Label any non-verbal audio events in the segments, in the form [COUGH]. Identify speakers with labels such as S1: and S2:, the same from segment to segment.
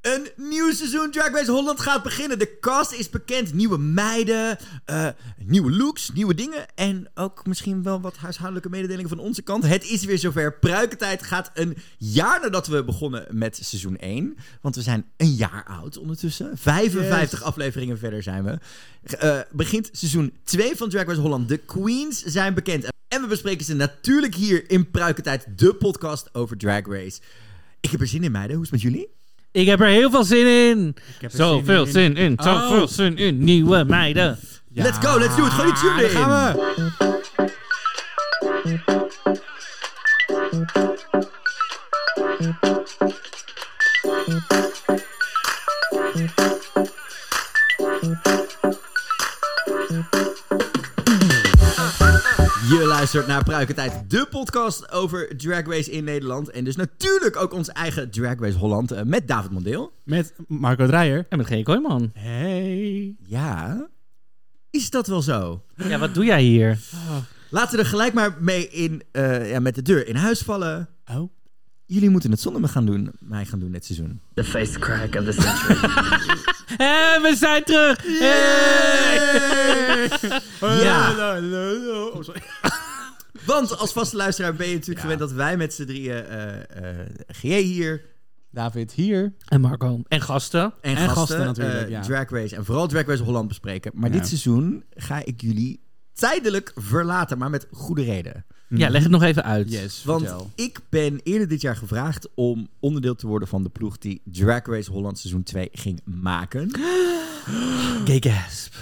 S1: Een nieuw seizoen Drag Race Holland gaat beginnen. De cast is bekend. Nieuwe meiden, eh, nieuwe looks, nieuwe dingen. En ook misschien wel wat huishoudelijke mededelingen van onze kant. Het is weer zover. Pruikentijd gaat een jaar nadat we begonnen met seizoen 1. Want we zijn een jaar oud ondertussen. 55 afleveringen verder zijn we. Eh, begint seizoen 2 van Drag Race Holland. De queens zijn bekend. En we bespreken ze natuurlijk hier in Pruikentijd. De podcast over Drag Race. Ik heb er zin in, meiden. Hoe is het met jullie?
S2: Ik heb er heel veel zin in.
S3: heb er
S2: Zoveel
S3: zin
S2: zin in. Zoveel zin in. Nieuwe meiden.
S1: Let's go, let's do it. Gooi die tune
S3: Daar
S1: erin.
S3: gaan we.
S1: Je luistert naar Pruikentijd, de podcast over Drag Race in Nederland. En dus natuurlijk ook ons eigen Drag Race Holland eh, met David Mondeel.
S3: Met Marco Dreyer.
S2: En met G. Kooijman.
S3: Hey.
S1: Ja, is dat wel zo?
S2: Ja, wat doe jij hier?
S1: Laten we er gelijk maar mee in, eh, ja, met de deur in huis vallen.
S3: Oh.
S1: Jullie moeten het zonder me gaan doen, mij gaan doen dit seizoen.
S4: The face crack of the century.
S2: Hé, we zijn terug! Hey!
S1: Ja.
S3: Oh, sorry.
S1: [LAUGHS] Want als vaste luisteraar ben je natuurlijk gewend dat wij met z'n drieën, eh, eh, GJ hier
S3: David hier.
S2: En Marco. En gasten.
S1: en,
S3: En gasten
S1: eh,
S3: natuurlijk, ja.
S1: Drag Race en vooral Drag Race Holland bespreken. Maar
S3: Ja.
S1: dit seizoen ga ik jullie tijdelijk verlaten, maar met goede reden.
S2: Ja, leg het nog even uit.
S3: Yes,
S1: Want
S3: vertel.
S1: ik ben eerder dit jaar gevraagd om onderdeel te worden van de ploeg die Drag Race Holland seizoen 2 ging maken.
S2: Gay gasp.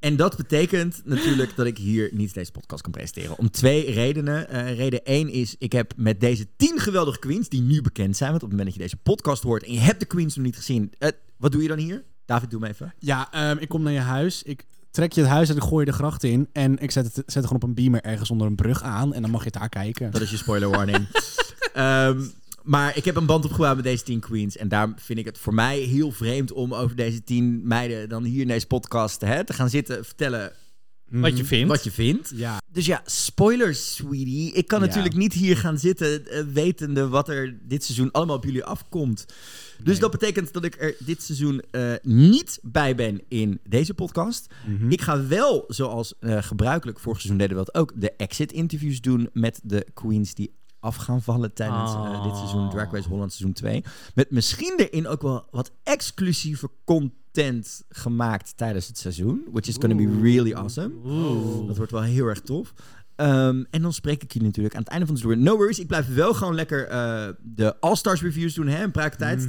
S1: En dat betekent natuurlijk dat ik hier niet deze podcast kan presenteren. Om twee redenen. Eh, reden één is, ik heb met deze tien geweldige queens, die nu bekend zijn, want op het moment dat je deze podcast hoort en je hebt de queens nog niet gezien, eh, wat doe je dan hier? David, doe me even.
S3: Ja, ehm, ik kom naar je huis. Ik trek je het huis en ik gooi je de gracht in. En ik zet het, zet het gewoon op een beamer ergens onder een brug aan. En dan mag je het daar kijken.
S1: Dat is je spoiler warning. Ehm, maar ik heb een band opgebouwd met deze tien queens. En daar vind ik het voor mij heel vreemd om over deze tien meiden dan hier in deze podcast hè, te gaan zitten vertellen
S2: Wat je vindt.
S1: wat je vindt.
S3: Ja.
S1: Dus ja, spoilers, sweetie. Ik kan
S3: Ja.
S1: natuurlijk niet hier gaan zitten eh, wetende wat er dit seizoen allemaal op jullie afkomt. Dus dat betekent dat ik er dit seizoen eh, niet bij ben in deze podcast. Ik ga wel, zoals eh, gebruikelijk vorig seizoen deden we dat ook, de exit-interviews doen met de queens die af gaan vallen tijdens eh,
S2: Oh.
S1: dit seizoen Drag Race Holland seizoen 2. Met misschien erin ook wel wat exclusieve content gemaakt tijdens het seizoen. Which is going to be really awesome. Dat wordt wel heel erg tof. Ehm, en dan spreek ik jullie natuurlijk aan het einde van de tour. No worries, ik blijf wel gewoon lekker eh, de All-Stars reviews doen, hè, in praktijk.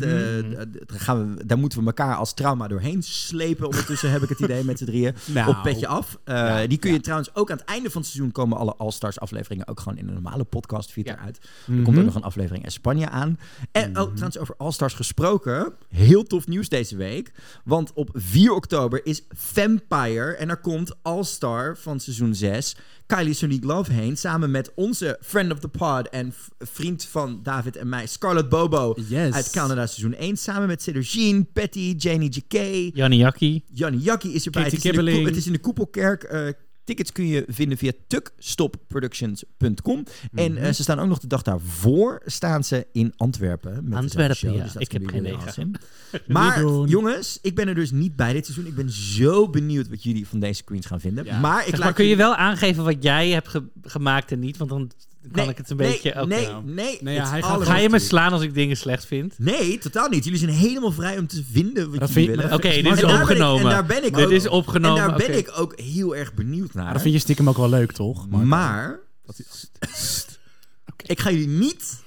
S1: gaan we, daar moeten we elkaar als trauma doorheen slepen. Ondertussen heb ik het idee met z'n drieën.
S3: Nou.
S1: Op petje af. Eh, die kun je trouwens ook aan het einde van het seizoen komen alle All-Stars afleveringen ook gewoon in een normale podcast feed eruit.
S3: Mhm.
S1: Er komt ook
S5: Mhm.
S1: nog een aflevering in Spanje aan. En oh, trouwens over All-Stars gesproken. Heel tof nieuws deze week. Want op 4 oktober is Vampire en daar komt All-Star van seizoen 6 Kylie Sonique Love heen. Samen met onze friend of the pod en v- vriend van David en mij Scarlett Bobo
S3: Yes.
S1: uit Canada seizoen 1. Samen met Cedar Jean, Patty, Janie J.K.
S2: Jannie Jakkie.
S1: Jannie Jakkie is erbij.
S3: Katie
S1: Het is, in de,
S3: Kibbeling.
S1: Ko- het is in de Koepelkerk. Eh, tickets kun je vinden via tukstopproductions.com. En
S2: Mhm.
S1: eh, ze staan ook nog de dag daarvoor staan ze in Antwerpen. Met dezelfde
S2: Antwerpen,
S1: show. Dus
S2: ja.
S1: dat
S2: Ik
S1: is
S2: heb
S1: weer
S2: geen
S1: heel
S2: idee.
S1: awesome. Maar
S3: Niet doen.
S1: jongens, ik ben er dus niet bij dit seizoen. Ik ben zo benieuwd wat jullie van deze queens gaan vinden.
S3: Ja.
S1: Maar ik
S2: Zeg
S1: laat
S2: maar, kun je
S1: jullie-
S2: wel aangeven wat jij hebt ge- gemaakt en niet? Want dan kan
S1: Nee,
S2: ik het een
S1: nee,
S2: beetje... ook.
S1: Nee,
S3: nou.
S1: nee,
S3: Nee, ja,
S1: het
S3: hij gaat-
S1: allemaal-
S2: Ga je me slaan als ik dingen slecht vind?
S1: Nee, totaal niet. Jullie zijn helemaal vrij om te vinden wat
S3: Dat
S1: jullie
S3: vind-
S1: willen.
S2: Oké,
S3: dat
S2: dit is
S1: En daar ben ik-
S2: opgenomen.
S1: En daar ben ik
S2: Dit
S1: ook-
S2: is
S1: En
S2: opgenomen.
S1: daar ben
S2: oké.
S1: ik ook heel erg benieuwd naar.
S3: Maar dat vind je stiekem ook wel leuk, toch? Marco?
S1: Maar
S3: [LAUGHS]
S1: ik ga jullie niet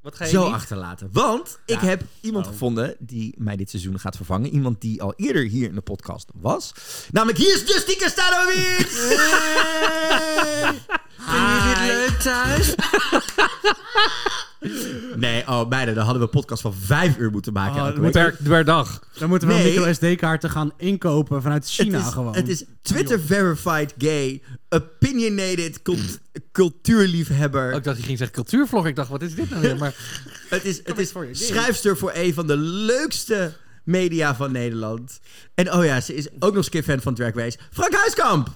S2: Wat ga je
S1: zo
S2: niet?
S1: achterlaten. Want ik
S3: Ja.
S1: heb iemand
S3: Oh.
S1: gevonden die mij dit seizoen gaat vervangen. Iemand die al eerder hier in de podcast was. Namelijk, hier is Justy Castano weer! [LAUGHS] Vinden jullie dit leuk thuis? [LAUGHS] Nee, oh, beide, dan hadden we een podcast van vijf uur moeten maken.
S3: Oh,
S1: elke
S3: dat
S1: week.
S2: Per, per dag.
S3: Dan moeten we
S1: Nee.
S3: micro SD-kaarten gaan inkopen vanuit China
S1: het is,
S3: gewoon.
S1: Het is Twitter-verified gay, opinionated, cult- cultuurliefhebber.
S2: Ook ik dacht, je ging zeggen cultuurvlog. Ik dacht, wat is dit nou weer? Maar
S1: Het is, het is
S2: voor je.
S1: schrijfster voor een van de leukste media van Nederland. En oh ja, ze is ook nog eens een keer fan van Drag Race. Frank Huiskamp!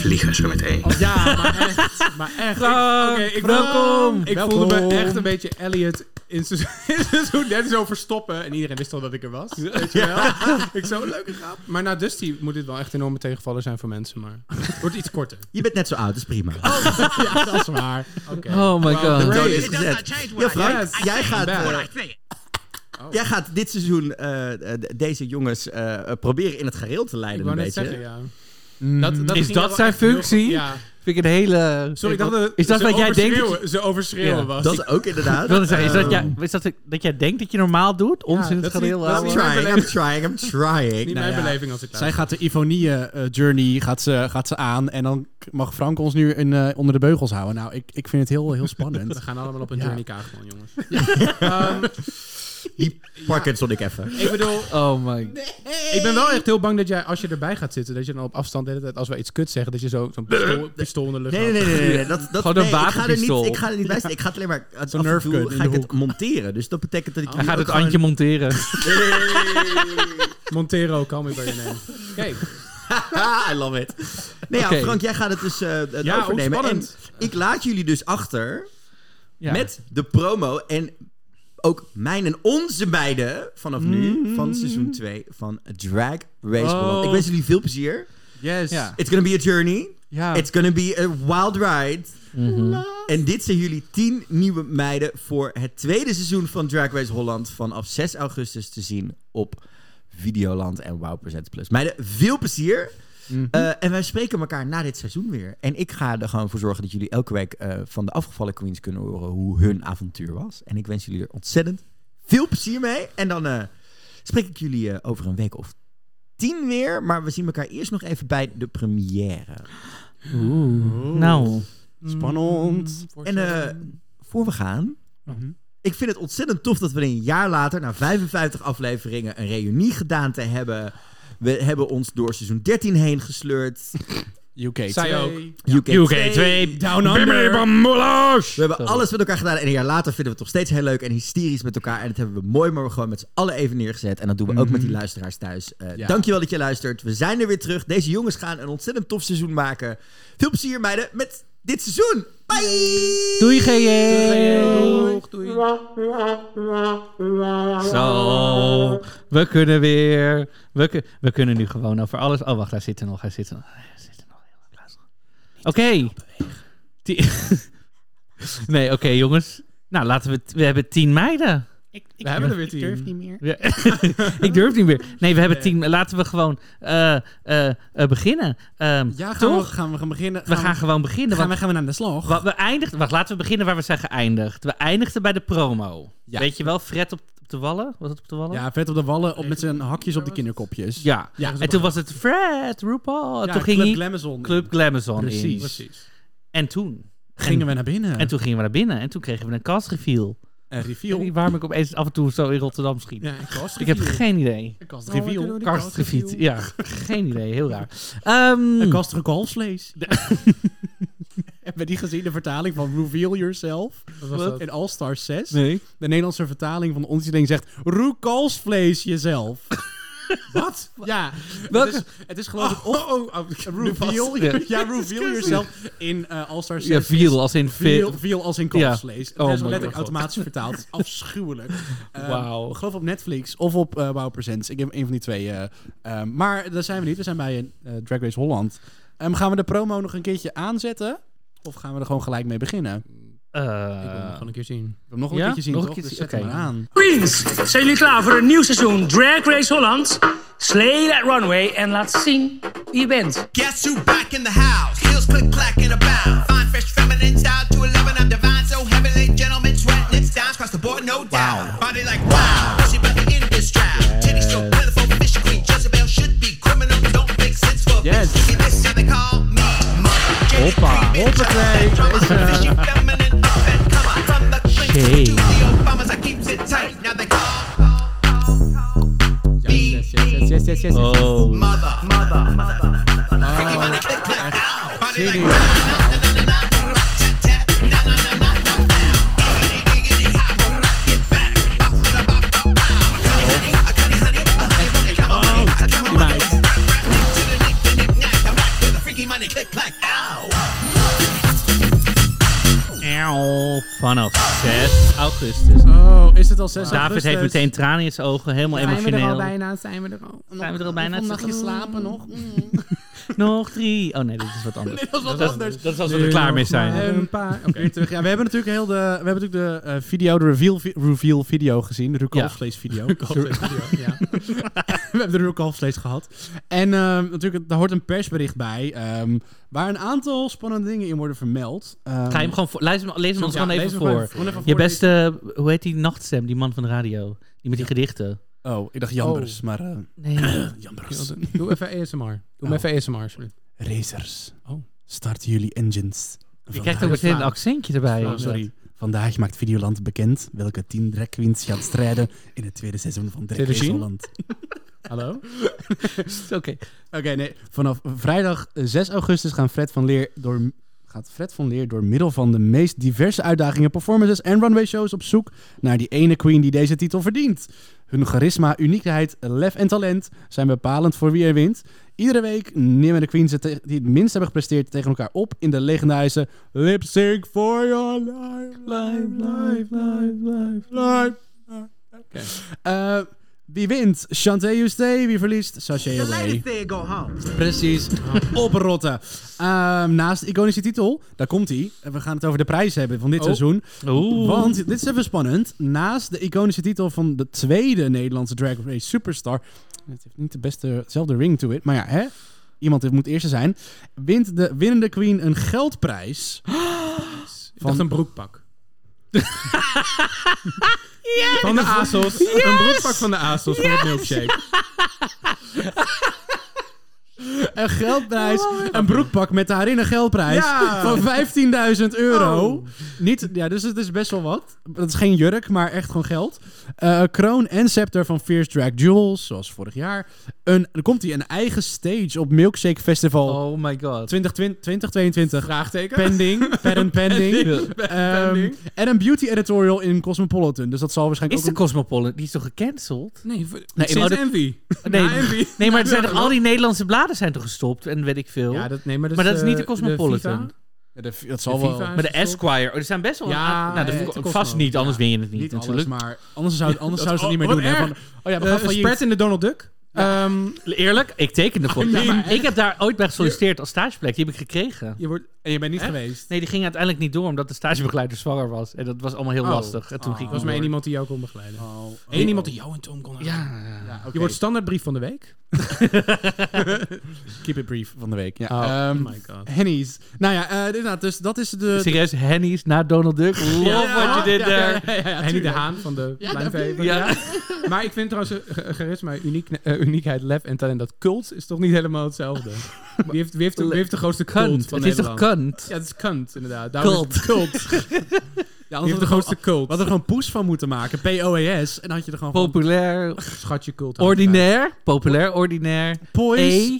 S4: Vliegen zo meteen.
S6: Ja, maar echt. Maar echt. Ik-
S2: Frank,
S6: Oké, ik,
S2: welkom.
S6: Ik
S3: Welkom.
S6: voelde me echt een beetje Elliot in seizoen, [LAUGHS] in seizoen 13 zo verstoppen. En iedereen wist al dat ik er was. Weet je wel? Ik zo, leuke grap. Maar na Dusty moet dit wel echt een enorme tegenvaller zijn voor mensen. Maar het wordt iets korter.
S1: Je bent net zo oud, dat is prima.
S6: ja, dat is waar. Oké.
S2: Oh my
S6: Well,
S2: god.
S6: the
S1: Toon
S6: race.
S1: is gezet. Ja, Frank,
S6: think.
S1: jij gaat,
S6: back.
S1: eh,
S6: What
S2: Oh.
S1: jij gaat dit seizoen eh, eh, d- deze jongens eh, eh, proberen in het gareel te
S6: Ik
S1: leiden.
S6: wou
S1: een
S6: net
S1: beetje.
S6: zeggen, ja.
S2: Is
S6: ging
S2: dat
S6: wel
S2: zijn
S6: echt heel goed.
S2: functie?
S6: Ja.
S2: Vind ik een hele...
S6: Sorry, ik dacht dat
S2: Is dat
S6: ze
S2: wat jij denkt? dat je-
S6: overschreeuwen- Ze overschreeuwen
S2: Ja,
S6: was.
S1: Dat is ook inderdaad.
S2: Ik wilde zeggen, is dat, jij,
S1: Ehm,
S2: is dat, dat jij denkt dat je normaal doet? Ons
S6: Ja,
S2: in het
S6: dat is
S2: geheel
S6: niet- dat is
S1: I'm
S2: houden?
S6: niet-
S1: trying, I'm trying, I'm trying.
S6: Niet
S5: Nou
S6: mijn
S5: ja.
S6: beleving als ik
S5: Zij
S6: luister.
S5: gaat de Ivonie-journey gaat ze, gaat ze aan. En dan k- mag Frank ons nu een, eh, onder de beugels houden. Nou, ik, ik vind het heel, heel
S6: We
S5: [LAUGHS] spannend.
S6: gaan allemaal op een
S5: Ja.
S6: journey kaagman, jongens. Ehm,
S1: Die Parkinson ik even.
S6: ik bedoel,
S2: Oh my
S6: ik ben wel echt heel bang dat jij, als je erbij gaat zitten, dat je dan op afstand de hele tijd, als wij iets kut zeggen, dat je zo, zo'n pistool, pistool in de lucht
S1: Nee, nee, nee, nee, nee, nee. Dat, dat,
S2: Gewoon een
S1: nee, ik ga er
S2: wapenpistool.
S1: niet, ik ga er niet bij zitten. Ik ga het alleen maar... Af
S5: Zo'n
S1: en
S5: Nerf gun
S1: toe
S5: in
S1: ga
S5: de
S1: ik het
S5: hoek.
S1: monteren. Dus dat betekent dat ik...
S2: Hij
S1: jullie
S2: gaat het
S1: ook gewoon-
S2: antje monteren.
S6: haalt. Montero, call me by your name. Kijk,
S1: [LAUGHS] Ah, I love it. Nee, ja,
S2: Oké.
S1: Frank, jij gaat het dus eh, het
S6: Ja,
S1: overnemen.
S6: hoe
S1: En
S6: spannend.
S1: ik laat jullie dus achter
S2: Ja.
S1: met de promo en ook mijn en onze beide vanaf nu van seizoen 2 van Drag Race Holland. Ik wens jullie veel plezier.
S6: yes.
S2: Ja.
S1: It's gonna be a journey.
S2: Ja.
S1: It's gonna be a wild ride. En dit zijn jullie 10 nieuwe meiden voor het tweede seizoen van Drag Race Holland vanaf 6 augustus te zien op Videoland en Wow Presents Plus. Meiden, veel plezier.
S2: Mhm.
S1: Eh, en wij spreken elkaar na dit seizoen weer. En ik ga er gewoon voor zorgen dat jullie elke week eh, van de afgevallen queens kunnen horen hoe hun avontuur was. En ik wens jullie er ontzettend veel plezier mee. En dan eh, spreek ik jullie eh, over een week of tien weer. Maar we zien elkaar eerst nog even bij de première.
S2: Nou,
S5: Mm. Spannend.
S1: En eh, voor we gaan. Ik vind het ontzettend tof dat we een jaar later, na 55 afleveringen, een reunie gedaan te hebben. We hebben ons door seizoen 13 heen gesleurd.
S5: UK.
S6: Zij ook.
S1: UK,
S2: UK 2,
S5: Down Under.
S1: We hebben alles met elkaar gedaan en een jaar later vinden we het nog steeds heel leuk en hysterisch met elkaar. En dat hebben we mooi, maar we gewoon met z'n allen even neergezet. En dat doen we ook met die luisteraars thuis. Eh,
S6: Ja.
S1: Dankjewel dat je luistert. We zijn er weer terug. Deze jongens gaan een ontzettend tof seizoen maken. Veel plezier meiden met dit seizoen. Bye!
S2: doei GJ!
S6: Doeg, doei.
S2: Zo, we kunnen weer. We, kun- we kunnen nu gewoon over alles. Oh, wacht, hij zit er nog. Hij zit er nog. Hij zit er nog. Luister. Oké. Die- [LAUGHS] Nee, oké, jongens. Nou, laten we. het- We hebben tien meiden.
S6: We hebben er weer tien.
S2: Ja. [LAUGHS] ik durf niet meer. Nee, we hebben tien. Laten we gewoon eh, eh, eh, beginnen. Ehm,
S5: Ja, gaan we,
S2: toch?
S5: gaan we gaan beginnen.
S2: We gaan gewoon beginnen.
S5: gaan
S2: want
S5: we, gaan we naar de slag.
S2: Wat we eindigden, wacht, laten we beginnen waar we zijn geëindigd. We eindigden bij de promo.
S5: Ja.
S2: Weet je wel, Fred op, op de wallen? Was het op de wallen?
S5: Ja, vet op de wallen op, met zijn hakjes op de kinderkopjes.
S2: Ja.
S5: Ja,
S2: En toen was het Fred, RuPaul. En
S5: Ja,
S2: toen ging
S5: Club
S2: hij
S5: Glamazon.
S2: Club Glamazon in.
S5: Precies.
S6: Precies.
S2: En toen.
S5: Gingen
S2: en,
S5: we naar binnen.
S2: En toen gingen we naar binnen. En toen kregen we een cast reveal.
S5: En reveal.
S2: Die Waarom ik opeens af en toe zo in Rotterdam schiet.
S6: Ja, Oh, ik was
S2: Ik heb geen idee.
S6: Ik was
S5: Reveal.
S2: Cast reveal. Ja, geen idee. Heel raar. Ehm,
S5: Een kastige kalfsvlees. [LAUGHS] Hebben die gezien de vertaling van Reveal Yourself
S6: Wat was
S5: in All Star 6?
S2: nee.
S5: De Nederlandse vertaling van ons ding zegt... Roe kalfsvlees
S2: [LAUGHS]
S5: jezelf. Wat? Ja.
S2: Welke?
S5: Het is, het is geloof
S2: Oh,
S5: ik... of- reveal,
S2: Ja.
S5: ja, reveal yourself in eh All Star 6.
S2: Ja, viel als in
S5: Veel,
S2: veel.
S5: veel als in kalfsvlees.
S2: Oh
S5: dat is
S2: my
S5: letterlijk
S2: God.
S5: automatisch vertaald.
S2: [LAUGHS]
S5: Afschuwelijk. Ehm,
S2: Wauw.
S5: Ik geloof op Netflix of op eh Wow Presents. Ik heb een van die twee. eh, ehm, maar daar zijn we niet. We zijn bij eh Drag Race Holland. Ehm, gaan we de promo nog een keertje aanzetten? Of gaan we er gewoon gelijk mee beginnen? We
S6: Ik wil hem
S2: Eh
S6: gewoon een keer zien.
S5: hebben hem nog een
S2: Ja?
S5: keertje zien,
S2: Nog een
S5: toch?
S2: keer
S5: Dus
S2: zien,
S5: zet hem
S2: oké.
S5: maar aan.
S7: Queens, zijn jullie klaar voor een nieuw seizoen Drag Race Holland? Slay that runway en laat zien wie je bent.
S8: Guess who back in the house? Heels click clacking about. Fine, fresh, feminine style to 11. I'm divine, so heavenly. Gentlemen, sweat, lips, dimes, cross the board, no doubt. Body like wow. She back in this trap. Titties so plentiful, fish queen. Jezebel should be criminal. Don't make sense for
S5: Yes.
S8: me. See this, how they call me.
S2: Hoppa.
S8: Hoppakee.
S2: Shade.
S6: Yes, yes, yes, yes, yes, yes.
S2: Oh.
S8: Mother, mother, mother. Freaky money, click, click, ow. Body like Freaky money, click, click, ow.
S2: Auw, vanaf 6 augustus.
S5: Oh, is het al 6
S2: David heeft meteen tranen in zijn ogen, helemaal emotioneel.
S6: Zijn we er al?
S2: Zijn we er al bijna?
S5: slapen nog?
S2: Nog drie. Oh nee, dit is wat anders.
S5: Dat was wat anders.
S2: Dat is als we er klaar mee zijn.
S6: Een paar. Oké.
S5: Weer terug. Ja, we hebben natuurlijk heel de, we hebben natuurlijk de eh, video, de reveal, vi- reveal video gezien. De Ruud
S2: Ja.
S5: Kalfslees video.
S6: Ja.
S5: [LAUGHS] we hebben de Rook Halfslees gehad. En ehm, natuurlijk, daar hoort een persbericht bij. ehm, waar een aantal spannende dingen in worden vermeld. Ehm,
S2: Ga je hem gewoon voor, lees hem, lees hem ons
S6: Oh. Ja,
S2: gewoon
S6: lees
S2: even
S6: hem
S2: voor.
S6: gewoon even
S2: Je beste, hoe heet die nachtstem, die man van de radio? Die met die gedichten.
S5: Oh, ik dacht Jambers, maar... eh, [CLEARS THROAT]
S2: Nee.
S5: Jambers.
S6: Doe even ASMR. Doe
S5: Oh.
S6: hem even ASMR, alsjeblieft.
S5: Racers.
S6: Oh.
S5: Starten jullie engines.
S2: Je
S5: Vandaag-
S2: krijgt ook meteen een accentje erbij.
S5: Oh, sorry. Vandaag maakt Videoland bekend welke tien drag queens gaan strijden in het tweede seizoen van Drag Race
S6: Televisie?
S5: Holland.
S6: Hallo?
S2: Oké.
S5: Oké, nee. Vanaf vrijdag 6 augustus gaan Fred van Leer door, gaat Fred van Leer door middel van de meest diverse uitdagingen, performances en runway shows op zoek naar die ene queen die deze titel verdient. Hun charisma, uniekheid, lef en talent zijn bepalend voor wie er wint. Iedere week nemen de queens het te- die het minst hebben gepresteerd tegen elkaar op in de legendarische Lip Sync for Your Life, Life, Life, Life, Life, Life. Eh, wie wint? Chantay Justay. Wie verliest? Sasha Away. Precies. Oprotten. Ehm, naast de iconische titel, daar komt hij. We gaan het over de prijs hebben van dit
S6: Oh.
S5: seizoen.
S2: Oeh.
S5: Want, dit is even spannend. Naast de iconische titel van de tweede Nederlandse Drag Race Superstar. Het heeft niet de beste, zelfde ring to it. Maar ja, hè? Iemand dit moet eerste zijn. Wint de winnende queen een geldprijs.
S6: Ik dacht een broekpak. Van de ASOS. Een broekpak van de ASOS voor het milkshake.
S5: Een geldprijs.
S6: Oh.
S5: een broekpak met daarin een geldprijs. Van 15.000 euro.
S6: Oh.
S5: Niet, ja, dus het is best wel wat. Dat is geen jurk, maar echt gewoon geld. Eh, kroon en scepter van Fierce Drag Jewels, zoals vorig jaar. Een, dan komt hij een eigen stage op Milkshake Festival
S2: Oh my god.
S5: 2020, 2022.
S6: Vraagteken?
S5: Pending,
S6: [LAUGHS]
S5: parent pending. Ehm,
S6: pending.
S5: en een beauty editorial in Cosmopolitan. Dus dat zal waarschijnlijk
S2: Is de
S5: ook...
S2: Cosmopolitan, die is toch gecanceld?
S6: Nee, voor-
S2: Nee,
S6: sinds
S2: maar-
S6: Envy.
S2: Nee,
S6: Na Envy.
S2: nee maar er zijn toch al die Nederlandse bladen zijn toch gestopt en weet ik veel.
S6: Ja, dat, nee, maar dat,
S2: maar dat is
S6: eh,
S2: niet de Cosmopolitan.
S6: FIFA.
S5: een- Ja, de- dat
S6: De
S5: zal wel...
S6: FIFA
S2: maar
S6: is
S2: de
S6: gestopt.
S2: Esquire, oh, er zijn best wel een
S6: Ja,
S2: aantal- nou,
S6: ja,
S2: dat
S6: ja, de
S2: vast
S6: Cosmo.
S2: niet, anders win je het niet,
S5: Niet alles,
S2: natuurlijk.
S5: maar anders
S6: [LAUGHS]
S5: zou, anders zou ze het niet meer
S6: oh,
S5: doen.
S6: wat
S5: hè, van,
S6: erg.
S5: oh ja, we gaan
S6: Eh,
S5: failliet.
S6: Spread in de Donald Duck. Ehm,
S2: Eerlijk, ik tekende
S6: [LAUGHS]
S2: voor.
S6: I mean,
S2: Ja, maar ik heb daar ooit bij gesolliciteerd als stageplek. Die heb ik gekregen.
S6: je wordt, en je bent niet geweest.
S2: Nee, die ging uiteindelijk niet door omdat de stagebegeleider zwanger was. En dat was allemaal heel
S6: Oh.
S2: lastig. En toen ging
S6: Er
S2: ik
S6: was
S2: niet
S6: maar één
S2: door.
S6: iemand die jou kon begeleiden. Eén
S5: Oh, oh,
S6: iemand die jou en Tom kon halen.
S2: Ja, ja, ja.
S5: Ja, oké.
S6: Je wordt standaardbrief van de week.
S5: Keep it brief van de week. Ja.
S6: Oh,
S5: Ehm,
S6: my god.
S5: Hennies. Nou ja, eh, inderdaad, dus dat is de...
S2: Serieus, Henny's na Donald Duck. Love what you did
S6: ja,
S2: there.
S6: ja, ja, ja, Henny de Haan van de Pleinvee.
S2: Ja.
S6: Maar ik vind trouwens eh, ge- charisma, uniek, eh, uniekheid, lef en talent. Dat cult is toch niet helemaal hetzelfde? Wie heeft, wie heeft, de, wie heeft de grootste cult
S2: Kunt.
S6: van
S2: Het is toch
S6: Nederland?
S2: kunt?
S6: Ja, het is cunt, inderdaad. Daarom is het cult.
S5: ja,
S6: Wie
S5: anders
S6: heeft de
S5: hadden we
S6: grootste cult?
S5: Wat er gewoon poes van moeten maken. P-O-E-S. En dan had je er gewoon van...
S2: Populair.
S6: schatje cult.
S2: Ordinair. Populair, ordinair.
S5: Poise.
S2: E.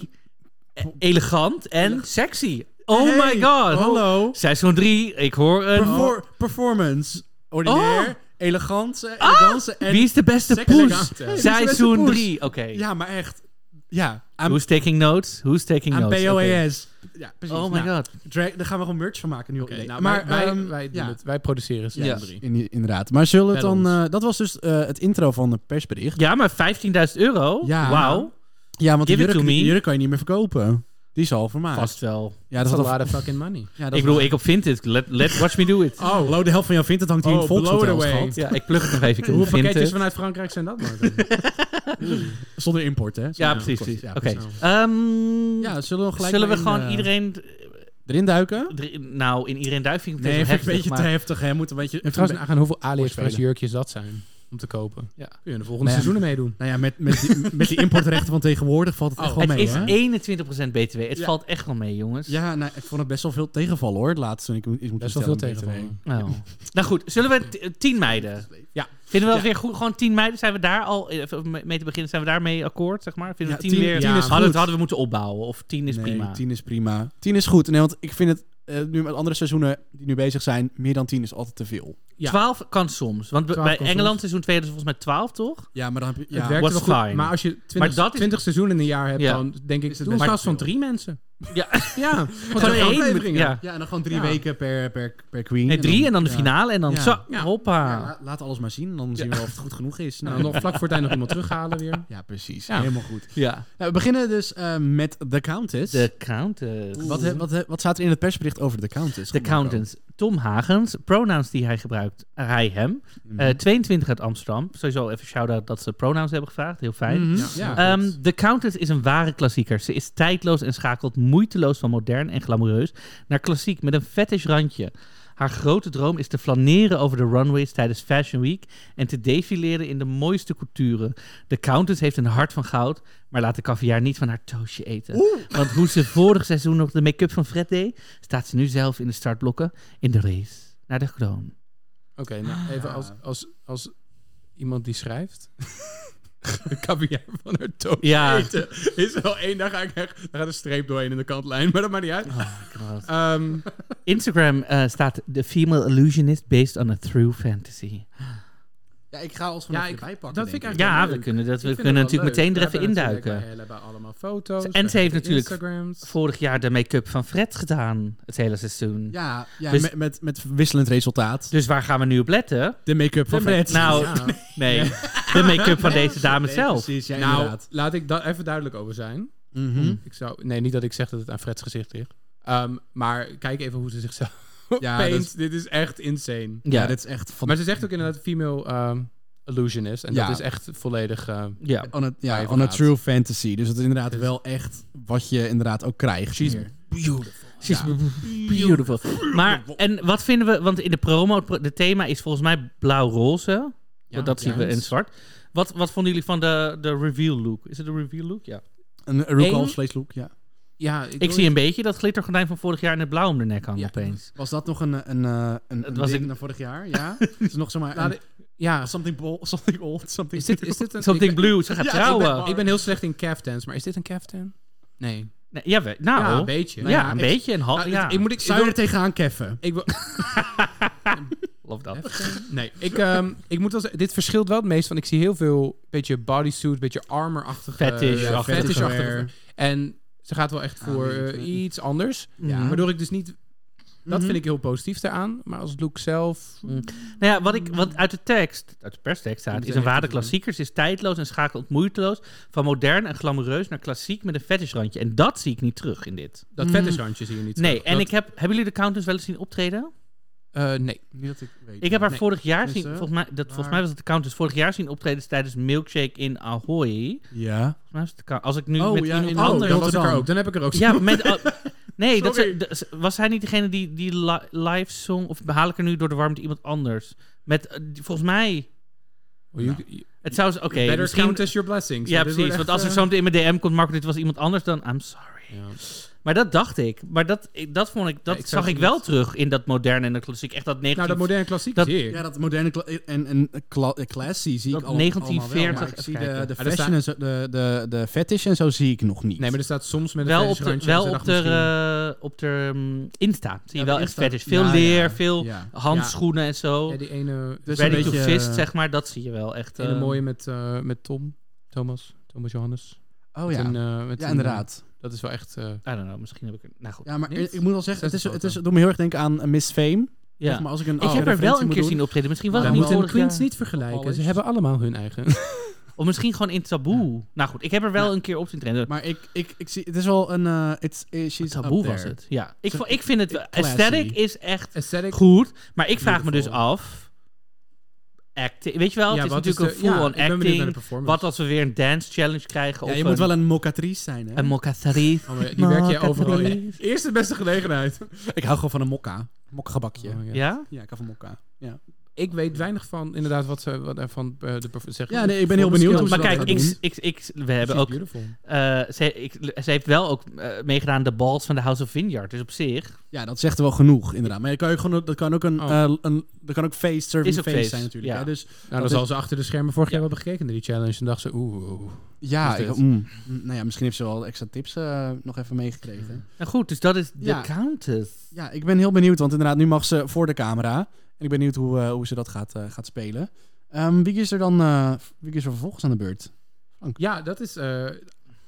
S2: e- Elegant en sexy. Oh
S5: Hey,
S2: my god. Oh.
S5: Hallo.
S2: Seizoen 3, ik hoor een...
S5: Perfor- Performance. Ordinair.
S2: Oh. Ah!
S5: Elegant. eh, elegance en...
S2: Wie is de beste
S5: Sexy
S2: poes?
S6: elegant, hè? Wie is de
S5: beste
S2: Seizoen
S5: poes?
S2: 3, oké.
S5: Ja, maar echt. Ja. Aan,
S2: Who's taking notes? Who's taking
S5: aan
S2: notes? Oké.
S5: POES. Ja, precies.
S2: Oh my
S5: Nou,
S2: god.
S5: Drag, daar gaan we gewoon merch van maken nu.
S6: Oké,
S5: Nee,
S6: nou, maar wij,
S5: ehm,
S6: wij, doen
S5: ja.
S6: het. wij produceren ze.
S2: Ja.
S6: drie.
S5: In- inderdaad. Maar zullen we het
S6: Bel
S5: dan...
S6: ons.
S5: eh, dat was dus eh, het intro van de persbericht.
S2: Ja, maar 15.000 euro?
S5: Ja.
S2: Wauw.
S5: Ja, want de
S2: Give it
S5: jurk,
S2: to me.
S5: die jurk kan je niet meer verkopen. Die is al vermaakt.
S2: Vast wel.
S5: Ja, dat
S6: That's
S5: is
S6: a
S5: al
S6: lot of fucking money.
S5: Ja, dat
S2: Ik
S5: is
S2: bedoel, ik op Vinted. Let, let, watch me do it.
S5: Oh, Lo, de helft van jou vindt het hangt hier in
S6: Oh,
S5: Volkshotel,
S6: blow it away.
S5: schat.
S2: Ja, ik plug het nog even. Ik
S6: Hoeveel
S2: vind
S6: pakketjes
S2: het.
S6: vanuit Frankrijk zijn dat, Marco?
S5: Zonder import, hè? Zonder
S2: Ja, precies.
S5: import.
S2: precies.
S5: Ja,
S2: Oké.
S5: precies.
S2: Ehm,
S5: Ja, zullen we gelijk
S2: zullen we
S5: maar in,
S2: gewoon
S5: eh,
S2: iedereen...
S5: erin duiken?
S2: drie- Nou, in iedereen duif vind ik het
S5: Nee,
S2: best wel
S5: vind ik een beetje
S2: heftig,
S5: te
S2: maar-
S5: heftig, hè? Moet een beetje...
S6: Ik trouwens nagaan hoeveel AliExpress
S5: Voorspelen.
S6: jurkjes dat zijn om te kopen.
S2: Ja.
S6: Kun je in de volgende
S5: Nee,
S6: seizoenen meedoen.
S5: Nou ja, met, met, die, [LAUGHS] met die importrechten van tegenwoordig valt Oh, het echt wel
S2: Het
S5: mee,
S2: is
S5: hè?
S2: 21% BTW. Het valt echt wel mee, jongens.
S5: Ja, nou, ik vond het best wel veel tegenval, hoor. Het laatste toen ik mo- iets moest
S6: Best wel veel
S5: bestellen met
S6: tegenvallen.
S2: Nou. nou goed, zullen we t- eh, 10 meiden?
S6: Ja.
S2: Vinden we dat weer goed? Gewoon 10 meiden? Zijn we daar al, eh, even mee te beginnen, zijn we daarmee akkoord, zeg maar? Vinden we
S5: Ja,
S2: 10
S5: tien-
S2: weer...
S5: tien is
S2: hadden, we
S5: goed.
S2: het- hadden we moeten opbouwen, of 10 is
S5: BTW.
S2: prima.
S5: Nee, 10 is prima. 10 is goed. Nee, want ik vind het... eh, nu met andere seizoenen die nu bezig zijn, meer dan 10 is altijd te veel.
S6: Ja.
S2: 12 kan soms. Want b-
S6: 12
S2: bij
S6: kan
S2: Engeland
S6: soms.
S2: seizoen 2 is volgens mij 12, toch?
S5: Ja, maar dan heb je...
S6: Het
S5: Ja,
S6: werkt
S2: was
S6: wel goed.
S2: fine.
S6: Maar als je 20,
S2: Maar dat is-
S6: seizoenen in een jaar hebt,
S2: Ja.
S6: dan denk ik,
S5: het
S6: doe een
S5: best
S6: gast van
S5: veel.
S6: drie mensen.
S2: Ja,
S6: Ja,
S2: Gewoon
S6: twee
S2: één
S6: afleveringen.
S2: ja.
S5: Ja, en dan gewoon drie weken per, per, per queen.
S2: nee, drie en dan de
S5: ja.
S2: finale en dan
S5: Ja.
S2: zo,
S6: Ja.
S2: hoppa.
S5: Ja, la- laat alles maar zien, dan zien we of het goed genoeg is.
S6: En
S5: Nou, [LAUGHS]
S6: dan nog vlak voor het eind nog iemand terughalen weer.
S5: Ja, precies.
S6: Ja.
S5: Helemaal goed.
S2: Ja.
S5: Nou, we beginnen dus eh, met The Countess.
S2: De Countess.
S5: Wat, he- wat, he- wat staat er in het persbericht over The Countess?
S2: De
S5: Marco?
S2: Countess. Tom Hagens, pronouns die hij gebruikt, eh, hij hem.
S5: Mhm.
S2: Eh, 22 uit Amsterdam. Sowieso even shout-out dat ze pronouns hebben gevraagd. Heel fijn.
S5: Mhm.
S6: Ja.
S5: Ja.
S2: Ehm, The Countess is een ware klassieker. Ze is tijdloos en schakelt moeiteloos van modern en glamoureus naar klassiek met een fetish randje. Haar grote droom is te flaneren over de runways tijdens Fashion Week en te defileren in de mooiste couturen. De Countess heeft een hart van goud, maar laat de kaviaar niet van haar toosje eten. Want hoe ze vorig seizoen nog de make-up van Fred deed, staat ze nu zelf in de startblokken in de race naar de kroon.
S6: Oké, nou even als, als, als iemand die schrijft. [LAUGHS] De kaviaar van haar toon
S2: Ja.
S6: eten. Is wel één, daar ga ik echt. Daar gaat een streep doorheen in de kantlijn, maar dat maakt niet uit.
S2: Oh.
S6: Ehm,
S2: Instagram eh, staat The Female Illusionist based on a true fantasy.
S5: Ja, ik ga ons gewoon
S6: ja,
S5: even
S6: ik,
S5: erbij pakken.
S6: dat vind ik
S5: denk
S2: Ja,
S6: eigenlijk. wel
S2: we
S6: leuk.
S2: kunnen dat-
S6: Ik
S2: we
S6: vind
S2: kunnen
S6: wel
S2: natuurlijk
S6: leuk.
S2: meteen er
S6: We
S2: even
S6: hebben natuurlijk-
S2: induiken.
S6: We hebben allemaal foto's.
S2: En
S6: we
S2: ze heeft
S6: hebben
S2: natuurlijk-
S6: Instagrams.
S2: vorig jaar de make-up van Fred gedaan. Het hele seizoen.
S5: Ja, ja
S2: Dus-
S5: met, met, met wisselend resultaat.
S2: Dus waar gaan we nu op letten?
S5: De make-up van Fred.
S2: Nou,
S5: Ja.
S2: [LAUGHS] nee. De make-up van deze dame
S5: Nee, [LAUGHS]
S2: zelf.
S5: Precies, ja,
S6: Nou,
S5: inderdaad.
S6: laat ik daar even duidelijk over zijn.
S5: Mhm.
S6: Ik zou, nee, niet dat ik zeg dat het aan Freds gezicht ligt. Ehm, maar kijk even hoe ze zichzelf [LAUGHS]
S5: Ja,
S6: paint.
S5: dat is-
S6: Dit is echt insane.
S5: Ja,
S2: Ja,
S5: dit is echt van...
S6: Maar ze zegt ook inderdaad female ehm, illusionist. En
S5: Ja.
S6: dat is echt volledig... ehm,
S2: ja.
S5: On a, ja,
S6: Ja,
S5: on a
S6: inderdaad.
S5: true fantasy. Dus het is inderdaad wel echt wat je inderdaad ook krijgt. hier.
S2: She's beautiful. Maar, en wat vinden we... Want in de promo, het pro- de thema is volgens mij blauw-roze. Want dat zien we in zwart. Wat, wat vonden jullie van de, de reveal look? Is het een reveal look? Ja.
S5: Een RuPaul's
S2: Eén-
S5: Place look, ja.
S6: ja,
S2: Ik zie een beetje dat glittergordijn van vorig jaar in het blauw om de nek hangen
S5: Ja.
S2: opeens.
S5: Was dat nog een, eh, een, eh, een,
S2: Het
S5: een
S2: was
S5: ding
S2: een-
S5: naar vorig [LAUGHS] jaar? Ja. Het is nog zomaar...
S6: Nou,
S5: een-
S6: de- Ja,
S5: something, bol- something old, something
S6: is dit, is dit een...
S2: Something
S6: ik,
S2: blue, ze gaat
S5: Ja, ik ben
S2: trouwen.
S5: bang.
S6: ik ben heel slecht in cafdance, maar is dit een cafdance? Nee.
S2: Nee, ja, we- nou,
S6: Ja, een beetje.
S2: Ja,
S6: Nou ja,
S2: een
S6: ik-
S2: beetje. Een half,
S6: Nou,
S2: ja.
S6: dit- Ik moet ik...
S5: Zou je er tegenaan keffen?
S6: ik wil-
S2: Love that.
S6: [LAUGHS] nee, ik, ehm, ik moet wel zeggen, dit verschilt wel het meest. Want ik zie heel veel, beetje bodysuit, beetje armor-achtige...
S2: Fetish,
S6: ja,
S2: achtige
S6: fetish-achtige-
S5: wear.
S6: En ze gaat wel echt voor
S5: Ah, weet ik
S6: eh,
S5: niet.
S6: iets anders.
S2: Ja.
S6: Waardoor ik dus niet... Dat
S5: Mhm.
S6: vind ik heel positief daaraan. Maar als look zelf...
S2: Nou ja, wat, ik, wat uit de tekst, uit de perstekst
S6: Ik
S2: staat,
S6: moet
S2: is een
S6: zeggen,
S2: waarde
S6: even doen.
S2: klassiekers, is tijdloos en schakelt moeiteloos van modern en glamoureus naar klassiek met een fettishrandje. En dat zie ik niet terug in dit.
S6: Dat
S5: Mhm.
S6: fettishrandje zie je niet
S2: Nee,
S6: terug.
S2: en
S6: Dat-
S2: ik heb, hebben jullie de Countess wel eens zien optreden?
S6: eh, nee.
S5: Niet dat ik weet.
S2: Ik heb haar
S6: Nee.
S2: vorig jaar zien,
S5: Tenminste,
S2: volgens mij, dat, volgens mij was het de Countess, vorig jaar zien optreden tijdens Milkshake in Ahoy. Volgens
S5: Ja.
S2: mij was het de Count- als ik nu
S5: Oh,
S2: met
S5: ja,
S2: iemand
S5: in-
S6: Oh,
S2: anders...
S6: dan was ik
S5: Rotterdam.
S6: er ook. Dan heb ik er ook.
S2: Ja, met...
S6: [LAUGHS]
S2: oh, nee, dat,
S6: Sorry.
S2: ze- dat- was hij niet degene die, die li- live song, of haal ik er nu door de warmte iemand anders? Met, eh, die- volgens mij...
S6: Oh, you- you-
S2: Het zou... z- Oké,
S6: better
S2: misschien...
S6: count as your blessings.
S2: Ja,
S6: Dit
S2: precies.
S6: wordt
S2: Want
S6: echt,
S2: als er
S6: eh,
S2: zo meteen in mijn DM komt, Marco, dit was iemand anders dan... I'm sorry.
S6: Ja.
S2: Maar dat dacht ik. Maar dat, ik- dat vond ik... Dat
S6: ik zou
S2: zag ik
S6: het
S2: wel
S6: niet-
S2: terug in dat moderne en dat klassiek. Echt dat 19...
S6: Nou, dat moderne klassiek
S2: Dat-
S6: zie ik.
S5: Ja, dat moderne kla- en, en kla- eh, classy zie
S2: Dat
S5: ik al.
S2: 1940
S5: allemaal wel, maar ik
S2: even
S5: zie de,
S2: kijken.
S5: de
S6: Ah, daar
S5: fashion en zo, de, de, de fetish en zo zie ik nog niet.
S6: Nee, maar er staat soms met een
S2: wel op de,
S6: fetishrandje,
S2: wel
S6: dus ik
S2: op de,
S6: dacht misschien-
S2: eh, op de mm, Insta. Zie je
S5: Ja,
S2: wel
S5: de
S2: echt
S5: Insta.
S2: vet is. Veel
S5: Ja, ja,
S2: leer,
S5: ja.
S2: veel
S5: Ja.
S2: eh, handschoenen en zo.
S6: Ja, die ene...
S5: Dus
S2: Ready
S5: een
S2: to
S5: beetje,
S2: fist,
S5: eh,
S2: zeg maar. Dat zie je wel echt.
S6: de ene
S2: eh,
S6: mooie met, eh, met Tom. Thomas. Thomas Johannes.
S5: Oh
S6: Met
S5: ja.
S6: een, eh, met
S5: ja,
S6: een,
S5: inderdaad.
S6: eh, dat is wel echt... eh,
S2: I don't know, misschien heb ik... Nou goed.
S5: Ja, maar
S6: niet?
S5: ik moet wel zeggen, het, is,
S6: Zesde
S5: het, is,
S6: foto.
S5: het doet me heel erg denken aan eh, Miss Fame.
S2: Ja.
S5: Zeg maar Oh, als ik een
S2: ik heb er wel een keer zien
S5: op.
S2: optreden. Misschien was
S5: Maar
S6: we
S2: het niet
S6: moeten de
S2: vorig
S6: queens
S2: jaar.
S6: niet vergelijken. Ze
S5: Alles.
S6: hebben allemaal hun eigen...
S2: [LAUGHS] Of misschien gewoon in taboe. Nou goed, ik heb er wel een keer op zien trainen.
S5: Maar ik, ik, ik zie, het is wel een... eh it's, eh, she's up
S2: Taboe was
S5: there.
S2: het. Ja. Ik,
S5: Zo-
S2: vo- ik vind het...
S5: classy.
S2: Aesthetic is echt...
S6: Aesthetic.
S2: goed. Maar ik vraag me dus
S5: Beautiful.
S2: af. Acting. Weet je wel,
S6: Ja,
S2: het is
S6: wat
S2: natuurlijk
S6: de-
S2: een
S6: ja,
S2: full-on
S6: Ik ben benieuwd naar de
S2: acting.
S6: performance.
S2: Wat als we weer een dance challenge krijgen?
S5: Ja,
S2: of
S5: je
S2: een,
S5: moet wel een mocatrice zijn, hè?
S2: een mocassari.
S6: Oh, maar die werk je
S2: Market
S6: overal in.
S2: release.
S6: Eerst de beste gelegenheid.
S5: ik hou gewoon van een mokka. Mokgebakje.
S6: Oh, ja.
S2: Ja?
S5: Ja, ik hou van mokka. Ja,
S6: Ik weet weinig van inderdaad wat ze wat, van eh, de perf- zeggen.
S5: Ja, nee, ik ben heel benieuwd hoe ze
S2: Maar
S5: dat
S2: kijk,
S5: gaat
S2: ik,
S5: doen.
S2: ik, ik, we hebben ook,
S6: beautiful. Nou,
S2: eh, ze, ik, ze heeft wel ook eh, meegedaan de balls van de House of Vineyard. Dus op zich
S5: ja, dat zegt wel genoeg, inderdaad. Maar je kan ook gewoon, dat kan ook een,
S6: Oh.
S5: eh, een dat kan ook face,
S2: Is
S5: serving
S2: ook
S5: face,
S2: face,
S5: zijn natuurlijk.
S2: ja.
S5: Hè? Dus
S6: Nou, dan
S5: Dat
S6: zal
S5: is-
S6: ze achter de schermen vorig jaar hebben gekeken naar die challenge. En dacht ze, oeh, oeh, oeh.
S5: ja,
S6: Is
S5: ik,
S6: dit?
S5: mm, mm, nou ja, misschien heeft ze wel extra tips eh, nog even meegekregen.
S2: nou goed. Dus dat is de
S5: Ja.
S2: Countess.
S5: Ja, ik ben heel benieuwd, want inderdaad, nu mag ze voor de camera. En ik ben benieuwd hoe, eh, hoe ze dat gaat, eh, gaat spelen. Ehm, wie is er dan eh, wie is er vervolgens aan de beurt?
S6: Ja, dat is eh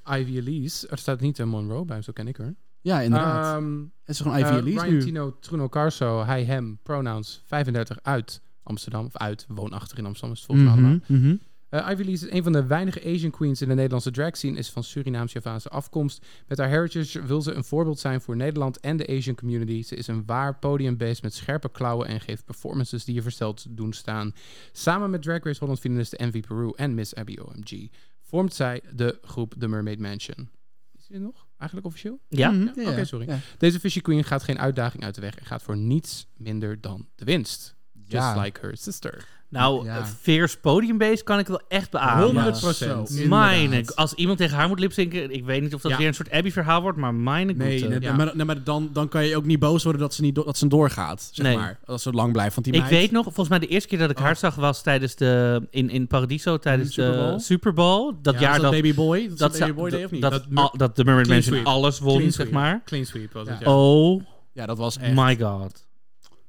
S6: Ivy Elise. Er staat niet een Monroe eh, bij, zo ken ik haar.
S5: Ja, inderdaad.
S6: Ehm,
S5: het is gewoon
S6: eh,
S5: Ivy Elise
S6: Ryan
S5: nu.
S6: Tino Truno Carso, hij, hem, pronouns, 35 uit Amsterdam. Of uit, woonachtig in Amsterdam is het volgens mij
S5: Mhm,
S6: allemaal.
S5: mhm.
S6: Eh, Ivy Lee is een van de weinige Asian queens in de Nederlandse drag scene, is van Surinaams-Javaanse afkomst. Met haar heritage wil ze een voorbeeld zijn voor Nederland en de Asian community. Ze is een waar podiumbeest met scherpe klauwen en geeft performances die je versteld doen staan. Samen met Drag Race Holland finaliste Envy Peru en Miss Abby OMG vormt zij de groep The Mermaid Mansion. Is die er nog? Eigenlijk officieel?
S2: Ja.
S5: Mhm,
S6: Ja,
S5: ja,
S6: Oké,
S5: ja.
S6: sorry.
S5: Ja.
S6: Deze Fishy Queen gaat geen uitdaging uit de weg en gaat voor niets minder dan de winst. Just
S5: Ja.
S6: like her sister.
S2: Nou,
S5: Ja.
S2: eh, Veers podiumbeest kan ik wel echt beamen.
S6: 100%. procent.
S5: Zo,
S2: Mijn,
S5: inderdaad.
S2: als iemand tegen haar moet lipzinken, ik weet niet of dat
S6: Ja.
S2: weer een soort Abby-verhaal wordt, maar mijn
S5: Nee,
S2: goede.
S5: net-
S6: ja.
S5: maar, nee, maar dan, dan kan je ook niet boos worden dat ze, niet do- dat ze doorgaat, zeg
S2: Nee.
S5: maar. Dat ze lang blijft, want die
S2: Ik
S5: meid... Oh.
S2: weet nog, volgens mij de eerste keer dat ik haar zag was tijdens de, in, in Paradiso, tijdens
S5: Super
S2: de
S5: Bowl?
S2: Super Bowl. Dat
S5: Ja,
S2: jaar
S5: was
S2: dat,
S5: dat, Baby Boy? Dat,
S2: dat,
S5: ze
S2: ze-
S5: Baby Boy deed, of niet?
S2: dat,
S6: Dat
S2: al- dat de Mermaid
S6: Clean
S2: Mansion
S6: sweep.
S2: alles won,
S6: Clean
S2: zeg
S6: sweep.
S2: maar.
S6: Clean sweep was het, ja.
S2: Oh
S5: ja, dat was echt...
S2: my god.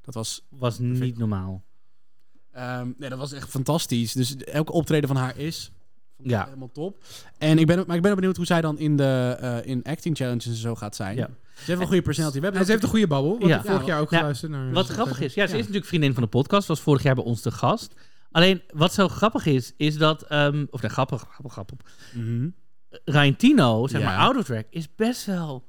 S5: Dat was,
S2: Was niet normaal.
S5: ehm, nee, dat was echt fantastisch. Dus elke optreden van haar is
S2: Ja.
S5: helemaal top. En ik ben, maar ik ben ook benieuwd hoe zij dan in de eh, in acting challenges en zo gaat zijn.
S2: Ja.
S5: Ze heeft wel een goede personality. We hebben
S6: En ze heeft een goede babbel. Want
S2: Ja.
S6: ik heb vorig jaar ook
S2: Nou,
S6: geluisterd naar...
S5: Dus
S6: eh,
S2: Wat
S5: eh,
S2: grappig is, ja, ze is natuurlijk vriendin van de podcast, was vorig jaar bij ons te gast. Alleen, wat zo grappig is, is dat, ehm, of nee, grappig, grappig, grappig.
S5: Mhm.
S2: Ryan Tino, zeg
S5: Ja.
S2: maar, out of track, is best wel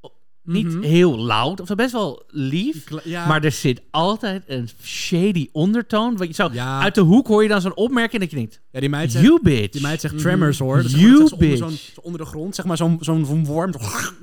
S2: oh, niet
S6: Mhm.
S2: heel loud, of zo, best wel lief.
S5: Kla- ja.
S2: Maar er zit altijd een shady ondertoon. Want je zou,
S5: Ja.
S2: Uit de hoek hoor je dan zo'n opmerking dat je denkt,
S5: Ja, die meid zegt,
S2: you bitch.
S5: die meid zegt tremors hoor. Dus
S2: You
S5: dat zegt ze onder,
S2: bitch.
S5: zo'n- zo onder de grond, zeg maar, zo'n zo'n zo'n worm.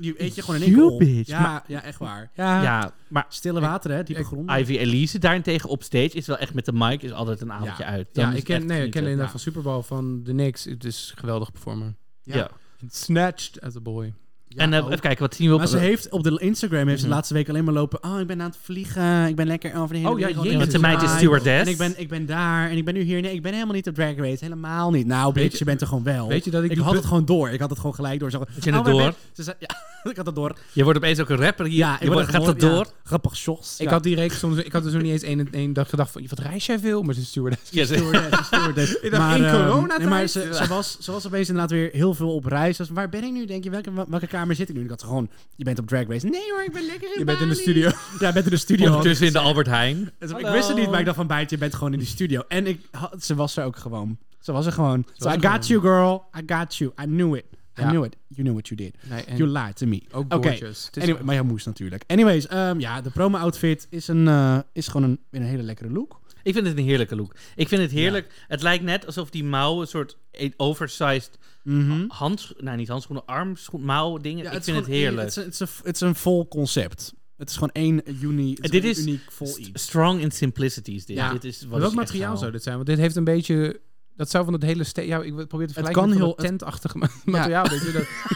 S5: Die eet je gewoon in één
S2: You
S5: keer op.
S2: bitch.
S5: Ja,
S2: Maar-
S5: ja, echt waar.
S2: ja, Ah, maar
S5: Stille wateren, hè, diepe grond.
S2: Ivy Elise daarentegen op stage is wel echt met de mic is altijd een avondje
S5: Ja.
S2: uit. Dan
S6: Ja,
S2: is
S6: ik
S2: het
S6: ken,
S2: echt
S6: nee, ik ken
S2: genieten.
S6: inderdaad van Super Bowl, van de Knicks. Het is een geweldig performer.
S2: Ja.
S5: Ja.
S6: Snatched as a boy.
S5: Ja,
S2: en eh,
S5: ook.
S2: even kijken, wat zien we op...
S5: Maar ze heeft op de Instagram heeft ze de
S6: Mhm.
S5: laatste week alleen maar lopen. Oh, ik ben aan het vliegen. Ik ben lekker over de hele
S6: Oh, ja,
S5: wereld.
S6: jezus.
S2: Want de meid is
S5: Hi.
S2: stewardess.
S5: En ik ben, ik ben daar. En ik ben nu hier. Nee, ik ben helemaal niet op Drag Race. Helemaal niet. Nou,
S6: Weet
S5: bitch,
S6: je-
S5: je bent er gewoon wel.
S6: Oh. weet je dat ik
S5: Ik
S6: die
S5: had
S6: put-
S5: het gewoon door. Ik had het gewoon gelijk door. Zo, had Oh,
S2: je het door?
S5: Ze zei, [LAUGHS] ja, ik had het door.
S2: Je wordt opeens ook een rapper hier.
S5: Ja,
S2: Ja,
S5: ik
S2: je wordt, gaat dat
S5: gewoon- ja,
S2: door?
S5: grappig shots. [LAUGHS]
S6: Ik had die reeks soms... Ik had er zo niet eens één één dag gedacht van... Wat reis jij veel? Maar ze is stewardess.
S2: Ja, ze-
S5: stewardess, stewardess.
S6: dacht, in
S5: ehm,
S6: coronatijd?
S5: nee, maar ze, ze, was, ze was opeens inderdaad weer heel veel op reis. Ze was, waar ben ik nu? Denk je, welke, welke kamer zit ik nu? Ik had ze gewoon, je bent op Drag Race. Nee hoor, ik ben lekker in
S6: Je bent in de
S5: Bali.
S6: studio.
S5: Ja, je bent in de studio.
S2: [LAUGHS] Ondertussen in de Albert Heijn.
S5: Dus
S2: Hallo.
S5: ik wist het niet, maar ik dacht van bijt, je bent gewoon in die studio. En ik had- ze was er ook gewoon. Ze was er gewoon. So
S6: was
S5: I
S6: er
S5: got you, girl. I got you. I knew it. I
S6: Ja.
S5: knew it. You knew what you did.
S6: Nee, en
S5: you lied to me.
S6: ook
S5: Oké.
S6: gorgeous. Het is-
S5: Anyway, maar jij moest natuurlijk. Anyways, ehm, ja, de promo-outfit is, een, eh, is gewoon een, weer een hele lekkere look.
S2: Ik vind het een heerlijke look. Ik vind het heerlijk. Het lijkt net alsof die mouwen een soort e- oversized hands... Nou, niet handschoenen, armschoen, mouw dingen. ik vind het heerlijk.
S5: Het is, een vol concept. Het is gewoon één uni,
S2: is Dit gewoon is-
S5: uniek vol
S2: St- Strong in simplicity is dit.
S6: Ja.
S2: dit is wat
S6: Welk
S2: ik echt
S6: materiaal
S2: hou.
S6: zou dit zijn? Want dit heeft een beetje... Dat zou van dat hele... ste- Ja, ik probeer te vergelijken
S5: kan
S6: met van
S5: heel-
S6: dat tentachtige ma- [LAUGHS] materiaal. weet je,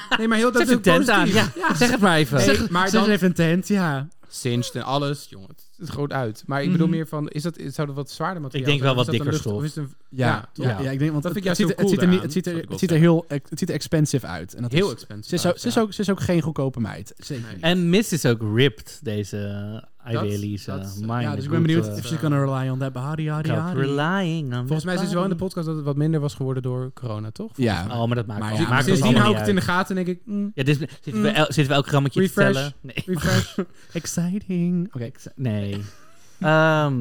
S6: dat- Nee, maar heel
S2: Ze
S6: dat
S2: heeft een tent aan. Ja, zeg het maar even.
S6: Nee,
S2: Zeg-
S6: maar
S5: Maar
S6: dan,
S5: heeft een tent, ja.
S6: singed en alles. Jongen, het ziet er groot uit. Maar ik bedoel meer van, is dat, zou dat wat zwaarder materiaal
S2: denk wel
S6: zijn? Of
S2: wat
S6: is dat
S2: dikker
S6: een lucht-
S2: stof.
S6: Of is het een,
S5: Ja,
S6: ja,
S5: ja,
S6: toch?
S2: Ja.
S5: ja, ik denk, want
S6: Dat
S5: het,
S6: vind ik
S5: het
S6: juist
S5: ziet,
S6: heel
S5: er- het, ziet er, niet,
S6: cool
S5: het, ziet er,
S6: daaraan,
S5: het
S6: zou ik
S5: ziet er heel ex- het ziet er expensive uit. En dat
S6: heel
S5: is,
S6: expensive.
S5: Ze is, ook, ze, is ook, ze is ook geen goedkope meid. Zeker
S6: Ah, Nee.
S5: niet.
S2: En Miss is ook ripped, deze uh, Ivy
S6: Dat-
S2: Elise.
S6: dat is- eh,
S2: Mijn
S5: ja, dus ik ben
S2: goede-
S5: benieuwd of ze kan rely on that Bahari, Hari,
S2: Stop
S5: Hari.
S2: uh, relying on
S6: Volgens mij is
S2: that
S6: het wel in de
S2: body.
S6: podcast dat het wat minder was geworden door corona, toch?
S5: Ja.
S2: Oh, maar dat maakt
S5: Maar
S2: wel.
S5: ja,
S2: maakt
S6: Sindsdien
S2: allemaal
S6: hou ik het
S2: niet
S6: in de
S2: uit.
S6: gaten en denk ik... mm,
S2: Ja, dit is, zitten, we el- zitten we elk grammetje
S6: Refresh.
S2: te tellen? Nee.
S6: refresh.
S5: Exciting. Oké.
S2: Nee. [LAUGHS] Ehm,
S5: Maar,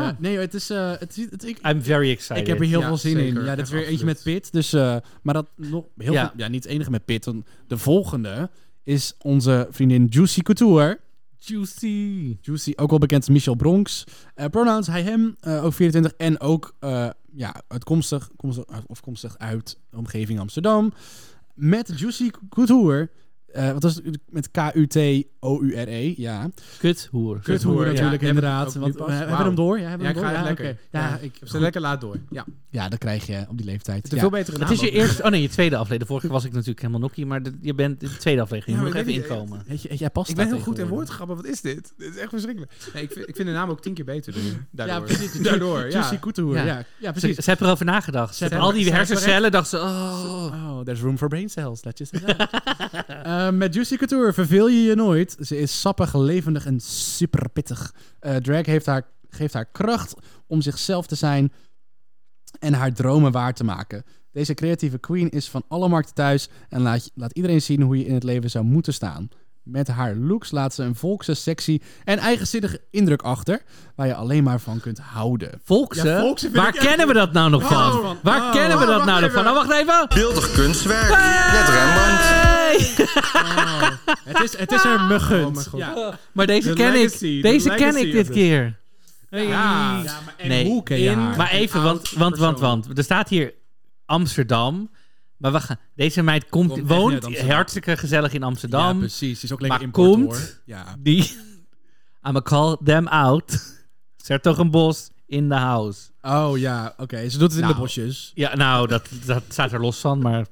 S2: ja,
S5: eh, nee, joh, het is... eh, het, is- het, ik,
S2: I'm very excited.
S5: ik heb er heel
S6: Ja,
S5: veel zin
S6: zeker.
S5: in. Ja, dit is
S6: Ja,
S5: weer eentje met
S6: absoluut.
S5: Pit. Dus, eh, maar dat nog heel
S2: Ja.
S5: veel- ja, niet het enige met Pit. want De volgende is onze vriendin Juicy Couture.
S2: Juicy.
S5: Juicy, ook wel bekend als Michel Bronx. Eh, pronouns hij, hem, eh, ook 24. En ook eh, ja, uitkomstig, komstig, afkomstig uit de omgeving Amsterdam. Met Juicy Couture. eh wat was het? Met K-U-T-O-U-R-E, E, ja.
S2: Kut hoer.
S5: Kuthoer
S6: ja.
S5: natuurlijk,
S6: Ja,
S5: inderdaad.
S6: hebben we
S5: Want,
S6: ook
S5: we
S6: nu pas.
S5: hebben we hem
S6: Wauw.
S5: door? Ja, hebben
S6: Ja,
S5: we
S6: ik
S5: hem
S6: ga
S5: door?
S6: het
S5: Ja,
S6: lekker.
S5: oké. Ja,
S6: Ja,
S5: ik,
S6: ik heb ze lekker laat door. Ja.
S5: ja, dat krijg je op die leeftijd.
S6: Het is
S5: Ja.
S6: veel betere
S2: Het
S6: naam
S2: is je
S6: ook.
S2: eerste... Oh nee, je tweede aflevering. De vorige keer was ik natuurlijk helemaal nokkie, maar dit- je bent de tweede aflevering. Je
S6: Ja,
S2: moet
S6: maar
S2: nog
S6: ik
S2: even
S6: weet niet,
S2: inkomen.
S5: Jij- Jij past
S6: Ik ben
S5: daar
S6: heel goed in
S5: tegenwoordig.
S6: woordgrappen. Wat is dit? Dit is echt verschrikkelijk. Nee, ik, vind, ik vind de naam ook tien keer beter nu.
S5: Ja,
S6: Daardoor.
S5: precies.
S6: [LAUGHS] Daardoor, ja.
S5: Juicy Couture,
S2: Ja.
S5: ja. Ja,
S2: Ze,
S5: precies.
S2: ze hebben erover nagedacht. Ze hebben al
S6: hebben-
S2: die
S6: ze hebben
S2: hersencellen, dachten ze... Oh.
S5: Oh, there's room for brain cells. Let just [LAUGHS] Eh, Met Juicy Couture verveel je je nooit. Ze is sappig, levendig en super pittig. Eh, drag heeft haar, geeft haar kracht om zichzelf te zijn en haar dromen waar te maken. Deze creatieve queen is van alle markten thuis en laat, laat iedereen zien hoe je in het leven zou moeten staan. Met haar looks laat ze een volkse, sexy en eigenzinnige indruk achter. Waar je alleen maar van kunt houden.
S2: Volksen?
S9: Ja, Volksen vind
S2: Waar
S9: ik echt-
S2: kennen we dat nou nog van? Waar
S9: oh,
S2: kennen we
S9: oh,
S2: dat
S9: wacht
S2: nou nog
S9: even.
S2: van? Nou, wacht even.
S8: Beeldig kunstwerk. Net Rembrandt.
S2: Hey!
S5: Het is, het is haar
S6: Oh
S5: muggend.
S2: Maar deze
S5: The
S2: ken
S5: legacy,
S2: ik.
S5: the
S2: Deze ken
S5: legacy
S2: ik dit
S5: of
S2: keer. Hey.
S5: maar
S2: Nee.
S5: hoe ken je haar?
S2: Maar even, want, want, want, want. Er staat hier Amsterdam. Maar we gaan, deze meid komt,
S5: Komt echt uit
S2: woont
S5: Amsterdam.
S2: hartstikke gezellig in
S5: ja,
S2: Amsterdam.
S5: precies. Het is ook lekker
S2: Maar
S5: import,
S2: komt-
S5: hoor. Ja.
S2: die... [LAUGHS] I'ma call them out. Zet toch een bos in the house.
S5: Oh ja, oké. Ze doet het in de
S2: Nou.
S5: bosjes.
S2: Ja, nou, dat, dat staat er los van, maar...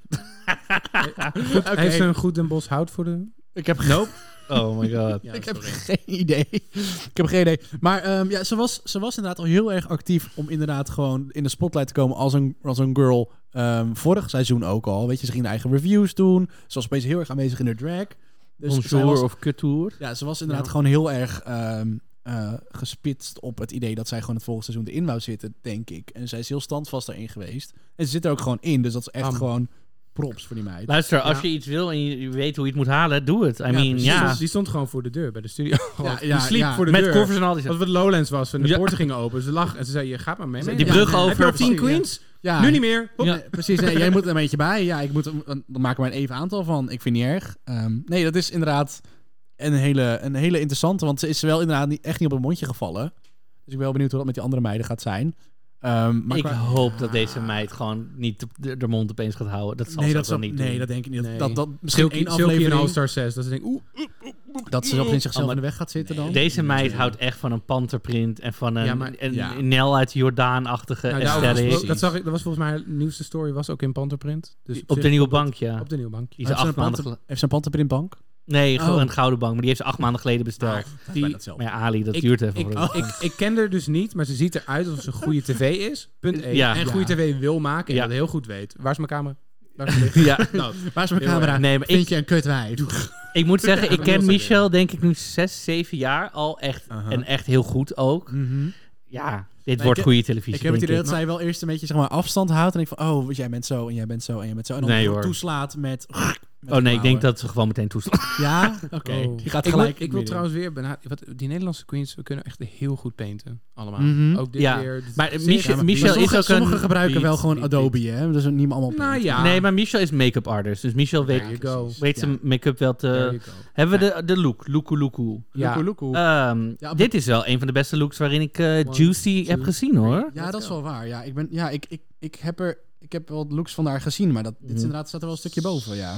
S5: Oké.
S6: Heeft ze een goed Den Bosch hout voor de...
S5: Ik heb [LAUGHS] nope.
S2: Oh my god.
S5: ik heb [LAUGHS] geen idee. Ik heb geen idee. Maar ehm, ja, ze was, ze was inderdaad al heel erg actief om inderdaad gewoon in de spotlight te komen als een, als een girl. Ehm, vorig seizoen ook al. Weet je, ze ging de eigen reviews doen. Ze was opeens heel erg aanwezig in de drag. Dus zij was,
S2: Bonjour of couture.
S5: ja, ze was inderdaad gewoon heel erg ehm, eh, gespitst op het idee dat zij gewoon het volgende seizoen erin wou zitten, denk ik. En zij is heel standvast daarin geweest. En ze zit er ook gewoon in. Dus dat is echt
S6: Am.
S5: gewoon props voor die meid.
S2: Luister, als je iets wil en je weet hoe je het moet halen, doe het. I mean,
S6: precies. Die
S2: ja.
S6: stond- Die stond gewoon voor de deur bij de studio.
S5: ja,
S6: die sliep
S5: ja.
S6: voor de
S2: Met
S6: deur.
S2: koffers en al die
S6: Als het Lowlands was en de
S2: Ja.
S6: poorten gingen open. Ze lag en ze zei, je gaat maar mee.
S2: Die
S6: mee.
S2: brug
S6: Heb je
S2: over-
S6: al tien queens?
S5: Ja.
S6: Nu niet meer. Hop.
S2: Ja.
S5: Nee, precies, nee, jij moet er een beetje bij. Ja, ik moet, er- dan maken we een even aantal van. Ik vind niet erg. Ehm, nee, dat is inderdaad een hele, een hele interessante. Want ze is wel inderdaad niet, echt niet op het mondje gevallen. Dus ik ben wel benieuwd hoe dat met die andere meiden gaat zijn. Ehm, maar
S2: ik
S5: qua-
S2: hoop dat deze meid gewoon niet op de, de mond opeens gaat houden. Dat zal
S5: nee,
S2: ze
S5: dat
S2: ook wel
S5: zal,
S2: niet
S5: nee,
S2: doen.
S5: dat denk ik niet. Dat,
S6: Nee.
S5: dat, dat, misschien
S6: Silky,
S5: één
S6: Silky in
S5: aflevering
S6: All-Star 6. Dat ze denkt, oeh.
S5: dat ze opeens zichzelf
S2: Oh, maar-
S5: in de weg gaat zitten dan.
S2: Deze meid houdt echt van een panterprint en van een,
S6: Ja, maar-
S2: een,
S5: ja.
S2: een Nel uit Jordaan-achtige
S6: Nou, daarover
S2: aesthetic.
S6: gesproken, dat, zag ik, dat was volgens mij haar nieuwste story, was ook in Panterprint. Dus
S2: Op de
S6: zich-
S2: nieuwe bank, ja.
S6: Op de nieuwe bank.
S2: Die ze
S5: Heeft ze
S2: acht
S5: een
S2: maanden
S5: panter-
S2: gel-
S5: heeft ze een panterprintbank?
S2: Nee, gewoon
S5: Oh.
S2: een gouden bank, maar die heeft ze acht maanden geleden besteld.
S6: Die,
S2: maar ja, Ali, dat
S6: Oh. ik,
S2: duurt even.
S6: ik, oh,
S2: voordat-
S6: ik, ik ken haar dus niet, maar ze ziet eruit alsof ze goede tv is. Punt 1.
S2: Ja.
S6: En
S2: Ja.
S6: goede tv wil maken en
S2: Ja.
S6: dat heel goed weet. Waar is mijn camera? Waar is
S2: [LAUGHS]
S6: mijn licht?
S2: [LAUGHS] ja.
S6: Nou,
S5: Waar is mijn
S6: Heel
S5: camera?
S2: Nee, maar
S5: Vind
S2: ik,
S5: je een kutwijf?
S2: ik moet zeggen, ik
S6: Ja, dat
S2: ken
S6: was het,
S2: Michel denk ik nu zes, zeven jaar al echt.
S5: Aha.
S2: En echt heel goed ook.
S6: Mhm.
S2: Ja, dit
S5: ik
S2: wordt
S5: heb-
S2: goede televisie,
S5: Ik heb het
S2: denk
S5: idee dat zij wel eerst een beetje zeg maar, afstand houdt. En ik van, oh, want jij bent zo en jij bent zo en jij bent zo. En dan
S2: Nee,
S5: gewoon
S2: hoor.
S5: toeslaat met... met
S2: Oh nee, ik denk
S5: klauwen.
S2: dat ze gewoon meteen toeslaan.
S5: Ja? Oké.
S6: Oh.
S5: Die gaat
S6: Ik
S5: gelijk.
S6: wil, ik wil trouwens weer benadrukken. wat- Die Nederlandse queens, we kunnen echt heel goed painten. Allemaal.
S5: Mhm.
S6: Ook dit
S2: Ja.
S6: weer. dit-
S2: Maar
S6: zeker.
S2: Michel-
S6: Ja, maar-
S2: Michel-
S5: Michel
S2: is ook een
S5: Sommigen gebruiken
S2: beat,
S5: wel gewoon
S2: beat,
S5: Adobe, hè? Dus niet allemaal
S6: Nou ja.
S2: Nee, maar Michel is make-up artist. Dus Michel weet,
S6: There you go.
S2: weet zijn make-up wel te...
S6: There you go.
S2: Hebben we de, de look, Luku Luku.
S6: Ja.
S2: Ehm,
S5: Ja,
S2: dit is wel een van de beste looks waarin ik eh,
S6: One,
S2: Juicy
S6: two,
S2: heb gezien hoor.
S5: Ja, dat is wel waar. Ja, ik, ben, ja, ik, ik, ik heb er... Ik heb wel looks van haar gezien, maar dat, dit is inderdaad staat er wel een stukje boven, ja.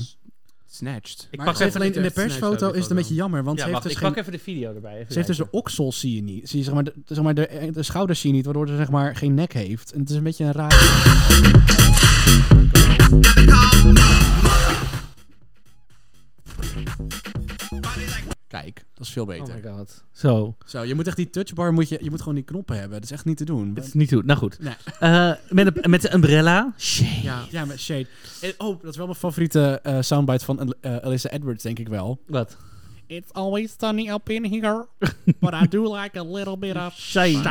S2: Ik
S6: Snatched.
S5: Maar
S2: Mhm. pak
S5: ze heeft
S2: even-
S5: alleen in de
S6: niet echt snel,
S5: persfoto
S6: die
S5: is het een
S6: foto.
S5: beetje jammer, want
S2: Ja,
S5: ze heeft
S2: wacht,
S5: dus
S2: ik
S5: geen-
S2: pak even de video erbij. Even
S5: Ze heeft dus de oksels zie je niet. Zie je, zeg maar, de, zeg maar de, de schouders zie je niet, waardoor ze zeg maar geen nek heeft. En het is een beetje een raar... Kijk, dat is veel
S2: kijken.
S5: beter.
S2: Oh my god. Zo,
S5: Zo, je moet echt die touchbar, moet je, je moet gewoon die knoppen hebben. Dat is echt niet te doen.
S2: het is niet goed. Nou goed.
S5: Nee.
S2: Eh, met, een, met een umbrella. Shit.
S5: Ja, [LAUGHS] ja, met Shade. En- oh, dat is wel mijn favoriete eh, soundbite van eh, eh, Alyssa Edwards, denk ik wel.
S2: Wat?
S5: It's always sunny up in here, but I do like a little bit of
S2: Shade.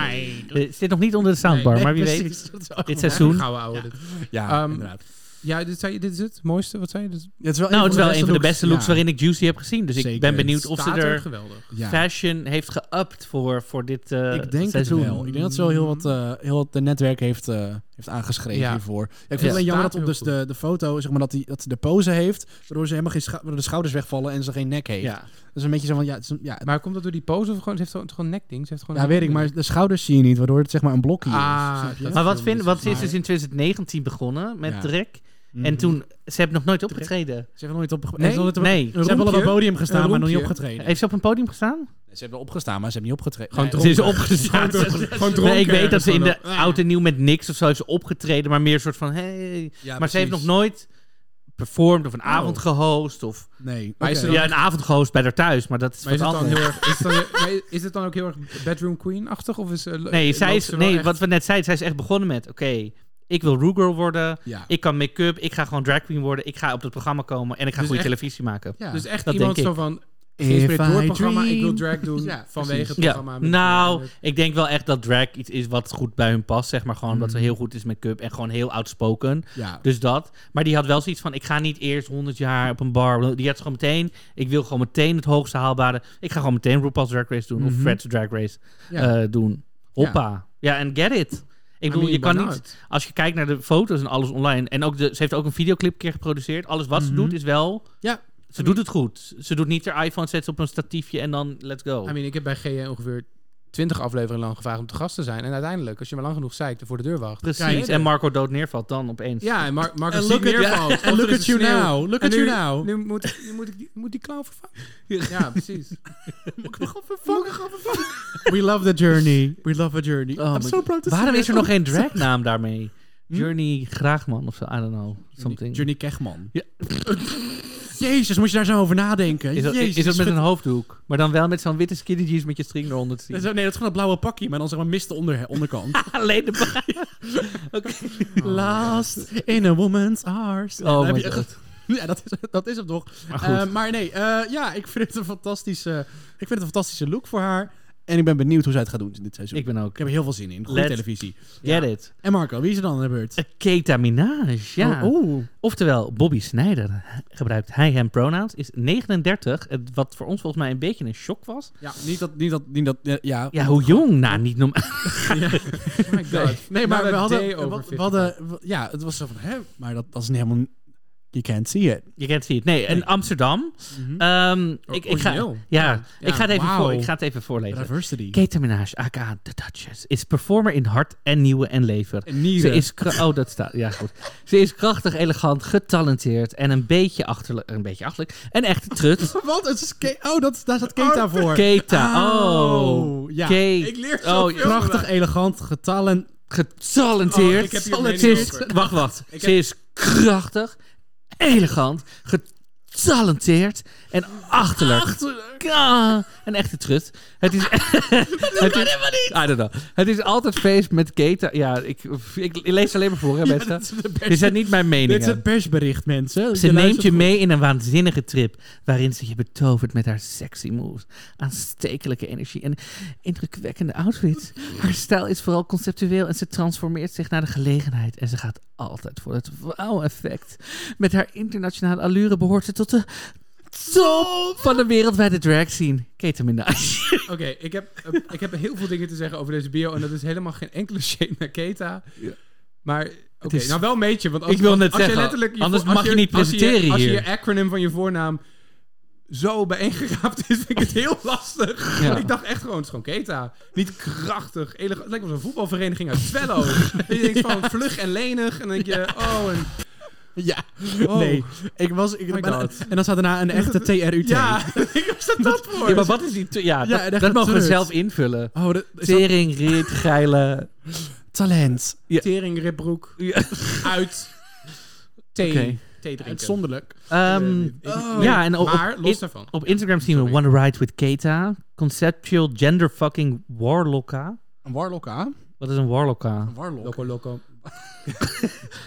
S2: Eh, zit nog niet onder de soundbar, maar
S6: [LAUGHS]
S2: wie weet. Dit seizoen.
S6: Gouden oude. dit.
S5: Ja,
S6: Ehm,
S5: inderdaad.
S6: Ja, dit, zei je, dit is het mooiste. Wat zei je? Dit is-
S5: Het is wel
S2: Nou, het is wel een van de
S5: looks.
S2: beste looks
S5: Ja.
S2: waarin ik Juicy heb gezien. Dus ik
S5: Zeker.
S2: ben benieuwd of ze
S6: staat er
S2: er
S6: geweldig.
S5: Ja.
S2: fashion heeft geupt voor, voor dit eh,
S5: Ik denk
S2: seizoen.
S5: het wel. Ik denk dat ze wel heel wat, eh, heel wat de netwerk heeft, eh, heeft aangeschreven
S6: Ja.
S5: hiervoor. Ja, ik vind
S6: Ja.
S5: het alleen jammer dat
S6: Staat
S5: op dus
S6: heel
S5: de, de foto, zeg maar, dat, die, dat ze de pose heeft, waardoor ze helemaal geen schou- waardoor de schouders wegvallen en ze geen nek heeft.
S2: Ja.
S5: Dat is een beetje zo van, ja, het is een- ja,
S6: Maar komt dat door die pose of gewoon, ze heeft gewoon, het is gewoon een nekding? Ze heeft gewoon
S5: ja,
S6: een
S5: weet ik,
S6: nekding.
S5: maar de schouders zie je niet, waardoor het zeg maar een blokje
S6: Ah,
S5: is. snap je?
S6: dat-
S2: Maar wat,
S6: veel
S2: vind,
S6: mensen
S2: wat ze is
S6: maar-
S2: dus in 2019 begonnen met
S5: Ja. Mhm.
S2: Drek. En toen, ze hebben nog nooit opgetreden.
S5: Ze hebben nooit op,
S2: Nee,
S5: ze hebben nooit op,
S2: nee.
S5: Ze hebben wel op een
S6: roempje.
S5: podium gestaan,
S6: Een
S5: maar nog niet
S6: roempje.
S5: opgetreden.
S2: Heeft ze op een podium gestaan?
S5: Ze hebben opgestaan, maar ze hebben niet opgetreden.
S6: Gewoon
S2: Ze is
S6: dronken.
S2: opgestaan.
S6: Gewoon
S2: Nee, ik
S6: dronken
S2: weet dat ze in de
S6: ergens
S2: oud en nieuw met niks of zo is opgetreden, maar meer een soort van hey. maar ze heeft nog nooit performed of een
S6: Oh.
S2: avond gehost of
S5: Nee.
S6: Maar is
S5: oké.
S6: er dan-
S2: ja een avond gehost bij haar thuis, maar dat is
S6: Maar is
S2: wat
S6: het dan
S2: anders.
S6: heel erg... Is het dan, maar is het dan ook heel erg bedroom queen-achtig? Of is, eh, lo-
S2: Nee,
S6: loopt
S2: zij is,
S6: ze wel
S2: nee
S6: echt-
S2: wat we net zeiden, zij is echt begonnen met: oké, ik wil Rougirl worden.
S5: Ja.
S2: Ik kan make-up, ik ga gewoon drag queen worden. Ik ga op het programma komen en ik ga
S6: Dus
S2: goede
S6: echt-
S2: televisie maken.
S5: Ja.
S6: Dus echt
S2: dat
S6: iemand
S2: denk
S6: zo
S2: ik.
S6: van... Geïnspireerd door
S5: If
S6: het
S5: I
S6: programma. Ik wil
S5: dream.
S6: drag doen
S5: Ja,
S6: vanwege het
S2: Ja,
S6: programma. met-
S2: nou, ik denk wel echt dat drag iets is wat goed bij hun past. Zeg maar gewoon dat
S6: Mhm.
S2: ze heel goed is met cup en gewoon heel outspoken.
S5: Ja.
S2: Dus dat. Maar die had wel zoiets van: ik ga niet eerst 100 jaar op een bar. Die had gewoon meteen: ik wil gewoon meteen het hoogste haalbare. Ik ga gewoon meteen RuPaul's Drag Race doen
S6: Mhm.
S2: of Fred's Drag Race
S5: Ja.
S2: eh, doen. Hoppa. Ja, en get it. Ik
S6: I
S2: bedoel,
S6: mean,
S2: je kan
S6: why
S2: niet.
S6: not?
S2: Als je kijkt naar de foto's en alles online. En ook de, ze heeft ook een videoclip een keer geproduceerd. Alles wat
S6: Mhm.
S2: ze doet is wel.
S5: Ja.
S2: Ze doet het goed. Ze doet niet haar iPhone, zet ze op een statiefje en dan let's go.
S6: I mean, ik heb bij GN ongeveer 20 afleveringen lang gevraagd om te gast te zijn. En uiteindelijk, als je maar lang genoeg zeikt en voor de deur wacht. krijg
S2: Precies.
S6: je-
S2: En Marco dood neervalt dan opeens.
S6: Ja, en Mar Marcus
S5: And
S6: ziet
S5: look at-
S6: neervalt.
S5: yeah,
S6: Of er
S5: look
S6: is
S5: at you
S6: een sneeuw.
S5: now, look
S6: En
S5: at
S6: nu-
S5: you now.
S6: Nu moet, ik- nu moet, ik, die- moet die clown vervangen. Ja,
S5: [LAUGHS]
S6: precies.
S5: We love the journey. We love a journey.
S2: Oh
S5: I'm
S2: my-
S5: so proud to
S2: Waarom
S5: see
S2: is er
S5: that.
S2: nog geen
S5: [LAUGHS]
S2: dragnaam daarmee? Journey Graagman of zo, I don't know. Something.
S5: Hm? Journey Kegman.
S2: Ja.
S5: [LAUGHS] Jezus, moet je daar zo over nadenken.
S2: Is dat,
S5: Jezus,
S2: is dat met
S5: vet-
S2: een hoofddoek? Maar dan wel met zo'n witte skinny jeans met je string eronder te
S5: Dat
S2: zien.
S5: is- Nee, dat is gewoon dat blauwe pakje, maar dan zeg maar mist de onder, onderkant.
S2: Alleen de baai.
S5: Last in a woman's arms.
S2: Oh
S5: heb
S2: my
S5: je-
S2: god.
S5: [LAUGHS] Ja, dat is, dat is hem toch.
S2: Maar goed.
S5: Eh, maar nee, eh, ja, ik vind, het een fantastische, ik vind het een fantastische look voor haar. En ik ben benieuwd hoe zij het gaat doen dit seizoen.
S2: Ik
S5: Ik,
S2: ben ook.
S5: heb er heel veel zin in. Goede
S2: Let's-
S5: televisie.
S2: Get it.
S5: En Marco, wie is er dan aan de beurt?
S2: Keta Minaj, ja.
S5: Oh,
S2: Oftewel, Bobby Snyder gebruikt hij hem pronouns, is 39. het- Wat voor ons volgens mij een beetje een shock was.
S5: Ja, niet dat, niet dat, niet dat, ja.
S2: Ja, hoe jong? Nou, niet normaal.
S6: Oh my god.
S5: Nee, Nou, maar
S6: Not
S5: we
S6: a
S5: hadden,
S6: day
S5: we-
S6: over
S5: we hadden, we- ja, het was zo van, hè, maar dat, dat is niet helemaal, you can't see it.
S2: Je kent het. Nee, in Amsterdam. Ehm, ik, ik ga, ja,
S6: origineel.
S2: ik, ga het even
S5: wauw.
S2: voor, ik ga het even voorlezen.
S5: Diversity.
S2: Kate Minaj, aka The Duchess, is performer in hart en nieuwe en lever.
S5: En nieren.
S2: Ze is kra- oh, dat staat. Ja, goed. Ze is krachtig, elegant, getalenteerd en een beetje achterlijk. Een beetje achterlijk. Een echte trut.
S5: Wat? Het is Ke- oh, dat, daar zat Keta voor.
S2: Keta. Oh.
S5: Oh, ja.
S2: Ke-
S10: Ik leer
S2: Oh,
S10: zoveel.
S5: Prachtig, elegant, getalen.
S2: Getalenteerd.
S6: Oh, ik heb hier een
S2: Ze
S6: mening
S2: is-
S6: over.
S2: Wacht, wacht.
S6: Ik
S2: Ze is krachtig, elegant, getalenteerd en achterlijk. Ah, een echte trut. Het
S6: [LAUGHS]
S2: is... het is I don't know. Het is altijd feest met Keta. Ja, ik, ik lees alleen maar voor, hè, mensen.
S5: dit is de beste-
S2: Dit zijn niet mijn
S5: Dit is
S2: meningen.
S5: het persbericht, mensen.
S2: Ze neemt
S5: luistert
S2: je
S5: goed.
S2: mee in een waanzinnige trip. Waarin ze je betovert met haar sexy moves, aanstekelijke energie en indrukwekkende outfits. Haar stijl is vooral conceptueel en ze transformeert zich naar de gelegenheid. En ze gaat altijd voor het wow-effect. Met haar internationale allure behoort ze tot de top van de wereldwijde drag scene. Kate Minaj.
S6: Oké, ik, heb,
S2: [LAUGHS]
S6: eh, ik heb heel veel dingen te zeggen over deze bio. En dat is helemaal geen enkele [LAUGHS] shade naar Keta. Maar, oké,
S2: is-
S6: nou wel een beetje. Want als,
S2: Ik wil net
S6: als je
S2: zeggen,
S6: letterlijk je
S2: anders
S6: vo- als
S2: mag je niet
S6: als
S2: presenteren
S6: Als je,
S2: hier.
S6: je acronym van je voornaam zo bijeengeraapt is, vind ik het heel lastig.
S2: Ja.
S6: Ik dacht echt gewoon, het is gewoon Keta. Niet krachtig, elegant. Het lijkt wel zo'n voetbalvereniging uit
S2: [LAUGHS]
S6: Twello. En je denkt van vlug en lenig. En dan denk je, oh, en...
S5: Ja.
S6: Oh.
S5: Nee. Ik was... Ik,
S6: My
S5: ben-
S6: God.
S5: en dan staat daarna een [LAUGHS] echte TRUT.
S6: Ja, [LAUGHS] ik was dat dat voor.
S2: Ja, maar wat is die... tu- Ja,
S5: Ja,
S2: dat,
S5: dat
S2: dat mogen we
S5: gebeurt.
S2: zelf invullen.
S5: Oh, dat, is dat
S2: Tering, riet, geile...
S5: talent.
S6: Tering, ribbroek,
S2: Ja.
S6: uit, thee,
S2: Oké.
S6: thee drinken.
S5: Uitzonderlijk.
S2: Ehm,
S6: Oh.
S2: ja, en op,
S6: maar
S2: op-
S6: los
S2: in-
S6: daarvan.
S2: Op Instagram zien we Wanna Ride with Keta. Conceptual genderfucking warlocka.
S5: Een warlock, hè? Een
S2: Wat is een warlocka?
S5: warlock.
S6: Loco Loco.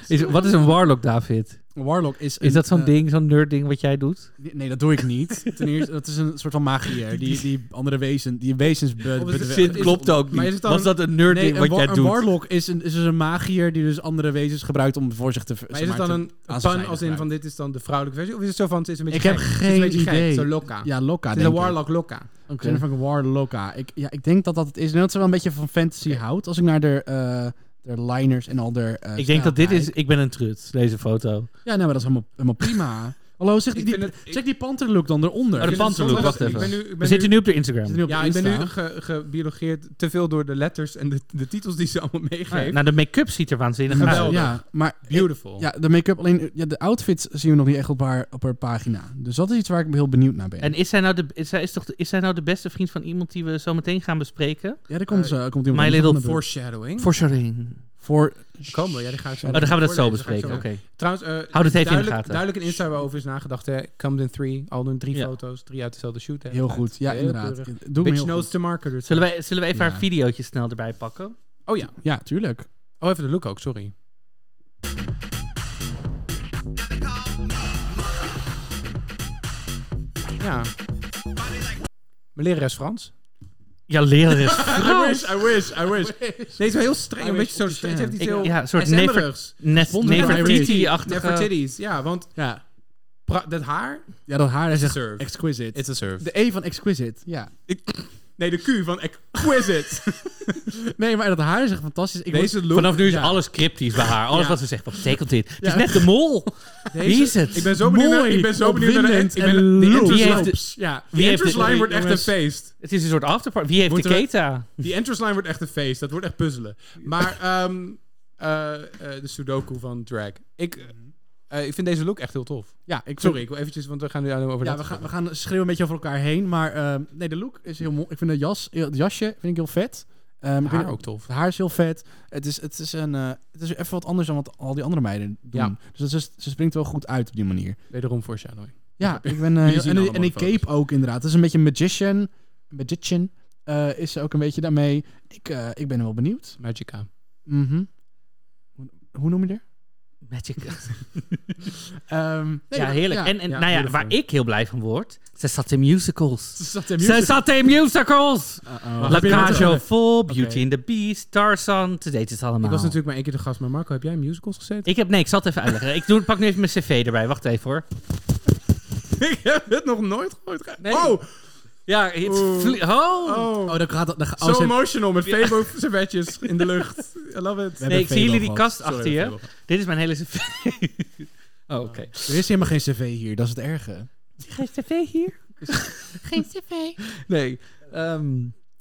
S2: Is, wat is een warlock, David?
S5: Een warlock is...
S2: Is
S5: een,
S2: dat zo'n
S5: eh,
S2: ding, zo'n nerd ding wat jij doet?
S5: Nee, dat doe ik [LAUGHS] niet. Ten eerste, dat is een soort van magier. Die, die andere wezen... Die wezens... be-
S6: Of is het-
S5: be-
S6: Zin klopt ook niet. maar is het dan- Was dat
S2: een nerd
S5: Nee, een, wa- een warlock is, een, is dus een magier die dus andere wezens gebruikt om voor zich te...
S6: Maar is het dan een
S5: aan zijn
S6: pan als in
S5: gebruikt.
S6: van dit is dan de vrouwelijke versie? Of is het zo van het is een beetje
S5: Ik heb
S6: gek?
S5: geen
S6: het is een beetje
S5: idee.
S6: gek, zo Loka.
S5: Ja, Loka,
S6: het is
S5: denk
S6: een
S5: ik.
S6: Warlock Loka.
S2: Oké.
S5: Jennifer Warlocka. Ik, ja, ik denk dat dat het is. En dat ze wel een beetje van fantasy houdt. Als ik naar de, eh, de liners en al de... eh,
S2: Ik denk dat dit
S5: stijl
S2: is... Ik ben een trut, deze foto.
S5: kijk. Ja, nou, maar dat is helemaal, helemaal [LAUGHS] prima. Hallo, zeg die,
S6: Ik
S5: die,
S6: vind het- ik-
S5: zeg die panterlook dan eronder.
S2: Oh, de
S6: vind het
S2: panterloek,
S6: zonde-
S2: wacht
S6: ik
S2: even.
S6: ben nu- ik ben
S2: We zitten nu op de Instagram. Ah,
S5: Zit nu op
S6: Ja, ik
S5: Insta.
S6: ben nu ge- gebiologeerd te veel door de letters en de, de titels die ze allemaal meegeven.
S2: Nou, de make-up ziet er waanzinnig
S6: Geweldig.
S2: uit.
S5: Ja, maar...
S6: Beautiful.
S5: Ja, de make-up alleen... Ja, de outfits zien we nog niet echt op haar, op haar pagina. Dus dat is iets waar ik heel benieuwd naar ben.
S2: En is zij, nou de, is, zij, is, toch, de- is zij nou de beste vriend van iemand die we zo meteen gaan bespreken? Oh,
S5: ja, daar
S6: eh,
S5: komt, ze komt iemand anders
S2: My Little
S5: aan de beurt.
S6: Foreshadowing.
S2: Foreshadowing.
S5: Voor...
S6: Komen we, ja, die ga ik zo
S2: Oh, dan gaan we dat zo
S6: voorlezen, ga ik
S2: bespreken. Oké.
S6: Trouwens, eh
S2: Houd het even in de
S6: duidelijk,
S2: gaten.
S6: duidelijk een Insta waarover is nagedacht. Hè. Camden 3, al doen drie
S2: Ja.
S6: foto's, drie uit dezelfde shoot. hè.
S5: Heel goed. Ja,
S6: Heel
S5: inderdaad.
S6: keurig.
S5: Doe hem
S6: Bitch
S5: heel
S6: knows
S5: goed.
S6: the marketer.
S2: Zullen, wij, zullen we even
S5: Ja.
S2: haar videootje snel erbij pakken?
S6: Oh ja.
S5: Ja, tuurlijk.
S6: Oh, even de look ook, sorry. Ja. Mijn lerares Frans.
S2: Ja, leren is Frans.
S6: I wish, [LAUGHS] I wish. Nee, is wel heel streng. Een beetje zo streng. Ze heeft iets
S2: Ik-
S6: heel
S2: ja, een soort
S6: SM-erigs.
S2: Net
S6: Wonderlijk.
S2: Nefertiti-achtige...
S6: Nefertiti's, ja, want
S5: Ja.
S6: pra- dat haar,
S5: ja, dat haar is echt
S6: Serve.
S5: exquisite.
S6: it's a serve.
S5: de E van exquisite, ja.
S6: nee, de Q van exquisite.
S5: Nee, maar dat haar is echt fantastisch. Ik
S6: Deze look.
S2: Vanaf nu is
S5: Ja.
S2: alles cryptisch bij haar. Alles
S6: Ja.
S2: wat ze zegt, wat betekent dit? Het is net de mol. Wie is het?
S6: Ik ben zo benieuwd naar, ik ben zo benieuwd naar de, ik ben, de
S5: opwindend en
S6: entrance
S2: Wie
S6: line.
S2: heeft de-
S5: loops. Ja.
S6: Die
S2: heeft
S6: entrance
S2: de-
S6: line wordt echt een
S5: jongens.
S6: feest.
S2: Het is een soort afterparty. Wie heeft
S6: Moeten
S2: de
S6: we-
S2: keta?
S6: Die entrance line wordt echt een feest. Dat wordt echt puzzelen. Maar ehm, eh, eh, de Sudoku van Drag. Ik, eh, ik vind deze look echt heel tof.
S5: Ja, ik
S6: Sorry, ik wil eventjes, want we gaan nu alleen over
S5: Ja,
S6: dat
S5: we gaan, we
S6: hebben.
S5: gaan schreeuwen een beetje over elkaar heen. Maar ehm, nee, de look is heel mooi. Ik vind de jas, het jasje vind ik heel vet. Ehm, ik
S6: Haar
S5: weet-
S6: ook tof.
S5: Het haar is heel vet. Het is, het is, een, eh, het is even wat anders dan wat al die andere meiden doen.
S6: Ja.
S5: Dus dat is, ze springt wel goed uit op die manier.
S6: Wederom voor Shadowing.
S5: Ja, ik ben... eh,
S6: Jullie zien
S5: en, die-
S6: allemaal
S5: en die
S6: de foto's.
S5: cape ook inderdaad. Het is een beetje een magician. Magician eh, is ze ook een beetje daarmee. Ik, eh, ik ben wel benieuwd.
S6: Magica.
S5: Mhm. Hoe, hoe noem je er?
S2: Magic.
S5: Ehm, nee,
S2: ja, heerlijk. en en
S6: ja,
S2: nou ja,
S6: beautiful.
S2: waar ik heel blij van word, ze zat in musicals.
S5: Zat in
S2: Ze zat in musicals!
S5: Uh-oh.
S2: La
S6: heb je nou
S2: Cage
S6: te-
S2: aux Folles, Beauty
S6: Oké.
S2: and the Beast, Tarzan. Ze deed het allemaal.
S6: Ik was natuurlijk maar één keer de gast, maar Marco, heb jij in musicals gezeten?
S2: Ik heb... Nee, ik zal het even uitleggen. ik doe, pak nu even mijn cv erbij. Wacht even hoor.
S6: [LAUGHS] Ik heb het nog nooit gehoord. ge-
S2: Nee.
S6: Oh,
S2: Ja, het
S6: Oeh.
S2: vlie- Oh!
S6: oh.
S5: Oh, dan gaat dat... Dan, gaat- oh,
S6: so
S5: ze-
S6: emotional met febo servetjes in de [LAUGHS] lucht. I love it.
S2: Nee, ik zie
S5: Febo
S2: jullie die
S5: gehad.
S2: kast
S6: Sorry,
S2: achter je.
S6: Febo.
S2: Dit is mijn hele cv. oh, oké.
S5: er is helemaal geen cv hier. Dat is het erge.
S2: Geen cv hier? Geen cv. Nee. ehm,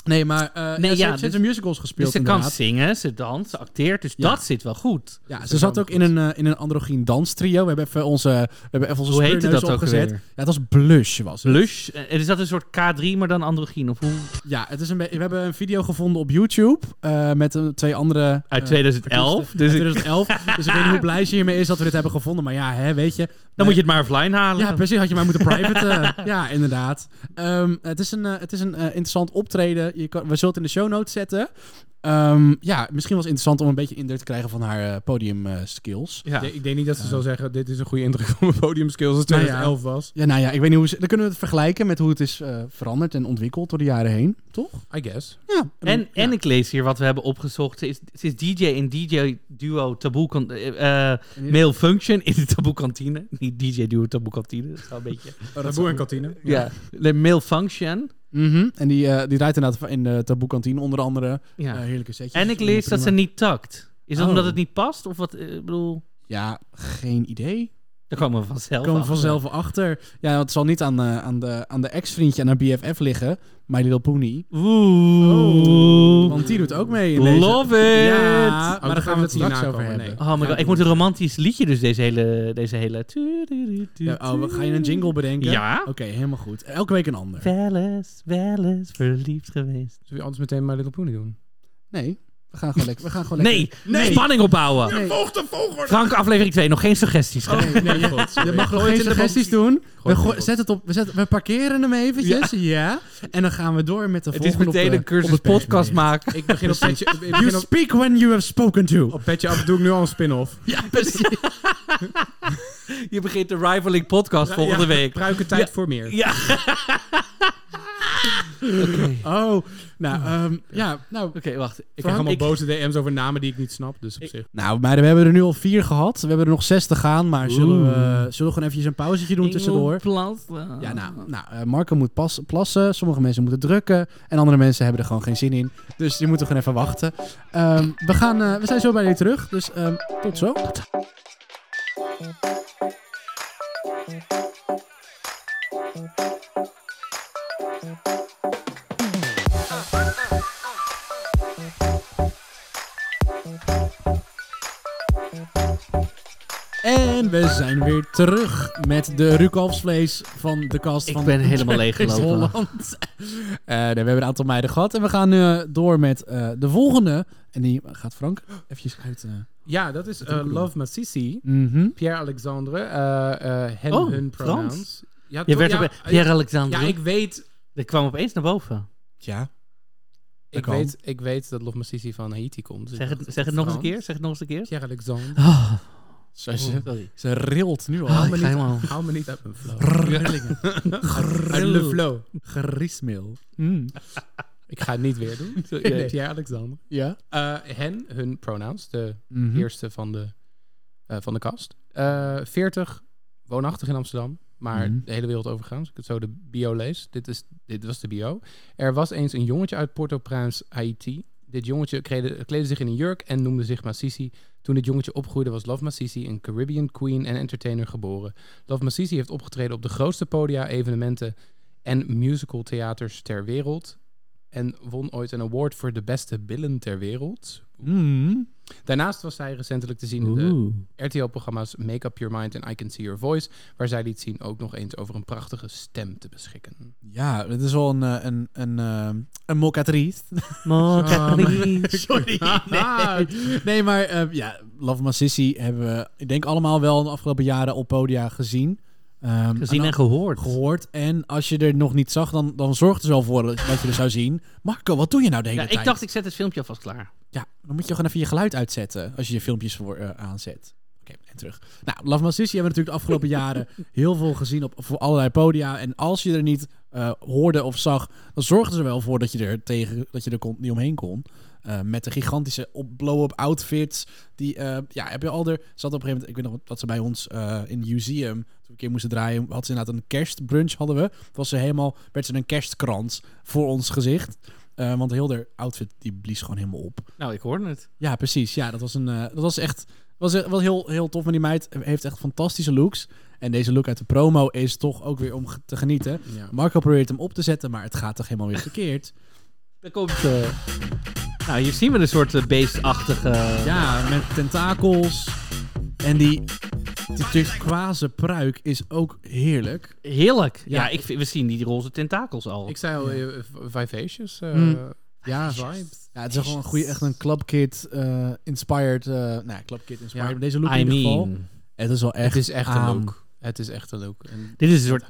S5: Nee, maar eh
S2: Nee,
S5: ja, ze
S2: ja,
S5: heeft- ze heeft
S2: dus-
S5: een musicals gespeeld
S2: dus ze kan
S5: inderdaad.
S2: zingen, ze danst, ze acteert. Dus
S5: Ja.
S2: dat zit wel goed.
S5: Ja, ze zat ook in een, eh, in een androgyn danstrio. We hebben even onze, we hebben even onze
S2: Hoe heette
S5: speurneuzen
S2: dat ook
S5: opgezet.
S2: alweer?
S5: Ja, het was Blush was het.
S2: Lush. eh, Is dat een soort K3, maar dan androgyn? Of hoe?
S5: Ja, het is een be- we hebben een video gevonden op YouTube eh, met eh, twee andere...
S2: Uit
S5: eh,
S2: 2011. Dus ik-
S5: 2011. dus ik weet niet hoe blij ze hiermee is dat we dit hebben gevonden. Maar ja, hè, weet je. Eh,
S2: dan moet je het maar offline halen.
S5: Ja, precies. Had je mij moeten private. eh, [LAUGHS] ja, inderdaad. Ehm, het is een, eh, het is een eh, interessant optreden. Je kan, we zullen het in de show notes zetten. Ehm, ja, misschien was het interessant om een beetje indruk te krijgen van haar eh, podium eh, skills.
S2: Ja.
S6: Ik denk niet dat ze zou zeggen, dit is een goede indruk van mijn podiumskills als het
S5: Nou ja.
S6: 2011 was.
S5: Ja, nou ja, ik weet niet hoe ze... Dan kunnen we het vergelijken met hoe het is eh, veranderd en ontwikkeld door de jaren heen, toch?
S6: I guess.
S5: Ja.
S2: En, en ik lees hier wat we hebben opgezocht. Ze is, ze is DJ in DJ Duo Taboe kan, eh, eh, Male Function in de Taboe Kantine. Niet DJ Duo Taboe Kantine. Dat is wel een beetje.
S6: Taboe en kantine.
S2: ja. De Male Function.
S5: Mhm. En die, eh die draait inderdaad in de taboe kantine onder andere.
S2: Ja.
S5: Eh, heerlijke setjes.
S2: en ik lees dat ze
S5: Prima.
S2: niet takt. Is dat
S5: Oh.
S2: omdat het niet past? Of wat? eh, Ik bedoel,
S5: Ja, geen idee.
S2: daar komen we vanzelf.
S5: Daar komen we
S2: achter.
S5: vanzelf wel achter. Ja, want het zal niet aan, eh, aan de, aan de ex-vriendje en haar BFF liggen. My Little Pony.
S2: Oeh.
S5: Want die doet ook mee in deze.
S2: Love it.
S5: Ja,
S6: Oh,
S5: maar daar gaan we het straks over
S6: nee.
S5: hebben.
S2: Oh my god, ik moet een romantisch liedje dus deze hele... Deze hele...
S5: Ja, oh, wat- ga je een jingle bedenken?
S2: Ja.
S5: Oké, helemaal goed. Elke week een ander.
S2: Wel eens, wel eens verliefd geweest.
S6: Zullen we anders meteen My Little Pony doen?
S5: Nee, we gaan gewoon lekker. We gaan gewoon
S2: Nee, spanning opbouwen.
S6: Volg de volgorde!
S2: Frank, aflevering 2, nog geen suggesties.
S5: lekker. [LAUGHS] Nee, nee, Je mag nog geen suggesties doen. We,
S6: Gooi het in de
S5: gooi-
S6: box.
S5: zet het op, we, zet- we parkeren hem eventjes. Ja. En dan gaan we door met de
S2: het is
S5: volgende op
S2: meteen
S5: de-
S2: een cursus
S5: op het
S2: podcast
S5: persbericht.
S2: [LAUGHS] maken.
S6: Ik [LAUGHS] begin op petje, ik
S5: You
S6: begin op,
S5: speak when you have spoken to.
S6: op petje af, doe ik nu al een spin-off.
S2: [LAUGHS] Je begint de Rivaling podcast volgende week.
S6: Gebruik tijd voor meer.
S2: Ja. Oké,
S5: Oh, nou, ehm, ja, nou.
S2: Oké, wacht.
S6: Ik krijg allemaal
S2: ik-
S6: boze DM's over namen die ik niet snap, dus op zich.
S5: Nou, meiden, we hebben er nu al vier gehad. We hebben er nog zes te gaan, maar zullen we, zullen we gewoon eventjes een pauzetje doen
S2: ik
S5: tussendoor?
S2: moet plassen.
S5: Ja, nou, nou eh, Marco moet pas, plassen. Sommige mensen moeten drukken. En andere mensen hebben er gewoon geen zin in. Dus die moeten gewoon even wachten. Ehm, we, gaan, eh, we zijn zo bij jullie terug. Dus ehm, tot zo. En we zijn weer terug met de Rukalfsvlees van de kast
S2: Ik
S5: van [LAUGHS]
S2: ben helemaal
S5: Drag Race
S2: leeggelopen.
S5: Holland. Eh, nee, we hebben een aantal meiden gehad. En we gaan nu eh, door met eh, de volgende. En die gaat Frank eventjes uit. eh,
S6: Ja, dat is eh, Love Massisi.
S5: mhm.
S6: Pierre-Alexandre. eh eh hen,
S2: Oh,
S6: hun
S2: Frans.
S6: pronouns. Ja,
S2: Je
S6: toch?
S2: werd
S6: ja,
S2: op...
S6: eh,
S2: Pierre Alexander.
S6: ja, ik weet...
S2: Dat kwam opeens naar boven.
S5: Ja.
S6: Ik
S5: kan.
S6: weet, ik weet dat Love Massisi van Haiti komt. Dus
S2: Zeg
S6: ik
S2: het,
S6: dacht,
S2: zeg het nog eens een
S6: Frans.
S2: keer, Ah. zeg het nog eens een keer.
S6: Pierre-Alexandre.
S5: Ze, ze, ze rilt nu al.
S2: Ah, [GASPS]
S6: Hou me,
S5: Ik ga
S6: niet,
S5: helemaal...
S6: hou me niet uit mijn flow.
S5: Rillingen.
S6: Uit de flow.
S5: Griesmeel.
S2: Mm.
S6: Ik ga het niet
S2: [LAUGHS]
S6: weer doen.
S5: nee.
S6: Nee. Pierre Alexander.
S5: Ja?
S6: Eh, hen, hun pronouns, de
S5: Mhm.
S6: eerste van de, eh, van de kast. Eh 40, woonachtig in Amsterdam, maar
S5: Mhm.
S6: de hele wereld overgaan. Als ik het zo de bio lees, dit, is, dit was de bio. Er was eens een jongetje uit Port-au-Prince, Haiti. Dit jongetje kleedde, kleedde zich in een jurk en noemde zich Masisi. Toen dit jongetje opgroeide was Love Masisi een Caribbean queen en entertainer geboren. Love Masisi heeft opgetreden op de grootste podia, evenementen en musical theaters ter wereld. En won ooit een award voor de beste billen ter wereld.
S2: Hmm.
S6: Daarnaast was zij recentelijk te zien in de
S2: Oeh.
S6: RTL-programma's Make Up Your Mind en I Can See Your Voice, waar zij liet zien ook nog eens over een prachtige stem te beschikken.
S5: Ja, het is wel een, eh, een, een, eh, een
S2: [LAUGHS]
S5: mocatrice.
S3: [LAUGHS]
S1: Sorry.
S5: Nee, nee maar eh, ja, Love Massissi hebben we, ik denk, allemaal wel de afgelopen jaren op podia gezien. Ehm,
S2: Gezien en
S5: dan-
S2: gehoord.
S5: gehoord. En als je er nog niet zag, dan, dan zorgt er zo voor dat je er zou zien. Marco, wat doe je nou de hele
S2: Ja,
S5: tijd?
S2: ik dacht, ik zet het filmpje alvast klaar.
S5: Ja, dan moet je gewoon even je geluid uitzetten als je je filmpjes voor, eh, aanzet. Oké, en terug. Nou, Love Massissi hebben we natuurlijk de afgelopen jaren heel veel gezien op voor allerlei podia. En als je er niet eh, hoorde of zag, dan zorgden ze er wel voor dat je er tegen, dat je er kon, niet omheen kon. Eh, met de gigantische op- blow-up outfits. Die, eh, ja, heb je al er. Zat op een gegeven moment, ik weet nog dat ze bij ons eh, in het museum, toen we een keer moesten draaien, had ze inderdaad een kerstbrunch hadden we. Toen Was ze helemaal, werd ze een kerstkrans voor ons gezicht. Eh, want heel de outfit die blies gewoon helemaal op.
S2: Nou, ik hoorde het.
S5: Ja, precies. Ja, dat was, een, eh, dat was echt was, eh, was heel, heel tof. Maar die meid heeft echt fantastische looks. En deze look uit de promo is toch ook weer om ge- te genieten.
S6: Ja.
S5: Marco probeert hem op te zetten, maar het gaat toch helemaal weer verkeerd.
S2: Daar komt... eh, Nou, hier zien we een soort eh, beestachtige...
S5: Ja, met tentakels. En die, die turquoise pruik is ook heerlijk.
S2: Heerlijk. Ja,
S5: Ja.
S2: ik, vind- we zien die roze tentakels al.
S6: Ik zei al, eh, v- Vivacious, eh,
S5: Hmm.
S6: ja, vibe.
S5: Ja, het is gewoon een goede, echt een clubkid eh, inspired. eh nou, ja, clubkid inspired.
S6: Ja,
S5: maar Deze look
S2: I
S5: in ieder geval. Ehm,
S2: mean...
S5: Het is wel echt.
S6: Het is echt
S5: aan.
S6: een look. Het is echt een look. En-
S2: Dit is een soort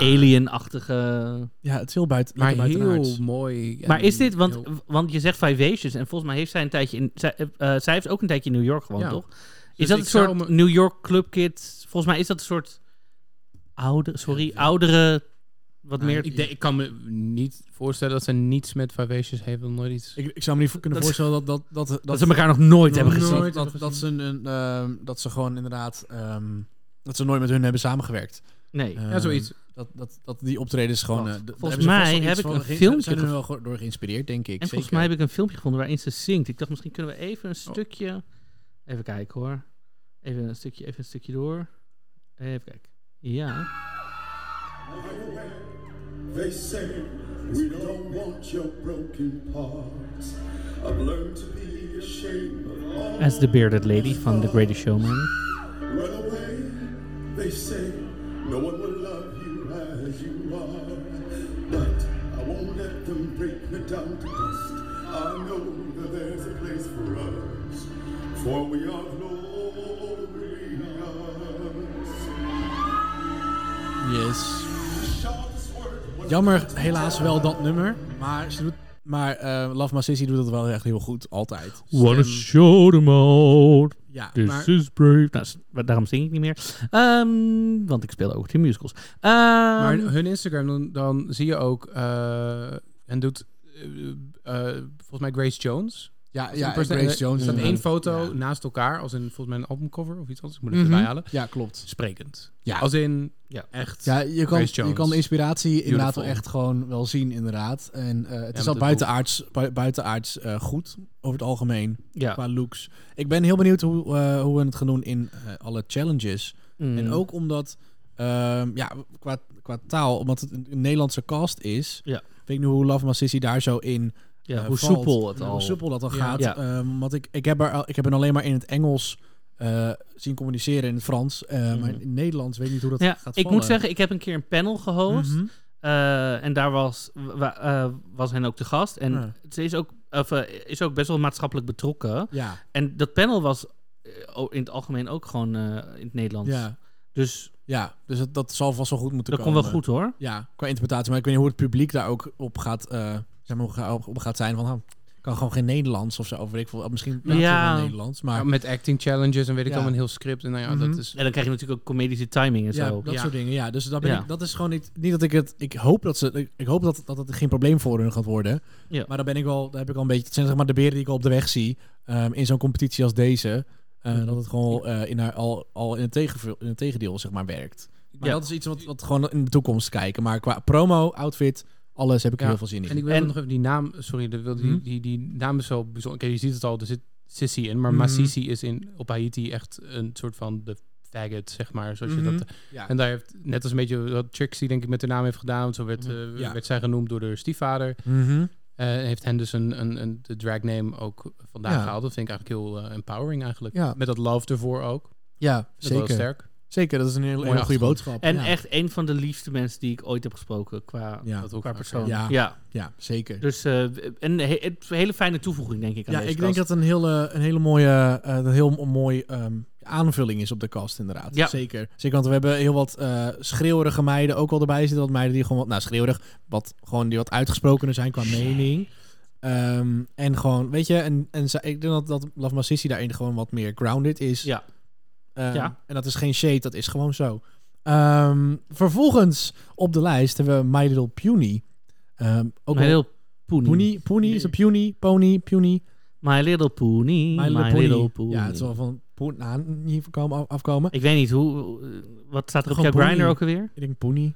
S2: alien-achtige...
S5: Ja, het is heel buiten.
S6: maar
S5: lekker buitenaards.
S6: heel mooi. en
S2: Maar is dit, want,
S6: heel-
S2: want je zegt Vivacious en volgens mij heeft zij een tijdje in. Zij, eh, eh, zij heeft ook een tijdje in New York gewoond,
S6: Ja.
S2: toch? Is
S6: Dus
S2: dat
S6: ik
S2: een soort
S6: zou me-
S2: New York clubkid? Volgens mij is dat een soort. Oude, sorry, oudere. Wat
S6: Nou,
S2: meer.
S6: ik, denk- ik kan me niet voorstellen dat ze niets met Vivacious heeft. want Nooit iets.
S5: Ik, ik zou me niet voor- kunnen
S2: Dat-
S5: voorstellen dat... Dat, dat, dat,
S2: dat ze elkaar nog nooit hebben
S6: Nooit.
S2: gezien.
S5: Dat, dat,
S6: hebben
S5: dat ze, een, een, ehm, dat ze gewoon inderdaad... ehm, dat ze nooit met hun hebben samengewerkt.
S2: Nee.
S6: ja, zoiets.
S5: Ehm, Dat, dat, dat die optredens gewoon...
S2: Wacht,
S5: eh, d- daar
S2: volgens
S5: hebben ze vast
S2: mij
S5: wel iets
S2: heb ik
S5: van
S2: een
S5: geïn-
S2: filmpje
S5: Zijn er
S2: ge-
S5: wel ge- door geïnspireerd, denk ik.
S2: en volgens
S5: zeker.
S2: mij heb ik een filmpje gevonden waarin ze zingt. Ik dacht, misschien kunnen we even een
S6: Oh.
S2: stukje. Even kijken hoor. Even een stukje, even een stukje door. Even kijken. Ja.
S11: They say we don't want your broken parts. I've learned to be ashamed of all.
S2: As the Bearded Lady van The Greatest Showman.
S11: Run away, they say. No one will love you as you are. But I won't let them break me down to dust. I know that there's a place for us, for we are glorious.
S5: Yes.
S11: Sharpest word, what
S5: Jammer helaas wel dat nummer. Maar, ze doet, maar eh Love My Sissy doet dat wel echt heel goed. Altijd.
S2: Wanna show them out.
S5: Ja,
S2: This
S5: maar...
S2: is brave. Nou, s- maar daarom zing ik niet meer. Ehm, want ik speel ook die musicals. Ehm,
S6: Maar eh, hun Instagram, dan, dan zie je ook... eh, en doet... eh, eh, volgens mij Grace Jones.
S5: Ja,
S6: Ja,
S5: ja en Grace Jones.
S6: Er staat
S5: is
S6: één
S5: een-
S6: foto
S5: Mhm. Ja.
S6: naast elkaar, als in volgens mij een albumcover of iets anders. Ik moet het
S5: Mhm.
S6: erbij halen.
S5: Ja, klopt.
S6: Sprekend.
S5: Ja.
S6: Als in,
S2: Ja.
S6: echt.
S5: Ja, je kan,
S6: Grace Jones.
S5: je kan de inspiratie inderdaad wel
S6: Beautiful.
S5: echt gewoon wel zien, inderdaad. En eh, het
S6: met
S5: is al
S6: het
S5: buitenaards, bui- buitenaards eh, goed, over het algemeen,
S2: ja.
S5: qua looks. Ik ben heel benieuwd hoe, eh, hoe we het gaan doen in eh, alle challenges.
S2: Mm.
S5: En ook omdat, ehm, ja, qua, qua taal, omdat het een, een Nederlandse cast is...
S2: Ja.
S5: Weet ik nu hoe Love Massissi daar zo in
S2: Ja,
S5: eh,
S2: hoe
S5: valt.
S2: soepel het
S5: En
S2: al.
S5: Hoe soepel dat al
S6: Ja.
S5: gaat.
S2: Ja.
S5: Ehm, want ik, ik, heb haar, al- ik heb hem alleen maar in het Engels eh, zien communiceren, in het Frans. eh, Maar in het Nederlands weet ik niet hoe dat
S2: Mhm. Ja,
S5: gaat
S2: ik
S5: vallen.
S2: moet zeggen, ik heb een keer een panel gehost.
S5: Mhm.
S2: Eh, en daar was, wa- eh, was hen ook de gast. En
S5: Ja.
S2: ze is ook, of, eh, is ook best wel maatschappelijk betrokken.
S5: Ja.
S2: En dat panel was eh, o- in het algemeen ook gewoon eh, in het Nederlands.
S5: Ja,
S2: Dus
S5: ja, dus dat, dat zal vast wel goed moeten
S2: dat
S5: komen.
S2: komt wel goed hoor.
S5: eh, Ja, qua interpretatie. Maar ik weet niet hoe het publiek daar ook op gaat, eh, zeg maar, hoe ga- op, op gaat zijn. Van, oh, kan gewoon geen Nederlands of zo. Of weet ik veel. Misschien praat
S2: Ja.
S5: ze wel Nederlands. Maar
S6: Ja, met acting challenges en weet ik
S5: Ja. Mhm.
S6: allemaal een heel script. En nou ja, dat is...
S2: En dan krijg je natuurlijk ook comedische timing en
S5: ja,
S2: zo.
S5: dat
S6: ja.
S5: soort dingen. Ja, dus dat, ben
S2: Ja.
S5: ik, dat is gewoon niet, niet dat ik het. Ik hoop dat ze. Ik, ik hoop dat, dat het geen probleem voor hun gaat worden.
S2: Ja.
S5: Maar dan ben ik wel. Daar heb ik al een beetje. Het zijn zeg maar de beren die ik al op de weg zie. ehm, in zo'n competitie als deze. eh, Dat het gewoon eh, in haar, al, al in, het tegenveel- in het tegendeel zeg maar werkt. Maar
S2: Ja.
S5: dat is iets wat, wat gewoon in de toekomst kijken. Maar qua promo, outfit, alles heb ik er
S6: Ja.
S5: heel veel zin in.
S6: En ik wil
S2: En-
S6: nog even die naam... Sorry, de- wil- die,
S5: Mhm.
S6: die, die naam is zo bijzonder. Oké, je ziet het al, er zit Sissy in. Maar
S5: Mhm.
S6: Masisi is in, op Haiti echt een soort van de faggot, zeg maar. Zoals je
S5: Mhm.
S6: dat... eh,
S5: Ja.
S6: En daar heeft, net als een beetje wat Trixie denk ik met de naam heeft gedaan. Zo werd, eh,
S5: Ja.
S6: werd zij genoemd door haar stiefvader.
S5: Mhm.
S6: Eh, heeft hen dus een, een, een de dragname ook vandaag
S5: Ja.
S6: gehaald. Dat vind ik eigenlijk heel eh, empowering eigenlijk.
S5: Ja.
S6: Met dat love ervoor ook. Dat
S5: Ja,
S6: is wel
S5: zeker.
S6: sterk.
S5: Zeker, dat is een hele,
S6: Mooie
S5: hele goede
S6: achtergrond.
S5: boodschap.
S2: En
S5: ja.
S2: echt een van de liefste mensen die ik ooit heb gesproken qua,
S5: Ja,
S6: dat ook
S2: qua
S6: vaak,
S2: persoon.
S5: ja.
S2: Ja.
S5: ja, zeker.
S2: Dus eh, een, he- een hele fijne toevoeging, denk ik. Aan
S5: Ja,
S2: deze
S5: ik denk
S2: kast.
S5: dat een hele, een hele mooie, eh, een heel mooi ehm, aanvulling is op de kast, inderdaad.
S2: Ja.
S5: Zeker. Zeker, want we hebben heel wat eh schreeuwerige meiden ook al erbij zitten. Wat meiden die gewoon, wat- nou schreeuwerig, wat, gewoon die wat uitgesprokener zijn qua mening. Ehm, en gewoon, weet je, en, en zij- ik denk dat, dat Love Massissi daarin gewoon wat meer grounded is.
S2: Ja.
S5: Ehm,
S2: Ja.
S5: En dat is geen shade, dat is gewoon zo. Ehm, vervolgens op de lijst hebben we My Little Puny. Ehm, ook
S2: My
S5: wel-
S2: Little Pony.
S5: Puny, Puny, is een Puny, Pony, Puny.
S2: My Little Pony.
S5: My Little Pony. Ja, het
S2: Pony.
S5: is wel van Poen aan hier voorkomen, af- afkomen.
S2: Ik weet niet, hoe, wat staat er op
S5: Gewoon
S2: jouw grinder
S5: pony.
S2: ook alweer?
S5: Ik denk Poenie.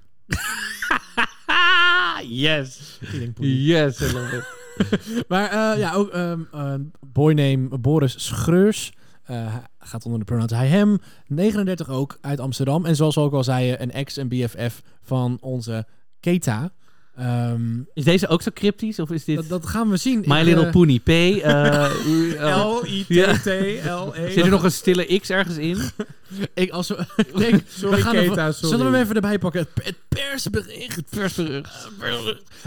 S2: yes.
S5: Ik denk Poenie.
S2: Yes, I love it.
S5: Maar eh, ja, ook ehm eh, boy name Boris Schreurs. Eh, hij gaat onder de pronouns hij hem. 39 ook, uit Amsterdam. En zoals we ook al zeiden, een ex en BFF van onze Keta. Ehm,
S2: Is deze ook zo cryptisch? Of is dit
S5: dat, dat gaan we zien.
S2: My
S5: Ik,
S2: Little
S5: eh,
S2: Pony P?
S5: [LAUGHS]
S2: eh, u- oh.
S5: E.
S1: L-I-T-T-L-E.
S2: Zit er nog een stille X ergens in?
S5: Ik, als [LAUGHS] we, ik denk,
S6: Sorry,
S5: we gaan
S6: Keta,
S5: even-
S6: sorry.
S5: Zullen we hem even erbij pakken? Het, het persbericht. Het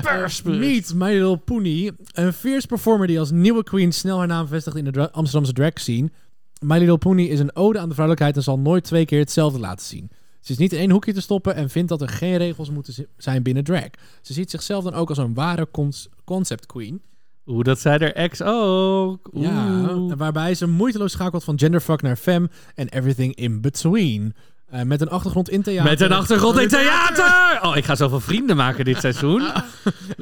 S5: persbericht. Meet My Little Pony, een fierce performer die als nieuwe queen snel haar naam vestigt in de dra- Amsterdamse drag scene. My Little Pony is een ode aan de vrouwelijkheid en zal nooit twee keer hetzelfde laten zien. Ze is niet in één hoekje te stoppen en vindt dat er geen regels moeten zi- zijn binnen drag. Ze ziet zichzelf dan ook als een ware cons- concept queen.
S2: Oeh, dat zei er X ook. Oeh.
S5: Ja, eh, waarbij ze moeiteloos schakelt van genderfuck naar femme en everything in between. Eh, met een achtergrond in theater.
S2: Met een achtergrond in theater!
S5: [LAUGHS]
S2: Oh, ik ga zoveel vrienden maken dit seizoen.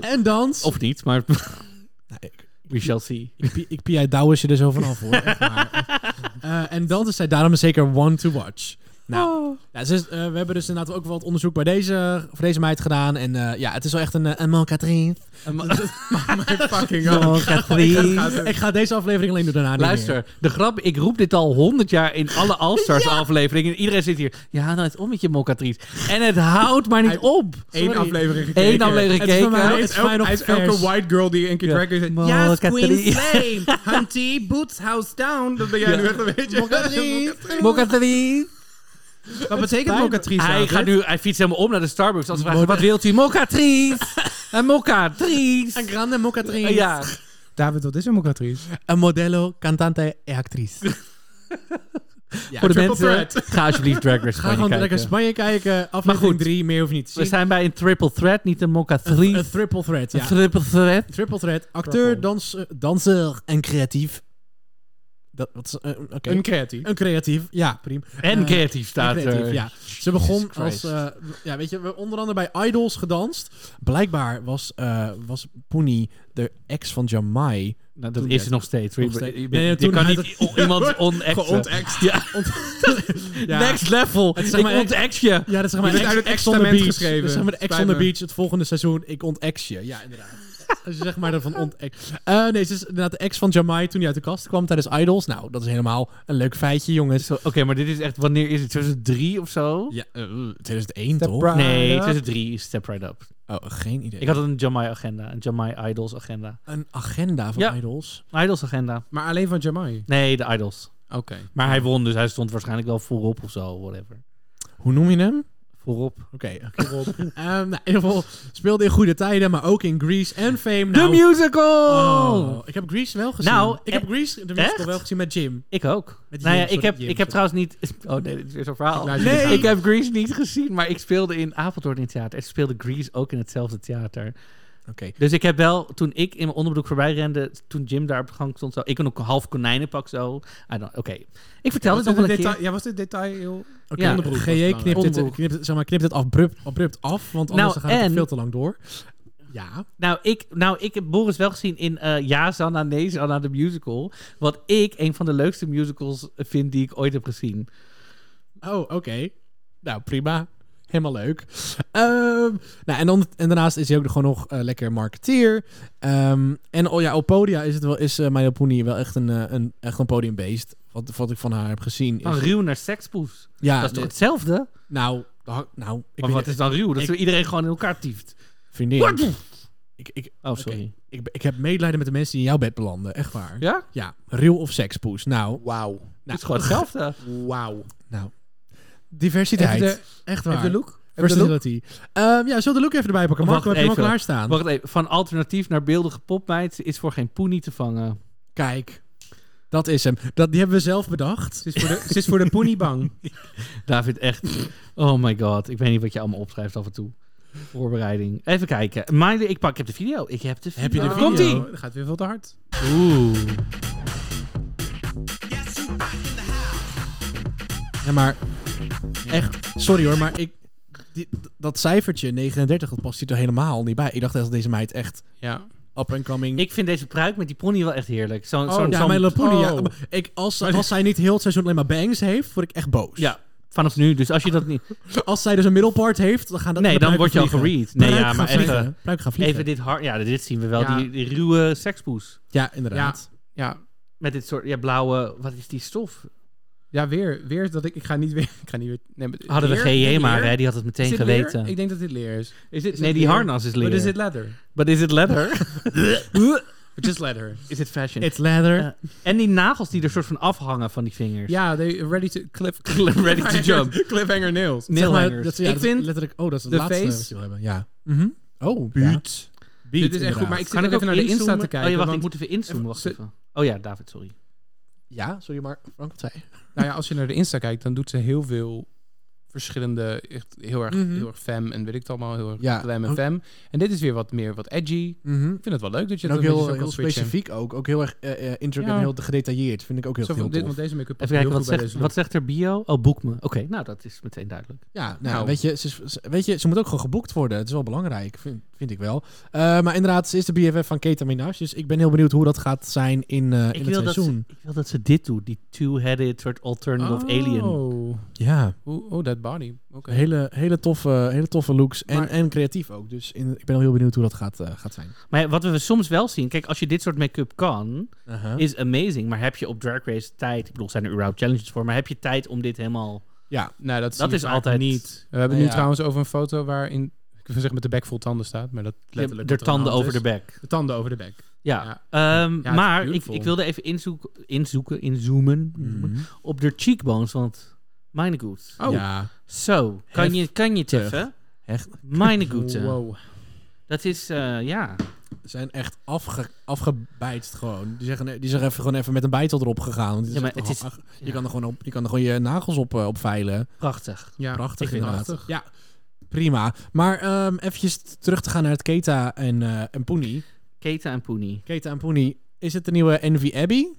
S5: En dans.
S2: Of niet, maar
S5: Nee,
S2: we shall see.
S5: Ik pie- Ik pie uit douwens je er zo vanaf hoor. echt waar. Eh, en dan is zij daarom zeker one to watch. Nou, ja, ze is- eh, we hebben dus inderdaad ook wel wat onderzoek bij deze, voor deze meid gedaan. En eh, ja, het is wel echt een, eh, een mancatrice.
S6: Fucking
S5: [LAUGHS] Ik ga deze aflevering alleen doen daarna niet meer.
S2: Luister, de grap, ik roep dit al honderd jaar in
S5: [LAUGHS]
S2: alle All-Stars afleveringen. Iedereen zit hier, ja, nou het om met je mocatrice. En het houdt maar niet op.
S6: Eén
S5: Sorry.
S6: aflevering gekeken.
S2: Eén aflevering
S5: Het is voor mij-
S2: gekeken.
S6: Hij is,
S5: Het is
S6: elk-
S5: nog
S6: hij is elke
S5: vers.
S6: white girl die een keer drag is.
S2: Yes, Queen
S6: Slay, hunty, boots, house down. Dat ben jij nu echt een beetje... [LAUGHS]
S5: Mocatrice.
S2: Mocatrice.
S5: Wat betekent mocatrice?
S2: Hij, gaat nu, hij fietst helemaal om naar de Starbucks. Als ze vragen, wat wilt
S5: [LAUGHS]
S2: u? Mocatrice. Een mocatrice.
S5: Een grande mocatrice.
S2: Ja.
S6: David, wat is een mocatrice?
S5: Een modello, cantante e actrice.
S2: Voor de
S6: Triple
S2: mensen, ga alsjeblieft Drag Race
S5: Ga gewoon
S2: Spanje
S5: lekker
S2: kijken.
S5: Spanje kijken. Aflevering
S2: goed.
S5: 3, meer hoef je niet te zien.
S2: We zijn bij een triple threat, niet een mocatrice.
S5: Een triple threat,
S2: Een
S5: ja.
S2: triple threat.
S5: Triple threat. Acteur, dans, danser en creatief. Dat, wat is, eh, oké.
S6: Een creatief.
S5: Een creatief, ja, prima.
S2: En
S5: Eh,
S2: creatief staat
S5: Een creatief,
S2: er.
S5: ja. Ze begon als,
S2: Christ.
S5: eh, ja, weet je, we onder andere bij Idols gedanst. Blijkbaar was, eh was Poenie de ex van Jamai.
S2: Nou,
S5: Toen
S2: dat is
S5: werd-
S2: het nog steeds.
S5: Nog steeds.
S2: Je,
S5: Nee, nee,
S2: je
S5: toen
S2: kan
S5: hij
S2: niet o-
S5: [LAUGHS]
S2: iemand onexen.
S6: Ja.
S5: Ja.
S2: Next level.
S5: is zeg maar
S2: ik
S5: echt-
S2: ontex je.
S5: Ja, dat is zeg maar
S6: Je
S5: ex,
S6: bent uit het
S5: ex on the
S6: testament
S5: beach.
S6: geschreven.
S5: Dat is zeg maar de ex
S6: Spijt
S5: on the
S6: me.
S5: beach. Het volgende seizoen, ik ontex je. Ja, inderdaad. [LAUGHS] Als je zeg maar ervan ontex. Eh, nee, ze is inderdaad de ex van Jamai toen hij uit de kast kwam tijdens Idols. Nou, dat is helemaal een leuk feitje, jongens.
S2: Zo, Oké, maar dit is echt... Wanneer is het? 2003 of zo?
S5: Ja, eh, 2001 toch?
S2: Nee, 2003 is Step Right Up.
S5: Oh, geen idee.
S2: Ik had een Jamai agenda. Een Jamai Idols agenda.
S5: een agenda van
S2: Ja.
S5: Idols.
S2: Idols agenda.
S6: Maar alleen van Jamai.
S2: Nee, de Idols.
S6: Oké.
S2: Maar hij won, dus hij stond waarschijnlijk wel voorop of zo. Whatever. Nou.
S5: Hoe noem je hem?
S2: Voorop.
S5: Oké. oké. [LAUGHS] Ehm, nou, in ieder geval speelde in goede tijden, maar ook in Grease en Fame. Nou,
S2: The musical!
S5: Oh, ik heb Grease wel gezien.
S2: Nou,
S5: ik heb
S2: eh,
S5: Grease de musical
S2: echt?
S5: wel gezien met Jim.
S2: Ik ook.
S5: Met
S2: nou ja,
S5: Jim,
S2: ik
S5: sorry,
S2: heb,
S5: Jim,
S2: ik heb
S5: sorry.
S2: trouwens niet... [LAUGHS] Oh nee, dit is weer zo'n verhaal.
S6: laat je dit
S2: ik heb Grease niet gezien, maar ik speelde in Apeldoorn in het theater. Ik speelde Grease ook in hetzelfde theater. Dus ik heb wel, toen ik in mijn onderbroek voorbij rende, toen Jim daar op de gang stond, zo, ik een half konijnenpak zo. I don't- Oké, ik vertel dit nog wel een keer.
S6: Ja, was dit detail heel...
S5: Oké,
S2: Ja.
S5: onderbroek.
S2: was
S5: GJ knipt dit,
S2: Onderbroek.
S5: knipt, het- zeg maar, knipt dit abrupt, abrupt af, want anders
S2: Nou,
S5: dan gaat het
S2: en-
S5: veel te lang door. Ja.
S2: Nou ik, nou, ik heb Boris wel gezien in eh Ja, Zanna, Nee, Zanna, de musical. Wat ik een van de leukste musicals vind die ik ooit heb gezien.
S5: Oh, oké. Nou, prima. Helemaal leuk. Ehm, nou, en, dan, en daarnaast is hij ook gewoon nog eh, lekker marketeer. Ehm, en oh, ja, op podia is, het wel, is eh, Maya Poenie wel echt een, eh, een, echt een podiumbeest. Wat, wat ik van haar heb gezien. Is,
S2: Van ruw naar sekspoes.
S5: Ja,
S2: dat Oh, is toch
S5: Ah, nee.
S2: hetzelfde?
S5: Nou, da- nou ik
S2: Maar
S5: weet-
S2: wat is dan ruw? Dat
S5: ik-
S2: zo iedereen gewoon in elkaar tieft.
S5: Vriendin.
S2: Wat?
S5: Ik, ik,
S2: Oh, sorry. Nou,
S5: oké. Ik, ik heb medelijden met de mensen die in jouw bed belanden. Echt waar.
S2: Ja?
S5: Ja. Real of sekspoes. Nou,
S6: Wauw.
S2: Het is [LAUGHS] gewoon hetzelfde.
S6: Wauw.
S5: nou. Diversiteit.
S6: Even
S5: echt
S6: Even
S5: waar.
S6: de look. Even de look.
S5: Versatility. Ehm, ja, zullen we de look even erbij pakken? Marco, heb je hem al klaarstaan?
S2: Wacht even. Van alternatief naar beeldige popmeid is voor geen poenie te vangen.
S5: Kijk. Dat is hem. Dat, die hebben we zelf bedacht.
S6: Ze is voor de, ze is
S2: [LAUGHS]
S6: voor de pony bang.
S2: David, [LAUGHS] echt. Oh my god. Ik weet niet wat je allemaal opschrijft af en toe. Voorbereiding. Even kijken. Miley, ik, pak, ik heb de video. Ik heb de video.
S5: Heb je de video?
S2: Komt ie?
S6: Oh, Dat gaat weer veel te hard.
S2: Oeh.
S5: Ja, maar... Echt. Sorry hoor, maar ik... die- dat cijfertje, 39, dat past hier toch helemaal niet bij. Ik dacht echt dat deze meid echt
S6: Ja.
S5: up and coming...
S2: Ik vind deze pruik met die pony wel echt heerlijk. Zo'n,
S5: oh,
S2: zo'n,
S5: ja,
S2: zo'n-
S5: mijn Lapoenie, ja.
S6: oh.
S5: Maar Ik, als, als zij niet heel het seizoen alleen maar bangs heeft, word ik echt boos.
S2: ja, vanaf nu. Dus als je dat niet...
S5: Als zij dus een middelpart heeft, dan gaan dat
S2: Nee,
S5: de
S2: dan
S5: pruiken
S2: word je al
S5: vliegen.
S2: gereed. Nee,
S5: Pruiken
S2: ja, maar
S5: gaan vliegen.
S2: even-
S5: Pruiken gaan vliegen.
S2: Even dit hard... Ja, dit zien we wel.
S6: Ja.
S2: Die, die ruwe sekspoes.
S5: Ja, inderdaad.
S6: Ja.
S2: Met dit soort ja, blauwe... Wat is die stof?
S6: Ja, weer. Weer dat ik... Ik ga niet weer... Ik ga niet weer... Nee, maar-
S2: Hadden we
S6: leer?
S2: GJ
S6: Leer?
S2: maar, hè. Die had het meteen
S6: Is dit
S2: geweten.
S6: leer? Ik denk dat dit leer is.
S2: Is dit,
S6: Is
S2: nee,
S6: het
S2: die
S6: leer?
S2: harnas is leer.
S6: But is it leather?
S2: But is it leather?
S6: But just
S2: [LAUGHS]
S6: leather.
S2: is it fashion?
S5: It's leather.
S2: en die nagels die er soort van afhangen van die vingers.
S6: Ja, they ready to... Cliff,
S2: Ready to jump.
S6: Cliffhanger nails.
S5: Zeg maar,
S2: Nailhangers.
S5: dat, ja,
S6: Ik
S5: dat-
S6: vind
S5: letterlijk. Oh, dat is het
S6: de
S5: laatste
S6: face-
S5: wat we hebben. Ja. Oh, buurt.
S6: Dit is echt goed, maar ik zit
S2: Kan
S6: nog
S2: ik
S6: even naar de
S2: inzoomen?
S6: Insta te kijken.
S2: Oh ja, wacht, ik
S6: want,
S2: moet even inzoomen. Wacht
S6: Ze-
S2: even. Oh ja, David, sorry.
S5: Ja, sorry, maar Frank wat zei. je?
S6: Nou ja, als je naar de Insta kijkt, dan doet ze heel veel verschillende... Echt heel erg,
S5: Mhm.
S6: heel erg fem en weet ik het allemaal. Heel erg
S5: Ja.
S6: glam
S5: Oh.
S6: en fem. En dit is weer wat meer wat edgy. Ik vind het wel leuk dat je
S5: En
S6: dat
S5: ook
S6: een
S5: heel,
S6: beetje zo
S5: heel
S6: kan switchen.
S5: specifiek ook. Ook heel erg eh, eh, intricate
S6: Ja.
S5: en heel gedetailleerd. Vind ik ook heel,
S6: Zo
S5: heel
S6: van, dit,
S5: tof.
S6: want deze make-up past
S2: Even kijken,
S6: heel
S2: wat
S6: goed
S2: zegt,
S6: bij deze
S2: wat
S6: look.
S2: zegt er bio? Oh, boek me. Oké, nou, dat is meteen duidelijk.
S5: Ja, nou,
S6: Nou.
S5: Weet, je, ze, is- ze- weet je, ze moet ook gewoon geboekt worden. Het is wel belangrijk, vind, vind ik wel. Eh, maar inderdaad, ze is de BFF van Keta Minaj. Dus ik ben heel benieuwd hoe dat gaat zijn in, eh, in
S2: Ik
S5: het
S2: wil, dat ze,
S5: seizoen.
S2: ik wil dat ze dit doet. Die two-headed soort alternative alien.
S6: Oh,
S5: Ja,
S6: oh, oh, that body. Oké.
S5: hele, hele, toffe, hele toffe looks. En,
S6: Maar-
S5: en creatief ook. Dus in, ik ben heel benieuwd hoe dat gaat, eh, gaat zijn.
S2: Maar ja, wat we soms wel zien... Kijk, als je dit soort make-up kan, is amazing. Maar heb je op Drag Race tijd... Ik bedoel, zijn er überhaupt challenges voor? Maar heb je tijd om dit helemaal...
S6: Nou, dat,
S2: Dat
S6: zie je
S2: is
S6: vaak
S2: altijd- [LAUGHS]
S6: niet. We hebben
S5: Nou
S6: nu
S5: ja.
S6: trouwens over een foto waarin... Ik wil zeggen met de bek vol tanden staat, maar dat
S2: Je hebt
S6: letterlijk...
S2: er
S6: wat aan
S2: tanden
S6: hand
S2: over
S6: is.
S2: de bek.
S6: De tanden over de bek.
S2: Ja. Ehm,
S6: het is
S2: maar ik,
S6: beautiful.
S2: ik wilde even inzoeken, inzoeken inzoomen
S5: Mhm.
S2: op de cheekbones, want meine goed.
S6: Oh.
S5: Ja.
S2: Zo, kan je, kan je het
S5: Heftig.
S2: even?
S5: Echt.
S2: Meine goed.
S6: Wow.
S2: Dat is, eh, ja.
S5: zijn echt afge, afgebijtst gewoon. Die, zeggen, die zijn even, gewoon even met een bijtel erop gegaan. Want het
S2: Ja,
S5: is
S2: maar
S5: echt
S2: het
S5: wel-
S2: is-
S5: je,
S2: ja.
S5: kan er gewoon op, je kan er gewoon je nagels op, eh, op veilen.
S2: Prachtig.
S6: Ja.
S5: Prachtig
S2: ik vind
S5: inderdaad.
S6: prachtig.
S5: Ja, prima. Maar ehm eventjes t- terug te gaan naar het Keta en, eh en Poenie.
S2: Keta en Poenie.
S5: Keta en Poenie, is het de nieuwe Envy Abbey?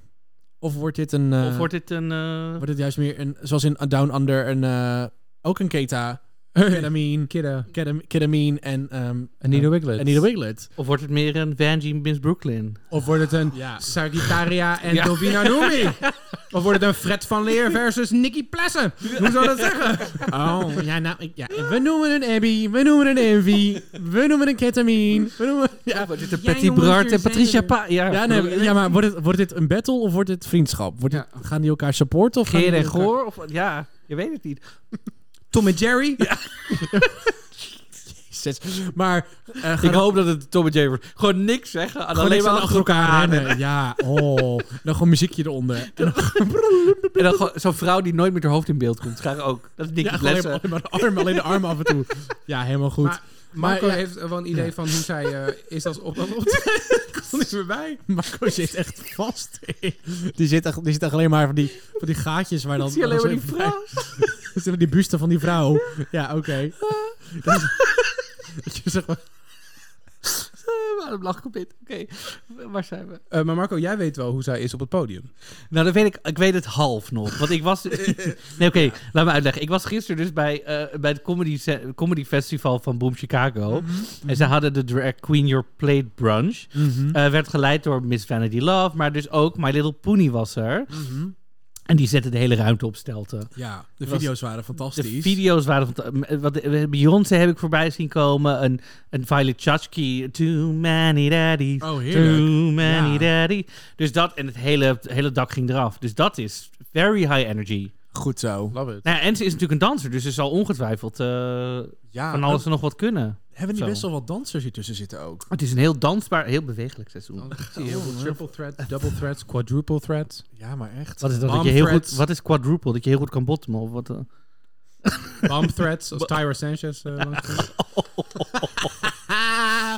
S5: Of wordt dit een... eh,
S2: of wordt dit een... eh,
S5: wordt dit juist meer een... Zoals in Down Under een... eh, ook een
S2: [LAUGHS]
S5: Keta. Ketamine.
S6: Kidda.
S5: ketam- Ketamine en... ehm
S6: Anita Wiglet.
S5: Anita Wiglet.
S2: of wordt het meer een Vanjie Miss Brooklyn?
S6: Of wordt het een
S5: Ja.
S6: Sagittaria
S5: [LAUGHS]
S6: en Dovina Noemi? Of wordt het een Fred van Leer versus Nicky Plessen? Hoe zou dat zeggen?
S5: Oh, ja, nou, ik- ja. we noemen een Abby, we noemen een Envy, we noemen een ketamine, we noemen... Ja,
S2: Wordt dit een
S6: Jij,
S2: Patty
S6: jongens,
S2: Brard
S6: hier
S2: en
S6: zijn
S2: Patricia
S6: er.
S2: Pa... Ja,
S5: ja, nee, ja maar wordt dit, wordt dit een battle of wordt dit vriendschap? Wordt dit- gaan die elkaar supporten? Of gaan
S2: Geer
S5: die
S2: en
S5: elkaar-
S2: Goor? Of, ja, je weet het niet.
S6: Tom en Jerry?
S5: [LAUGHS] Zes- Maar eh, gaan
S2: Ik hoop dat het Tom en Jerry wordt. Gewoon niks zeggen. en
S5: gewoon
S2: alleen maar
S5: achter elkaar rennen. Ja, oh. Dan gewoon muziekje eronder. En dan
S2: En dan gewoon zo'n vrouw die nooit met haar hoofd in beeld komt. Graag ook. Dat is Nicky
S5: ja, alleen,
S2: Plessen.
S5: maar, de arm, alleen de arm af en toe. Ja, helemaal goed.
S6: Maar-
S5: [LAUGHS]
S6: Marco
S5: Maar, ja.
S6: heeft wel een idee van hoe zij eh, is als op... [LAUGHS] op Kom niet meer bij.
S5: Marco zit echt vast. Die zit, echt, die zit echt alleen maar van die, van die gaatjes waar dan...
S2: Ik zie alleen maar die vrouw.
S5: Er [LAUGHS] zitten die busten van die [LAUGHS] vrouw. Ja, oké. Dat is- dat je zegt maar-
S2: adem lag compleet. Oké, waar zijn we?
S6: Eh, maar Marco, jij weet wel hoe zij is op het podium.
S2: Nou, dat weet ik. Ik weet het half nog. Want ik was. nee, oké, laat me uitleggen. Ik was gisteren dus bij, eh, bij het comedy, se- comedy Festival van Boom Chicago. En ze hadden de Drag Queen Your Plate Brunch.
S5: Mhm.
S2: Eh, werd geleid door Miss Vanity Love, maar dus ook My Little Pony was er. En die zette de hele ruimte op stelten.
S5: Ja, de
S2: Het was-
S5: video's waren fantastisch.
S2: De video's waren van. eh, Wat, eh, Beyoncé heb ik voorbij zien komen. Een, een Violet Chachki. Too many daddies.
S5: Oh, heerlijk.
S2: Too many
S5: Ja.
S2: daddy. Dus dat en het hele, het hele dak ging eraf. Dus dat is very high energy.
S3: Goed zo.
S6: Love it.
S2: Nou ja, en ze is natuurlijk een danser, dus ze zal ongetwijfeld eh,
S3: Ja,
S2: van alles en nog wat kunnen.
S5: Hebben die
S2: Zo.
S5: best wel wat dansers hier tussen zitten ook?
S2: Het is een heel dansbaar, heel bewegelijk seizoen.
S6: Zie je heel veel triple threat, double threats, quadruple threats.
S5: Ja, maar echt.
S2: Wat is dat? dat
S6: Mom
S2: je heel goed,
S6: threads.
S2: wat is quadruple? Dat je heel goed kan bottomen? Of wat, eh?
S6: Bomb threats, als Tyra Sanchez eh, langskomt.
S5: Ah.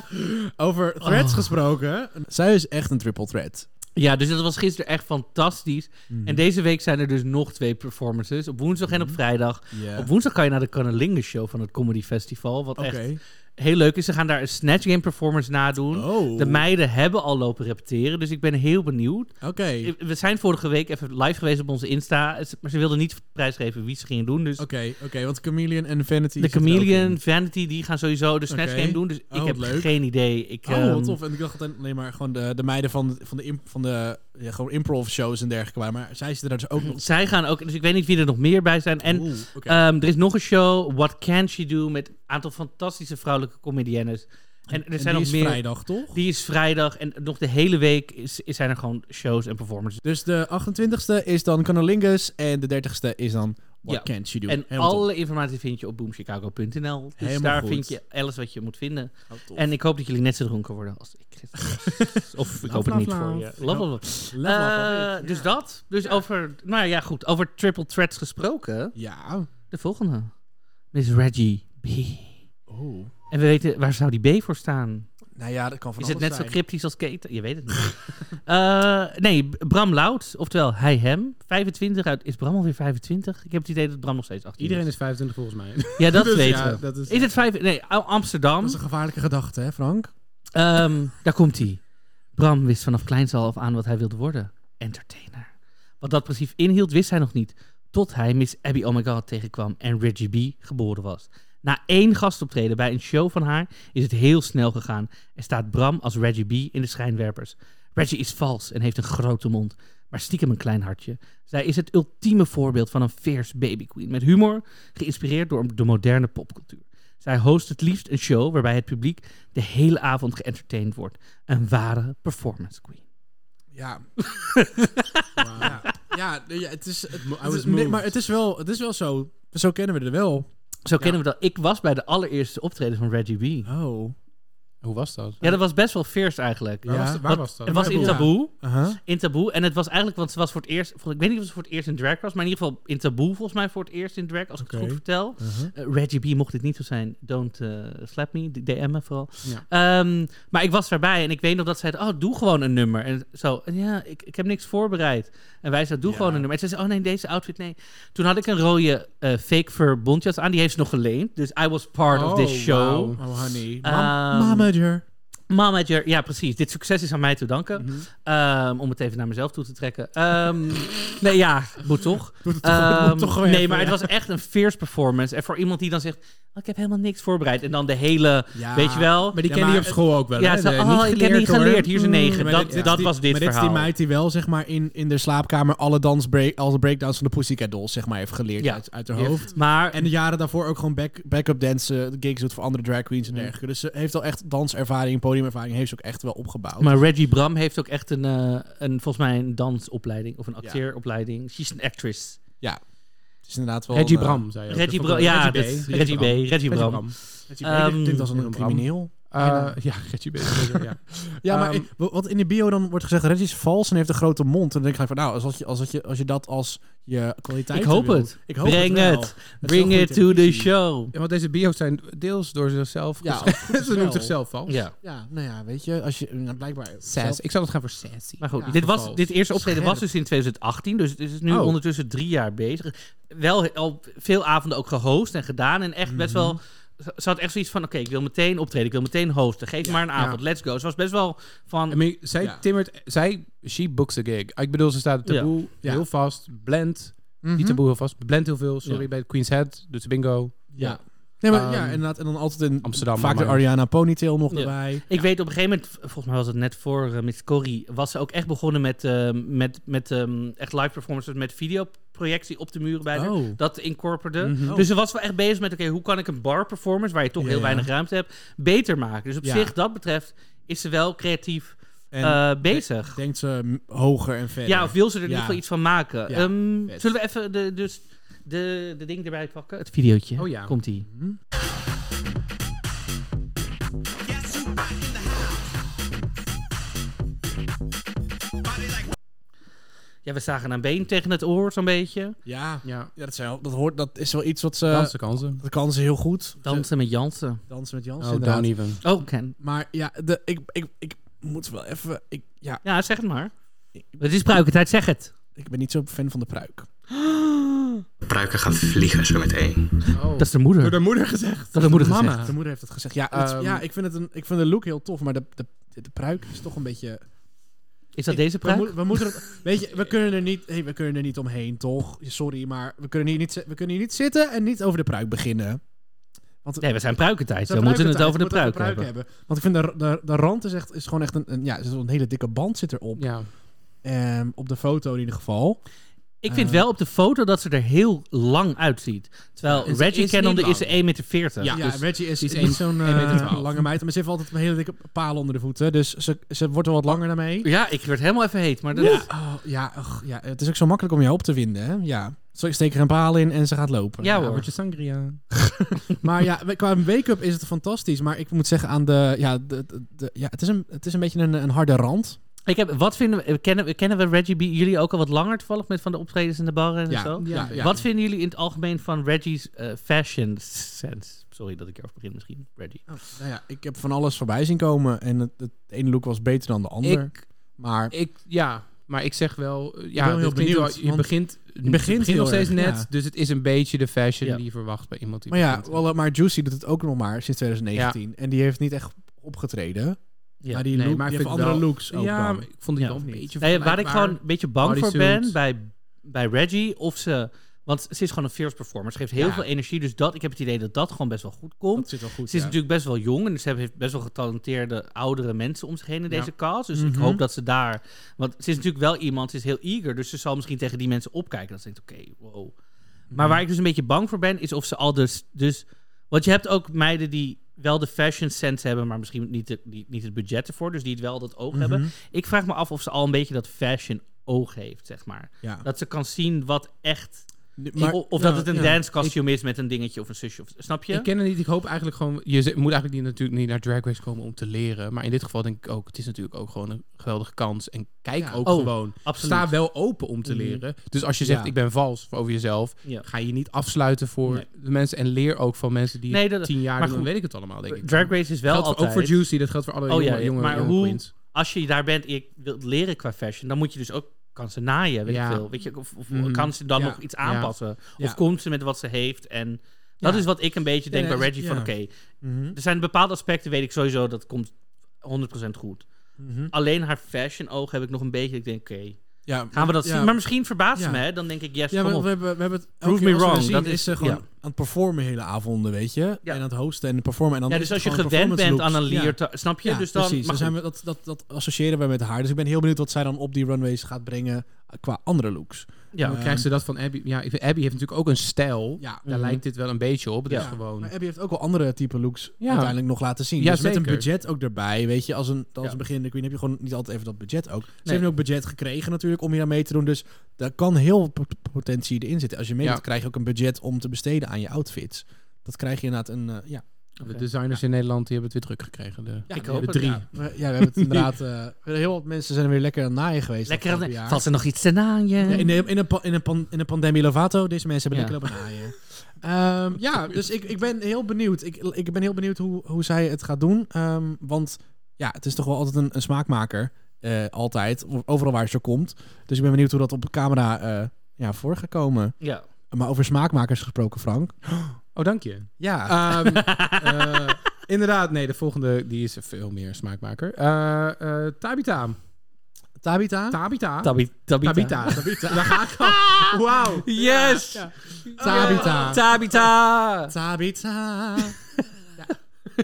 S5: Over threads gesproken.
S3: Oh. Zij is echt een triple threat.
S2: Ja, dus dat was gisteren echt fantastisch.
S5: Mhm.
S2: En deze week zijn er dus nog twee performances. Op woensdag en op vrijdag.
S3: Ja.
S2: Op woensdag kan je naar de Cunnilingus Show van het Comedy Festival. Wat
S5: Oké.
S2: echt heel leuk is. Ze gaan daar een Snatch Game performance nadoen.
S5: Oh.
S2: De meiden hebben al lopen repeteren, dus ik ben heel benieuwd.
S5: Oké.
S2: We zijn vorige week even live geweest op onze Insta. Maar ze wilden niet prijsgeven wie ze gingen doen. Dus
S5: Oké, oké, want Chameleon en Vanity.
S2: de
S5: zitten Oh, er ook
S2: Chameleon,
S5: in.
S2: Vanity, die gaan sowieso de Snatch
S5: Oké.
S2: Game doen. Dus ik
S5: wat
S2: heb
S5: leuk.
S2: geen idee. Ik,
S5: Oh,
S2: ehm,
S5: wat tof. En ik dacht altijd alleen maar gewoon de, de meiden van, van de, imp- van de ja, gewoon improv shows en dergelijke waren. Maar zij zitten daar dus ook nog.
S2: Zij gaan ook, dus ik weet niet wie er nog meer bij zijn. [CLEARS THROAT] En
S5: Oeh, oké.
S2: Ehm, er is nog een show, What Can She Do, met een aantal fantastische vrouwelijke comediennes. En er
S5: En
S2: zijn
S5: die
S2: nog
S5: is
S2: meer.
S5: vrijdag, toch?
S2: Die is vrijdag en nog de hele week is, is- zijn er gewoon shows en performances.
S5: Dus de 28e is dan Canalingus en de 30e is dan What
S2: Ja.
S5: Can't She Do.
S2: En
S5: Helemaal top.
S2: alle informatie vind je op boomchicago.nl. Dus
S5: Helemaal
S2: daar
S5: goed.
S2: vind je alles wat je moet vinden.
S5: Oh, tof.
S2: En ik hoop dat jullie net zo dronken worden als ik
S5: [LAUGHS]
S2: gisteren. was. of ik hoop het
S6: love,
S2: niet voor
S5: nou.
S6: love.
S2: je. Love, love,
S5: Level up,
S2: Eh,
S5: alweer.
S2: Dus dat. Dus over, nou ja, goed. Over triple threats gesproken.
S5: Ja.
S2: De volgende. Miss Reggie B.
S5: Oh.
S2: En we weten, waar zou die B voor staan?
S5: Nou ja, dat kan van
S2: Is het
S5: alles
S2: net zo
S5: zijn.
S2: cryptisch als Keten? Je weet het niet. [LAUGHS] Eh, nee, B- Bram Lout, oftewel hij hem. 25 uit. Is Bram alweer 25? Ik heb het idee dat Bram nog steeds 18
S6: Iedereen is 25 volgens mij.
S2: Ja, dat
S6: Dus
S2: weten
S6: ja,
S2: we.
S6: dat is-
S2: is het 5? Nee, Am- Amsterdam.
S5: Dat is een gevaarlijke gedachte, hè Frank?
S2: Ehm, daar komt hij. Bram wist vanaf kleins al af aan wat hij wilde worden. Entertainer. Wat dat precies inhield, wist hij nog niet. Tot hij Miss Abby Oh My God tegenkwam en Reggie B geboren was. Na één gastoptreden bij een show van haar is het heel snel gegaan en staat Bram als Reggie B in de schijnwerpers. Reggie is vals en heeft een grote mond, maar stiekem een klein hartje. Zij is het ultieme voorbeeld van een fierce baby queen met humor, geïnspireerd door de moderne popcultuur. Zij host het liefst een show waarbij het publiek de hele avond geëntertained wordt. Een ware performance queen.
S5: [LAUGHS] Ja. ja. Ja, nee, ja, het is... Het, het
S6: was
S5: is- nee,
S6: moved.
S5: maar het is, wel, het is wel zo. Zo kennen we er wel.
S2: Zo kennen we dat. Ik was bij de allereerste optreden van Reggie B.
S5: Oh.
S6: [LAUGHS] Hoe was dat?
S2: Ja, dat was best wel fierce eigenlijk.
S6: Waar,
S5: Ja.
S6: was, waar
S2: Wat-
S6: was dat?
S2: Het was in
S5: Taboe.
S2: taboe.
S5: Uh-huh.
S2: In taboe. En het was eigenlijk, want ze was voor het eerst... vol- Ik weet niet of ze voor het eerst in drag was, maar in ieder geval in taboe volgens mij voor het eerst in drag, als ik het
S5: Oké.
S2: goed vertel.
S6: Uh-huh.
S2: Eh, Reggie B, mocht dit niet zo zijn, don't eh, slap me, d- DM me vooral.
S6: Ja.
S2: Ehm, maar ik was daarbij en ik weet nog dat zij zei, oh, doe gewoon een nummer. En zo, en ja, ik, ik heb niks voorbereid. En wij zeiden, doe gewoon een nummer. En ze zei, oh nee, deze outfit, nee. Toen had ik een rode eh, fake fur bontjas aan, die heeft ze nog geleend. Dus I was part of this show.
S6: wauw.
S5: Oh, honey.
S2: Ehm,
S5: Mamager.
S2: Manager, ja precies. Dit succes is aan mij te danken. Ehm, om het even naar mezelf toe te trekken. Ehm, nee, ja, moet toch? Ehm,
S5: moet toch gewoon
S2: nee,
S5: even,
S2: maar het
S5: ja.
S2: was echt een fierce performance. En voor iemand die dan zegt, "Oh, ik heb helemaal niks voorbereid. En dan de hele,
S5: Ja,
S2: weet je wel.
S6: Maar die kennen je op school ook wel.
S2: ja,
S6: hè?
S2: zo,
S6: Nee,
S2: oh, ik heb niet
S6: hoor.
S2: geleerd. Hier is een negen.
S5: Mm, Maar
S2: dat
S5: dit-
S2: dat
S5: die-
S2: was dit
S5: maar
S2: verhaal.
S5: dit is die meid die wel zeg maar in, in de slaapkamer alle, dansbreak, alle breakdowns van de Pussycat Dolls zeg maar heeft geleerd
S2: Ja.
S5: uit, uit haar
S2: Die heeft-
S5: hoofd.
S2: Maar
S5: En de jaren daarvoor ook gewoon back, backup dansen, gigs doet voor andere drag queens en
S2: Mm.
S5: dergelijke. Dus ze heeft al echt danservaring, podiumervaring, heeft ze ook echt wel opgebouwd.
S2: Maar Reggie Bram heeft ook echt een, eh, een volgens mij een dansopleiding of een acteeropleiding. She's an actress.
S5: het is inderdaad wel...
S6: Oh, Reggie
S5: eh,
S6: Bram, zei je. ook.
S2: Reggie
S6: Dat
S2: Bram,
S6: vond ik-
S2: ja,
S6: Reggie
S2: dat-
S6: B.
S2: Reggie B, Reggie
S6: Reggie
S2: Bram.
S6: Bram.
S5: Reggie B, dat
S2: Ehm,
S5: klinkt als Mm, een,
S6: Bram.
S5: [LAUGHS] crimineel.
S6: Eh, Ja, Reggie B. sowieso, ja.
S5: Ja, maar
S6: Ehm,
S5: ik- wa- wat in de bio dan wordt gezegd, Reggie is vals en heeft een grote mond. En dan denk ik gelijk van, nou, als, dat je, als, dat je, als je dat als je kwaliteit
S2: Ik hoop
S5: wil,
S2: het.
S5: Ik hoop
S2: Breng
S5: wel.
S2: het.
S5: is wel
S2: Bring
S5: goede
S2: it to the
S5: televisie.
S2: show.
S6: Ja, want deze bio's zijn deels door
S2: [LAUGHS]
S6: zichzelf.
S5: Ja, [LAUGHS]
S6: Ja,
S5: goed is
S6: ze
S5: wel.
S6: noemt zichzelf vals.
S2: Ja.
S5: Ja, nou ja, weet je, als je nou, blijkbaar.
S6: Sass.
S5: zelf-
S6: Ik zou het gaan voor sassy.
S2: Maar goed,
S5: Ja,
S2: dit, was,
S6: vervals.
S2: dit eerste optreden was dus in 2018. Dus het is nu
S6: Oh.
S2: ondertussen drie jaar bezig. Wel he- al veel avonden ook gehost en gedaan. En echt best wel ze ze had echt zoiets van: oké, ik wil meteen optreden, ik wil meteen hosten. Geef maar een avond, let's go. Ze was best wel van.
S6: I mean, zij
S2: Ja.
S6: timmert, zij, she books the gig. Ik bedoel, ze staat op
S2: Ja.
S6: taboe
S2: Ja.
S6: heel vast, blend,
S5: Mhm.
S6: niet taboe heel vast, blend heel veel, sorry,
S5: Ja.
S6: bij Queen's Head, doet ze bingo.
S5: Ja. Nee, maar ja,
S6: Ehm,
S5: inderdaad. En dan altijd een
S6: Amsterdam,
S5: vaak de
S6: maar-
S5: Ariana Ponytail nog
S2: Ja.
S5: erbij.
S2: Ik weet op een gegeven moment, v- volgens mij was het net voor eh, Miss Corrie, was ze ook echt begonnen met, eh, met, met ehm, echt live performances met videoprojectie op de muren bij haar.
S5: Oh.
S2: Dat incorporde.
S5: Mhm.
S2: Dus ze was wel echt bezig met, oké, hoe kan ik een bar performance, waar je toch
S5: Ja,
S2: heel
S5: ja.
S2: weinig ruimte hebt, beter maken. Dus op
S5: Ja.
S2: zich, dat betreft, is ze wel creatief
S5: En
S2: eh, bezig.
S5: Denkt ze mm, hoger en verder.
S2: Ja, of wil ze er in
S5: Ja.
S2: ieder geval iets van maken.
S5: Ja,
S2: Ehm,
S5: vet.
S2: zullen we even de, dus de, de ding erbij pakken? Het videootje.
S6: Oh ja.
S2: Komt-ie.
S5: Mhm.
S2: Ja, we zagen een been tegen het oor zo'n beetje.
S5: Ja,
S6: Ja,
S5: ja dat, zijn, wel- dat, hoort, dat is wel iets wat ze...
S6: kansen, kansen.
S5: Dat kan ze heel goed.
S2: Dansen met Jansen.
S5: Ze- Dansen met Jans,
S6: Oh,
S5: inderdaad.
S6: down even.
S2: Oh, Ken.
S5: Maar ja, de, ik, ik, ik moet wel even... Ik, ja,
S2: Ja, zeg het maar. Het is pruikentijd, zeg het.
S5: ik ben niet zo fan van de pruik.
S4: Pruiken gaan vliegen zo meteen.
S2: Dat is de moeder.
S1: Door de moeder gezegd.
S2: Dat is de moeder
S6: Mama.
S2: gezegd.
S5: De moeder heeft het gezegd. Ja, het-
S6: Ehm,
S5: ja ik, vind het een, ik vind de look heel tof, maar de, de, de pruik is toch een beetje...
S2: Is dat deze
S5: We,
S2: pruik?
S5: moeten- we moeten het, weet je, we kunnen, er niet, hey, we kunnen er niet omheen, toch? Sorry, maar we kunnen, hier niet, zi- we kunnen hier niet zitten en niet over de pruik beginnen. Want,
S2: Nee, we zijn pruikentijd.
S5: Ze
S2: We moeten het over de
S5: moeten
S2: pruik hebben.
S5: Want ik vind de, de, de rand is, echt, is gewoon echt een, een, ja, is een hele dikke band zit erop.
S6: Ja,
S5: Ehm, op de foto in ieder geval.
S2: Ik vind
S5: Eh.
S2: wel op de foto dat ze er heel lang uitziet. Terwijl
S6: Ja, ze
S2: Reggie
S6: is
S2: Cannon
S6: niet
S2: is 1,40
S6: lang.
S2: meter. Dus-
S5: Ja, Reggie is,
S6: die is
S5: niet
S6: één-
S5: zo'n
S6: 1,12
S5: eh, lange meid. Maar ze heeft altijd een hele dikke paal onder de voeten. Dus ze, ze wordt wel wat langer daarmee.
S2: Ja, ik werd helemaal even heet. Maar dat
S5: Ja, oh, ja, och, ja, het is ook zo makkelijk om je op te winden. Hè? Ja. Zo, ik steek er een paal in en ze gaat lopen.
S2: Ja, hoor.
S6: wordt je sangria.
S5: Maar ja, we- qua make-up is het fantastisch. Maar ik moet zeggen aan de... Ja, de, de- de- ja het, is een, het is een beetje een, een harde rand.
S2: Ik heb, wat vinden we, kennen, we- kennen we Reggie B, jullie ook al wat langer toevallig met van de optredens in de bar en
S5: Ja,
S2: zo?
S5: ja, ja.
S2: Wat vinden jullie in het algemeen van Reggie's eh, fashion sense? Sorry dat ik erover begin misschien, Reggie.
S5: Nou ja, ik heb van alles voorbij zien komen. En het, het ene look was beter dan de ander.
S6: Ik,
S5: maar
S6: ik, ja, maar ik zeg wel, eh, ja,
S5: heel
S6: dat klinkt
S5: benieuwd,
S6: wel-
S5: want
S6: je begint, je
S5: begint
S6: begint
S5: heel
S6: nog steeds
S5: erg,
S6: net,
S5: ja.
S6: dus het is een beetje de fashion
S2: Ja.
S6: die je verwacht bij iemand die
S5: Maar ja,
S6: begint.
S5: wel, maar Juicy doet het ook nog maar sinds 2019. En die heeft niet echt opgetreden.
S2: Ja.
S5: maar die,
S6: nee,
S5: look,
S6: maar
S5: die
S6: ik
S5: heeft
S6: vind
S5: andere
S6: wel-
S5: looks ook
S6: ja,
S5: dan.
S6: maar ik vond die
S5: Ja,
S6: wel
S5: of
S6: een
S5: niet?
S6: beetje
S2: Nee, waar ik
S6: vergelijkbaar.
S2: gewoon een beetje bang voor
S6: Bodysuit.
S2: ben bij, bij Reggie, of ze... Want ze is gewoon een fierce performer. Ze geeft heel
S6: Ja.
S2: veel energie, dus dat, ik heb het idee dat dat gewoon best wel goed komt.
S5: Dat zit wel goed,
S2: Ze is
S5: ja.
S2: natuurlijk best wel jong en ze heeft best wel getalenteerde oudere mensen om zich heen in
S6: Ja.
S2: deze cast. Dus
S5: Mhm.
S2: ik hoop dat ze daar. Want ze is natuurlijk wel iemand, ze is heel eager. Dus ze zal misschien tegen die mensen opkijken. Dat ze denkt, oké, wow. Maar
S5: Mhm.
S2: waar ik dus een beetje bang voor ben, is of ze al dus. dus want je hebt ook meiden die wel de fashion sense hebben, maar misschien niet, de, die- niet het budget ervoor. Dus die het wel dat oog
S5: Mhm.
S2: hebben. Ik vraag me af of ze al een beetje dat fashion oog heeft, zeg maar.
S5: Ja.
S2: Dat ze kan zien wat echt.
S5: Maar-
S2: of of
S5: nou,
S2: dat het een
S5: ja.
S2: dance dancecostume is met een dingetje of een zusje. Of, snap je?
S6: Ik ken het niet. Ik hoop eigenlijk gewoon... Je ze- moet eigenlijk niet, natuurlijk niet naar Drag Race komen om te leren. Maar in dit geval denk ik ook... Het is natuurlijk ook gewoon een geweldige kans. En kijk
S5: Ja.
S6: ook
S2: Oh,
S6: gewoon.
S2: absoluut.
S6: Sta wel open om te
S2: Mhm.
S6: leren. Dus als je zegt,
S5: Ja.
S6: ik ben vals over jezelf...
S2: Ja.
S6: Ga je niet afsluiten voor
S2: Nee.
S6: de mensen. En leer ook van mensen die
S2: Nee, dat-
S6: tien jaar
S2: maar
S6: doen. Dan
S2: goed.
S6: weet ik het allemaal, denk ik.
S2: Drag Race is wel
S6: Geldt voor-
S2: altijd...
S6: ook voor Juicy. Dat geldt voor alle
S2: Oh,
S6: jonge,
S2: ja, ja.
S6: jonge,
S2: Maar
S6: jonge
S2: hoe-
S6: queens.
S2: Als je daar bent en je wilt leren qua fashion, dan moet je dus ook... Kan ze naaien, weet
S6: Ja.
S2: je veel. Weet je, of of
S6: Mhm.
S2: kan ze dan
S5: Mm. Ja.
S2: nog iets aanpassen?
S5: Ja.
S2: Of komt ze met wat ze heeft? En dat
S5: Ja.
S2: is wat ik een beetje denk
S5: nee,
S2: bij
S5: dat is-
S2: Reggie. Van
S5: ja.
S2: oké,
S5: Mhm.
S2: er zijn bepaalde aspecten, weet ik sowieso, dat komt 100% goed.
S5: Mhm.
S2: Alleen haar fashion oog heb ik nog een beetje... Ik denk, oké,
S5: Ja,
S2: gaan we dat
S5: ja.
S2: zien? Maar misschien verbaast ze
S5: Ja.
S2: me, hè? Dan denk ik, yes,
S5: Ja,
S2: kom
S5: maar
S2: op.
S5: we hebben, we hebben het
S2: Prove
S5: elke keer
S2: me
S5: als we haar
S2: wrong,
S5: zien,
S2: dat
S5: is
S2: is-
S5: ze gewoon
S2: ja.
S5: aan het performen hele avonden, weet je.
S2: Ja.
S5: En aan het hosten en het performen. En dan
S2: ja,
S5: is
S2: dus
S5: het
S2: als je
S5: gewoon
S2: gewend
S5: performance
S2: bent aan een
S5: looks. Ja.
S2: leer... te- Snap je?
S5: Ja,
S2: dus dan...
S5: precies.
S2: maar
S5: Dan zijn
S2: goed.
S5: we, dat, dat, dat associëren we met haar. Dus ik ben heel benieuwd wat zij dan op die runways gaat brengen qua andere looks.
S2: ja.
S6: Dan krijgt ze dat van Abby. Ja, ik vind- Abby heeft natuurlijk ook een stijl.
S5: Ja.
S6: Daar
S2: Mhm.
S6: lijkt dit wel een beetje op. Het
S2: Ja.
S6: is gewoon...
S5: Maar Abby heeft ook wel andere type looks
S6: Ja.
S5: uiteindelijk nog laten zien.
S6: Ja,
S5: dus met een
S6: zeker.
S5: budget ook erbij. Weet je, als een, als
S2: Ja.
S5: een beginnende queen heb je gewoon niet altijd even dat budget ook. Ze
S2: Nee.
S5: hebben ook budget gekregen natuurlijk om hier aan mee te doen. Dus daar kan heel veel pot- potentie in zitten. Als je mee
S6: Ja.
S5: doet, krijg je ook een budget om te besteden aan je outfits. Dat krijg je inderdaad een... eh, ja.
S6: De designers in Nederland die hebben het weer druk gekregen. De,
S5: Ja,
S2: Ik
S6: de
S2: hoop het,
S6: drie.
S2: ja.
S5: We- ja, we hebben het inderdaad... eh, heel wat mensen zijn er weer lekker aan het naaien geweest.
S2: Lekker
S5: afgelopen
S2: aan...
S5: jaar.
S2: Valt ze nog iets te naaien?
S5: Ja, in, de, in, een, pa- in, een pan- in een pandemie Lovato. Deze mensen hebben
S2: Ja.
S5: lekker lopen naaien. Ehm, ja, dus ik, ik ben heel benieuwd. Ik, ik ben heel benieuwd hoe, hoe zij het gaat doen. Ehm, want ja, het is toch wel altijd een, een smaakmaker. eh, altijd. O- Overal waar ze komt. Dus ik ben benieuwd hoe dat op camera eh, ja, voor gaat komen.
S2: Ja.
S5: Maar over smaakmakers gesproken, Frank.
S6: Oh, dank je.
S3: Ja.
S6: Ehm, [LAUGHS] eh, inderdaad, nee, de volgende die is veel meer smaakmaker. Eh, eh, Tabita.
S3: Tabita?
S6: Tabita.
S2: Tabi- Tabita.
S6: Tabita. Tabita. Daar ga ik al. [LAUGHS] Wauw.
S2: Yes!
S6: Tabita.
S2: Tabita!
S3: Tabita.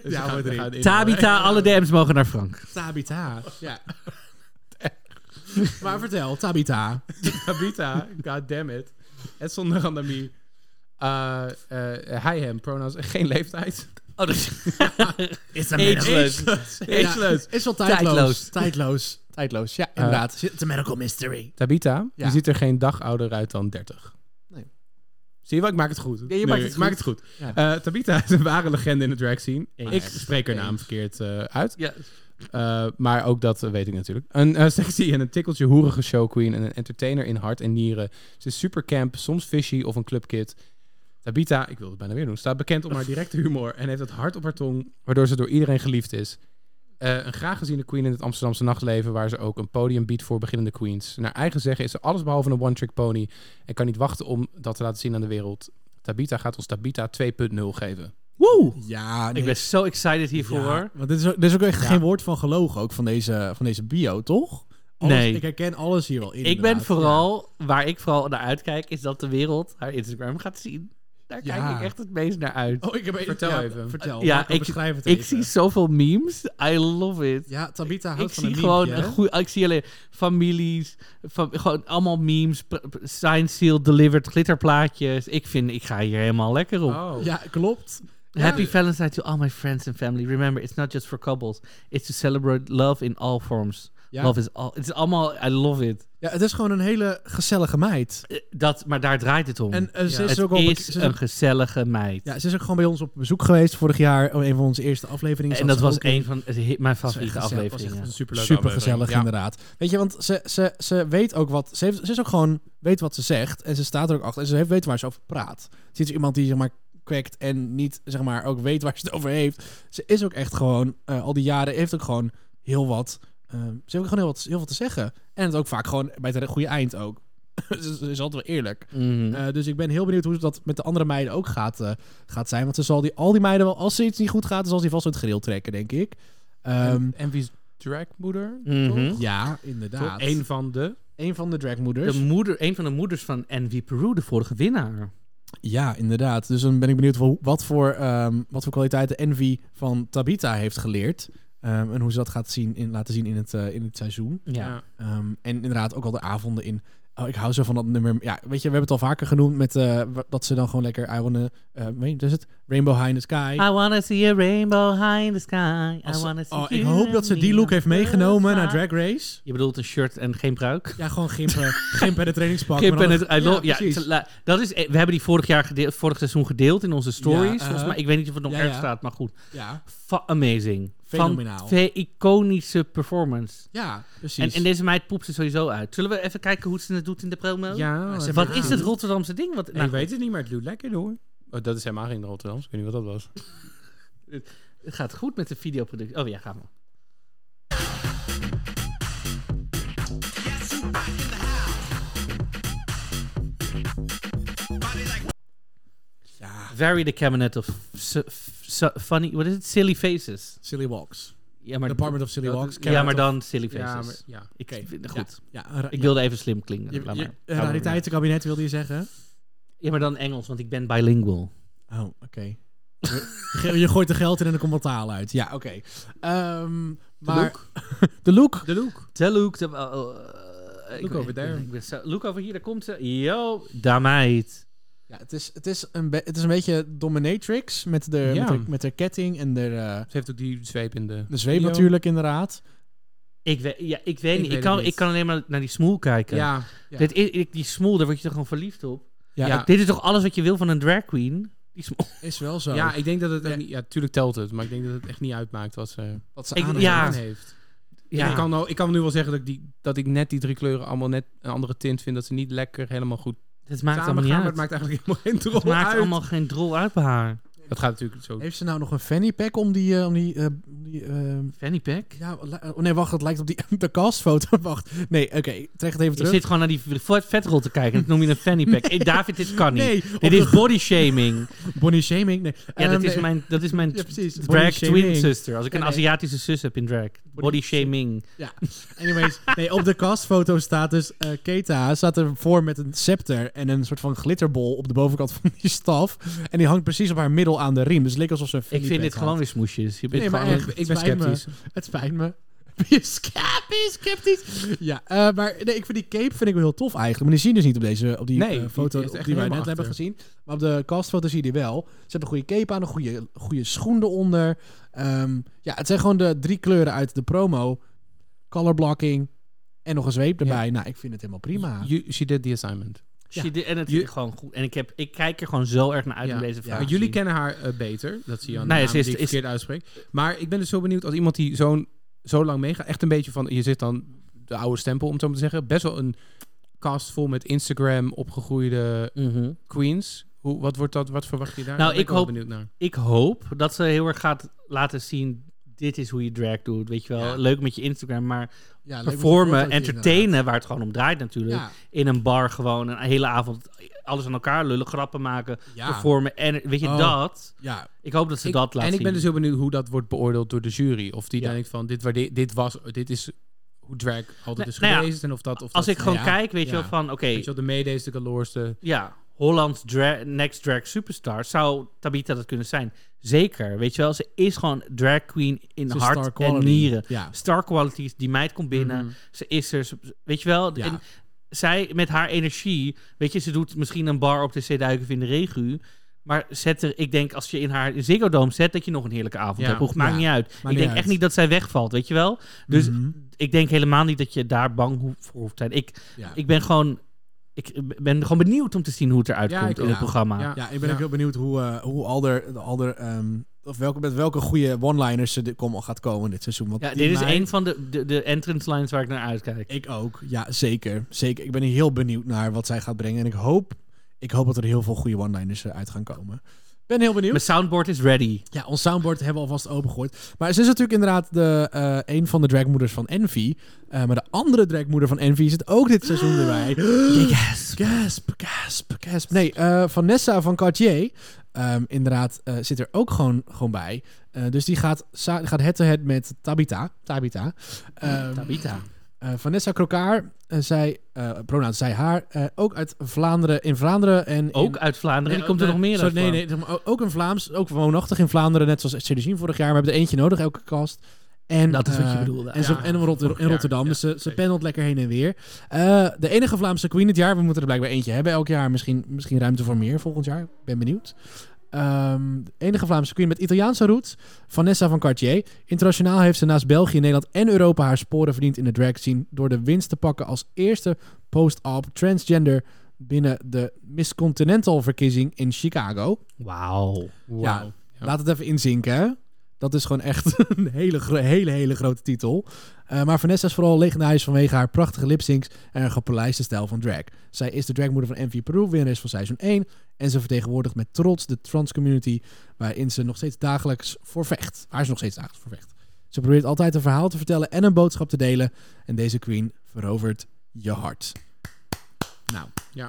S6: Ja, we gaan in.
S2: Tabita, alle DM's mogen naar Frank.
S3: Tabita.
S5: [LAUGHS]
S3: Ja. maar vertel, Tabita.
S6: Tabita, god damn it. Ah, Het zonder randomie. Eh eh, hij, hem, pronouns, geen leeftijd.
S2: Oh, dus...
S3: Is
S6: Ageless. Ageless.
S3: Is wel tijdloos.
S2: Tijdloos.
S3: Tijdloos. Tijdloos.
S5: Eh,
S3: Ja, inderdaad. Het is een medical mystery.
S6: Tabita,
S3: Ja.
S6: die ziet er geen dag ouder uit dan 30.
S3: Nee.
S6: Zie je wel, ik maak het goed.
S3: Ja, je maakt het
S6: ik maak het goed. Eh, Tabita is een ware legende in de drag scene. Ik spreek haar naam verkeerd eh, uit.
S2: Ja.
S6: Eh, maar ook dat eh, weet ik natuurlijk. Een eh, sexy en een tikkeltje hoerige showqueen en een entertainer in hart en nieren. Ze is super camp, soms fishy of een clubkid. Tabita, ik wilde het bijna weer doen, staat bekend om
S3: [LAUGHS]
S6: haar directe humor en heeft het hart op haar tong, waardoor ze door iedereen geliefd is. Eh, een graag geziene queen in het Amsterdamse nachtleven, waar ze ook een podium biedt voor beginnende queens. Naar eigen zeggen is ze alles behalve een one-trick pony en kan niet wachten om dat te laten zien aan de wereld. Tabita gaat ons Tabita 2.0 geven.
S2: Woe!
S3: Ja,
S2: Ik ben zo excited hiervoor.
S5: Ja, want dit is, ook- dit is ook echt geen woord van gelogen, ook van deze, van deze bio, toch? Alles-
S2: Nee.
S5: Ik herken alles hier wel in.
S2: Ik ben
S5: inderdaad.
S2: vooral, waar ik vooral naar uitkijk, is dat de wereld haar Instagram gaat zien. Daar
S3: Ja. oh,
S2: kijk ik echt het meest naar uit.
S5: Oh, ik heb
S6: Vertel
S5: ja,
S6: even.
S5: Vertel.
S2: Ja,
S5: Marco,
S2: ik-
S5: beschrijf het
S2: ik
S5: even.
S2: zie zoveel memes. I love it.
S3: Ja, Tabita houdt
S2: ik
S3: van een
S2: zie gewoon
S3: miepje,
S2: een
S3: hè?
S2: goeie- Ik zie alleen families. Van, gewoon allemaal memes. pr- pr- Signed, sealed, delivered, glitterplaatjes. Ik vind, ik ga hier helemaal lekker op.
S3: Oh,
S5: Oh.
S3: Ja, klopt.
S2: Happy Valentine to all my friends and family. Remember, it's not just for couples. It's to celebrate love in all forms.
S3: Ja.
S2: Love is all... Het is allemaal... I love it.
S5: Ja, het is gewoon een hele gezellige meid.
S2: Eh, Dat, maar daar draait het om.
S5: En eh, ze is
S2: het
S5: ook al...
S2: is
S5: ze is ook-
S2: een gezellige meid.
S5: ja, ze is ook gewoon bij ons op bezoek geweest vorig jaar. Oh, een van onze eerste afleveringen. zat
S2: en dat
S5: ze
S2: was
S5: ook in.
S2: een van het hit- mijn
S5: Dat was echt
S2: favoriete
S5: gezellig. Dat was echt
S2: afleveringen.
S6: Superleuke
S5: Super
S6: aflevering.
S5: gezellig,
S6: Ja.
S5: inderdaad. Weet je, want ze, ze, ze weet ook wat. Ze, heeft, ze is ook gewoon. Weet wat ze zegt. En ze staat er ook achter. En ze heeft, weet waar ze over praat. Ze is iemand die, zeg maar, kwekt. En niet, zeg maar, ook weet waar ze het over heeft. Ze is ook echt gewoon. eh, al die jaren heeft ook gewoon heel wat. ehm, ze heeft ook gewoon heel wat, heel wat te zeggen. En het ook vaak gewoon bij het goede eind ook. [LAUGHS] ze, ze is altijd wel eerlijk.
S2: Mhm.
S5: Eh, dus ik ben heel benieuwd hoe dat met de andere meiden ook gaat, eh, gaat zijn. Want ze zal die, al die meiden wel, als ze iets niet goed gaat, dan zal ze die vast uit het gereel trekken, denk ik. Ehm,
S6: en, en wie is dragmoeder?
S2: Mhm.
S5: Eh, ja, Dus?
S6: Toch?
S5: inderdaad.
S6: Een van de...
S5: Een van de
S2: De
S5: dragmoeders.
S2: moeder, een van de moeders van Envy Peru, de vorige winnaar.
S5: Ja, inderdaad. Dus dan ben ik benieuwd wel- wat voor, ehm, wat voor kwaliteiten Envy van Tabitha heeft geleerd. Ehm, en hoe ze dat gaat zien in, laten zien in het, eh, in het seizoen.
S2: Ja.
S5: Ehm, en inderdaad ook al de avonden in. Oh, ik hou zo van dat nummer. Ja, weet je, we hebben het al vaker genoemd met eh, wa- dat ze dan gewoon lekker I wanna, eh, weet je, is het? Rainbow High in the Sky.
S2: I wanna see a rainbow high in the sky.
S5: Als
S2: I
S5: ze-
S2: wanna see
S5: oh, ik
S2: you
S5: hoop
S2: and
S5: dat ze
S2: me
S5: die
S2: on
S5: look heeft
S2: the
S5: meegenomen naar
S2: sky.
S5: Drag Race.
S2: Je bedoelt een shirt en geen pruik?
S5: Ja, gewoon
S2: [LAUGHS]
S5: gimpen, gimpen en het trainingspak.
S2: Kip
S5: maar dan
S2: en het
S5: een-
S2: I love- ja,
S5: precies.
S2: het- la- dat is, we hebben die vorig jaar gedeeld, vorig seizoen gedeeld in onze stories.
S5: Ja, eh.
S2: volgens mij, ik weet niet of het nog
S5: Ja,
S2: erg
S5: ja.
S2: staat, maar goed.
S5: ja,
S2: Fa- amazing.
S5: Fenomenaal.
S2: Van twee iconische performance.
S5: ja, precies.
S2: En, en deze meid poept ze sowieso uit. Zullen we even kijken hoe ze het doet in de promo?
S6: Ja, ze
S2: Wat is het Rotterdamse ding? Wat, nou,
S6: ik weet het niet, maar het doet lekker hoor. Oh, dat is helemaal geen Rotterdam. Ik weet niet wat dat was.
S2: Het gaat goed met de videoproductie. Oh ja, gaan we. Vary the cabinet of su- su- funny, what is it? Silly faces.
S5: Silly Walks.
S2: Ja, maar,
S5: Department of Silly
S6: dat
S5: Walks.
S6: is-
S2: ja, maar dan silly faces.
S6: Ja, maar, ja.
S2: Ik
S5: Oké,
S2: vind het
S5: ja.
S2: goed.
S5: Ja, een ra-
S2: Ik wilde even slim klinken.
S5: je-
S2: laat
S5: je-
S2: maar.
S5: een rariteitenkabinet wilde je zeggen?
S2: Ja, maar dan Engels, want ik ben bilingual.
S5: Oh, oké. je je gooit er geld in en er komt wat taal uit. Ja, oké. Ehm, maar,
S6: look.
S5: [LAUGHS] De look.
S6: De look.
S2: Tell Luke de- oh, oh, eh, ik
S6: Look
S2: weet-
S6: over there.
S2: ik ben zo- Look over hier, daar komt ze. Yo, daar meid.
S5: Ja, het, is, het, is een be- het is een beetje dominatrix met de,
S6: Ja.
S5: met de, met de ketting en de, eh,
S6: Ze heeft ook die zweep in de...
S5: de zweep
S6: Yo.
S5: natuurlijk inderdaad.
S2: Ik weet, ja, ik weet, niet.
S6: weet
S2: Ik kan,
S6: het
S2: ik kan alleen maar naar die smoel kijken.
S6: Ja,
S5: ja.
S2: Dit is, ik- die smoel, daar word je toch gewoon verliefd op?
S5: Ja,
S6: Ja.
S5: dat
S2: Dit is toch alles wat je wil van een drag queen? Die smoel.
S5: is wel zo.
S6: ja, ik denk dat het... echt
S5: Ja.
S6: niet- Ja, tuurlijk telt het, maar ik denk dat het echt niet uitmaakt wat ze
S5: wat ze
S2: ik-
S5: aan
S2: ja.
S6: aan heeft.
S2: Ja,
S6: Ik, kan nou, ik kan nu wel zeggen dat ik, die, dat ik net die drie kleuren allemaal net een andere tint vind. Dat ze niet lekker helemaal goed
S2: het maakt
S6: samen
S2: allemaal
S6: gaan.
S2: niet
S6: Maar
S2: uit.
S6: het maakt eigenlijk helemaal geen
S2: Het
S6: drol
S2: maakt
S6: uit.
S2: allemaal geen drol uit bij haar.
S6: Dat gaat natuurlijk zo.
S5: Heeft ze nou nog een fanny pack om die, eh, om die, eh, om die die... ehm,
S2: Fanny pack?
S5: ja, li- oh nee, wacht, het lijkt op die [LAUGHS] de castfoto. Wacht, nee, oké, trek het even
S2: Je
S5: terug.
S2: zit gewoon naar die vet- vetrol te kijken. Dat noem je een fanny pack.
S5: Nee.
S2: Eh, David, dit kan niet.
S5: Nee, op
S2: dit
S5: de
S2: is body shaming.
S5: Bonnie Shaming, nee.
S2: Ja,
S5: Ehm,
S2: dat is
S5: nee.
S2: mijn, dat is mijn
S5: Ja, precies.
S2: drag
S5: Body
S2: twin
S5: shaming.
S2: sister. Als ik
S5: Nee,
S2: een
S5: nee.
S2: Aziatische zus heb in drag. Body shaming.
S5: Ja,
S2: [LAUGHS]
S5: anyways. Nee, op de castfoto staat dus... eh Keta staat ervoor met een scepter en een soort van glitterbol op de bovenkant van die staf. En die hangt precies op haar middel aan de riem. Dus het leek alsof ze een
S2: Ik vind
S5: fannypack
S2: dit
S5: had.
S2: gewoon weer smoesjes. Je bent
S5: Nee, maar
S2: gewoon
S5: echt,
S2: een-
S6: Ik
S5: het
S6: ben
S5: spijt me.
S6: sceptisch.
S5: Het spijt me. [LAUGHS] Ben je sca- ben je sceptisch? Ja, eh, maar nee, ik vind die cape vind ik wel heel tof eigenlijk. Maar die zie je dus niet op deze op die
S6: Nee,
S5: eh,
S6: die
S5: foto
S6: is
S5: op
S6: echt
S5: die wij net
S6: helemaal
S5: hebben
S6: achter.
S5: gezien. Maar op de castfoto zie je die wel. Ze hebben een goede cape aan, een goede, goede schoen eronder. Ehm, ja, het zijn gewoon de drie kleuren uit de promo. Color blocking en nog een zweep erbij. Nou, ik vind het helemaal prima.
S6: You, she did the assignment.
S2: Shit, dit- En het
S6: Je-
S2: is gewoon goed. En ik, heb, ik kijk er gewoon zo erg naar uit
S6: Ja.
S2: om deze
S6: Maar
S2: vraag. te
S6: jullie
S2: zien.
S6: kennen haar eh, beter. Dat zie je aan de
S2: Nee,
S6: naam
S2: ze is-
S6: die ik
S2: is-
S6: verkeerd uitspreek. Maar ik ben dus zo benieuwd als iemand die zo'n, zo lang meegaat. Echt een beetje van... Je zit dan de oude stempel, om het zo maar te zeggen. Best wel een cast vol met Instagram opgegroeide
S2: Mhm.
S6: queens. Hoe, wat, wordt dat, wat verwacht je
S2: Nou,
S6: daar? Daar ben
S2: ik
S6: wel
S2: hoop-
S6: benieuwd naar.
S2: Ik hoop dat ze heel erg gaat laten zien... Dit is hoe je drag doet, weet je wel.
S6: Ja.
S2: Leuk met je Instagram, maar
S5: Ja, leuk
S2: performen,
S5: fotootje
S2: entertainen, waar het gewoon om draait natuurlijk.
S5: inderdaad.
S2: In een bar gewoon een hele avond alles aan elkaar lullen, grappen maken,
S5: Ja, ja,
S2: performen. En weet je,
S5: Oh.
S2: dat...
S5: ja.
S2: Ik hoop dat ze
S6: Ik-
S2: dat laat
S6: en ik ben dus
S2: zien.
S6: heel benieuwd hoe dat wordt beoordeeld door de jury. Of die
S2: Ja.
S6: denkt van, dit, waarde- dit, was, dit is hoe drag altijd
S2: Nee,
S6: is
S2: nou ja,
S6: geweest. en of dat, of
S2: Als
S6: dat,
S2: ik gewoon
S6: ja.
S2: kijk, weet je
S6: Ja.
S2: wel, van oké,
S6: Weet je wel, de Mayday is de caloorste.
S2: ja, Hollands dra- Next Drag Superstar zou Tabita dat kunnen zijn. Zeker, weet je wel, ze is gewoon drag queen in
S5: Ze is star
S2: hart en
S5: quality.
S2: nieren.
S5: Ja. Mhm.
S2: Star qualities, die meid komt binnen, ze is er, ze- weet je wel.
S5: Ja.
S2: En zij met haar energie, weet je, ze doet misschien een bar op de C-duiken in de regu. Maar zet er, ik denk als je in haar Ziggo Dome zet, dat je nog een heerlijke avond
S6: Ja.
S2: hebt. Hoe- Maakt
S5: Ja,
S2: niet uit. ik
S5: niet
S2: denk
S5: uit.
S2: echt niet dat zij wegvalt, weet je wel. Dus
S5: Mhm.
S2: ik denk helemaal niet dat je daar bang hoe- voor hoeft te zijn. Ik,
S5: Ja.
S2: ik ben gewoon. Ik ben gewoon benieuwd om te zien hoe het eruit
S6: Ja, ik
S2: komt in
S6: ook.
S2: het programma.
S6: Ja.
S5: Ja, ik ben ook heel benieuwd hoe, eh, hoe Alder, de Alder ehm, of welke, met welke goede one-liners ze de, kom, gaat komen dit seizoen. Want
S2: Ja,
S5: die
S2: dit is
S5: meid-
S2: een van de, de, de entrance lines waar ik naar uitkijk.
S5: Ik ook, ja, zeker. Zeker. Ik ben heel benieuwd naar wat zij gaat brengen. En ik hoop, ik hoop dat er heel veel goede one-liners eh, uit gaan komen. Ben heel benieuwd.
S2: Mijn soundboard is ready.
S5: Ja, ons soundboard hebben we alvast opengegooid. Maar ze is natuurlijk inderdaad de, eh, een van de dragmoeders van Envy. Eh, maar de andere dragmoeder van Envy zit ook dit seizoen erbij.
S2: Yes.
S5: Gasp, gasp, gasp. Nee, eh, Vanessa van Cartier, ehm, inderdaad, eh, zit er ook gewoon, gewoon bij. Eh, dus die gaat sa- gaat head-to-head met Tabita. Tabita. Ehm,
S2: Tabita.
S5: eh, Vanessa Krokaar, eh, zij, eh pronoun zij haar, eh, ook uit Vlaanderen, in Vlaanderen. En in-
S2: Ook uit Vlaanderen.
S5: Nee,
S2: die komt er
S5: eh,
S2: nog meer
S5: sorry,
S2: uit.
S5: Nee, nee, zeg maar, o- ook een Vlaams, ook woonachtig in Vlaanderen, net zoals Celine vorig jaar. We hebben er eentje nodig, elke kast. En,
S2: Dat is wat je
S5: eh,
S2: bedoelde.
S5: En, zo,
S6: Ja,
S5: en in, Rotter-
S6: vorig
S5: in Rotterdam.
S6: jaar,
S5: dus
S6: ja,
S5: ze, ze
S6: zeker.
S5: pendelt lekker heen en weer. Eh, de enige Vlaamse queen dit jaar. We moeten er blijkbaar eentje hebben elk jaar. Misschien, misschien ruimte voor meer volgend jaar. Ik ben benieuwd. Ehm, de enige Vlaamse queen met Italiaanse roots. Vanessa van Cartier. Internationaal heeft ze naast België, Nederland en Europa haar sporen verdiend in de drag scene. Door de winst te pakken als eerste post-op transgender binnen de Miss Continental verkiezing in Chicago.
S6: Oh.
S2: Wauw.
S5: Ja, laat het even inzinken. hè. Dat is gewoon echt [LAUGHS] een hele, gro- hele, hele grote titel. Eh, maar Vanessa is vooral legendarisch vanwege haar prachtige lipsyncs en haar gepolijste stijl van drag. Zij is de dragmoeder van MV Peru, winnares van seizoen 1. En ze vertegenwoordigt met trots de trans community waarin ze nog steeds dagelijks voor vecht. Waar ze nog steeds dagelijks voor vecht. Ze probeert altijd een verhaal te vertellen en een boodschap te delen. En deze queen verovert je hart. Nou.
S6: Ja.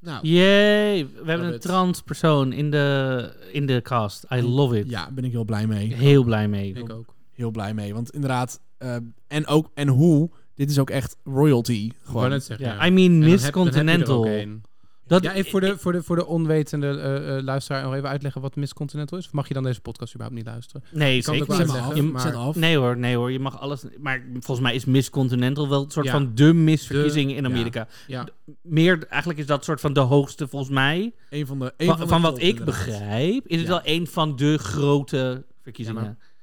S5: Nou.
S2: Yay. We hebben
S6: Love
S2: een
S6: it.
S2: trans persoon in de, in de cast. I love it.
S5: Ja, ben ik heel blij mee.
S2: Heel blij mee.
S6: Ik ook.
S5: heel blij mee. Want inderdaad, eh, en ook en hoe, dit is ook echt royalty.
S6: Ik wou
S5: Gewoon.
S6: net zeggen,
S2: Ja,
S6: ja.
S2: I mean,
S6: En dan
S2: Miss
S6: heb- dan heb je er ook
S2: Continental.
S6: één.
S2: Dat,
S6: Ja, even voor de, voor de, voor de onwetende eh, eh, luisteraar nog even uitleggen wat Miss Continental is. Of mag je dan deze podcast überhaupt niet luisteren?
S2: Nee,
S6: kan het
S2: zeker niet.
S6: ook wel
S5: af,
S6: zeggen,
S5: zet
S6: maar-
S5: af.
S2: Nee hoor, nee hoor, je mag alles. Maar volgens mij is Miss Continental wel een soort
S6: Ja.
S2: van de misverkiezing in
S6: ja.
S2: Amerika.
S6: Ja.
S2: Meer, eigenlijk is dat soort van de hoogste volgens mij.
S5: Een van de, een
S2: Van,
S5: de
S2: van wat
S5: top,
S2: ik
S5: inderdaad.
S2: begrijp, is het
S5: Ja.
S2: wel een van de grote verkiezingen.
S6: Ja, maar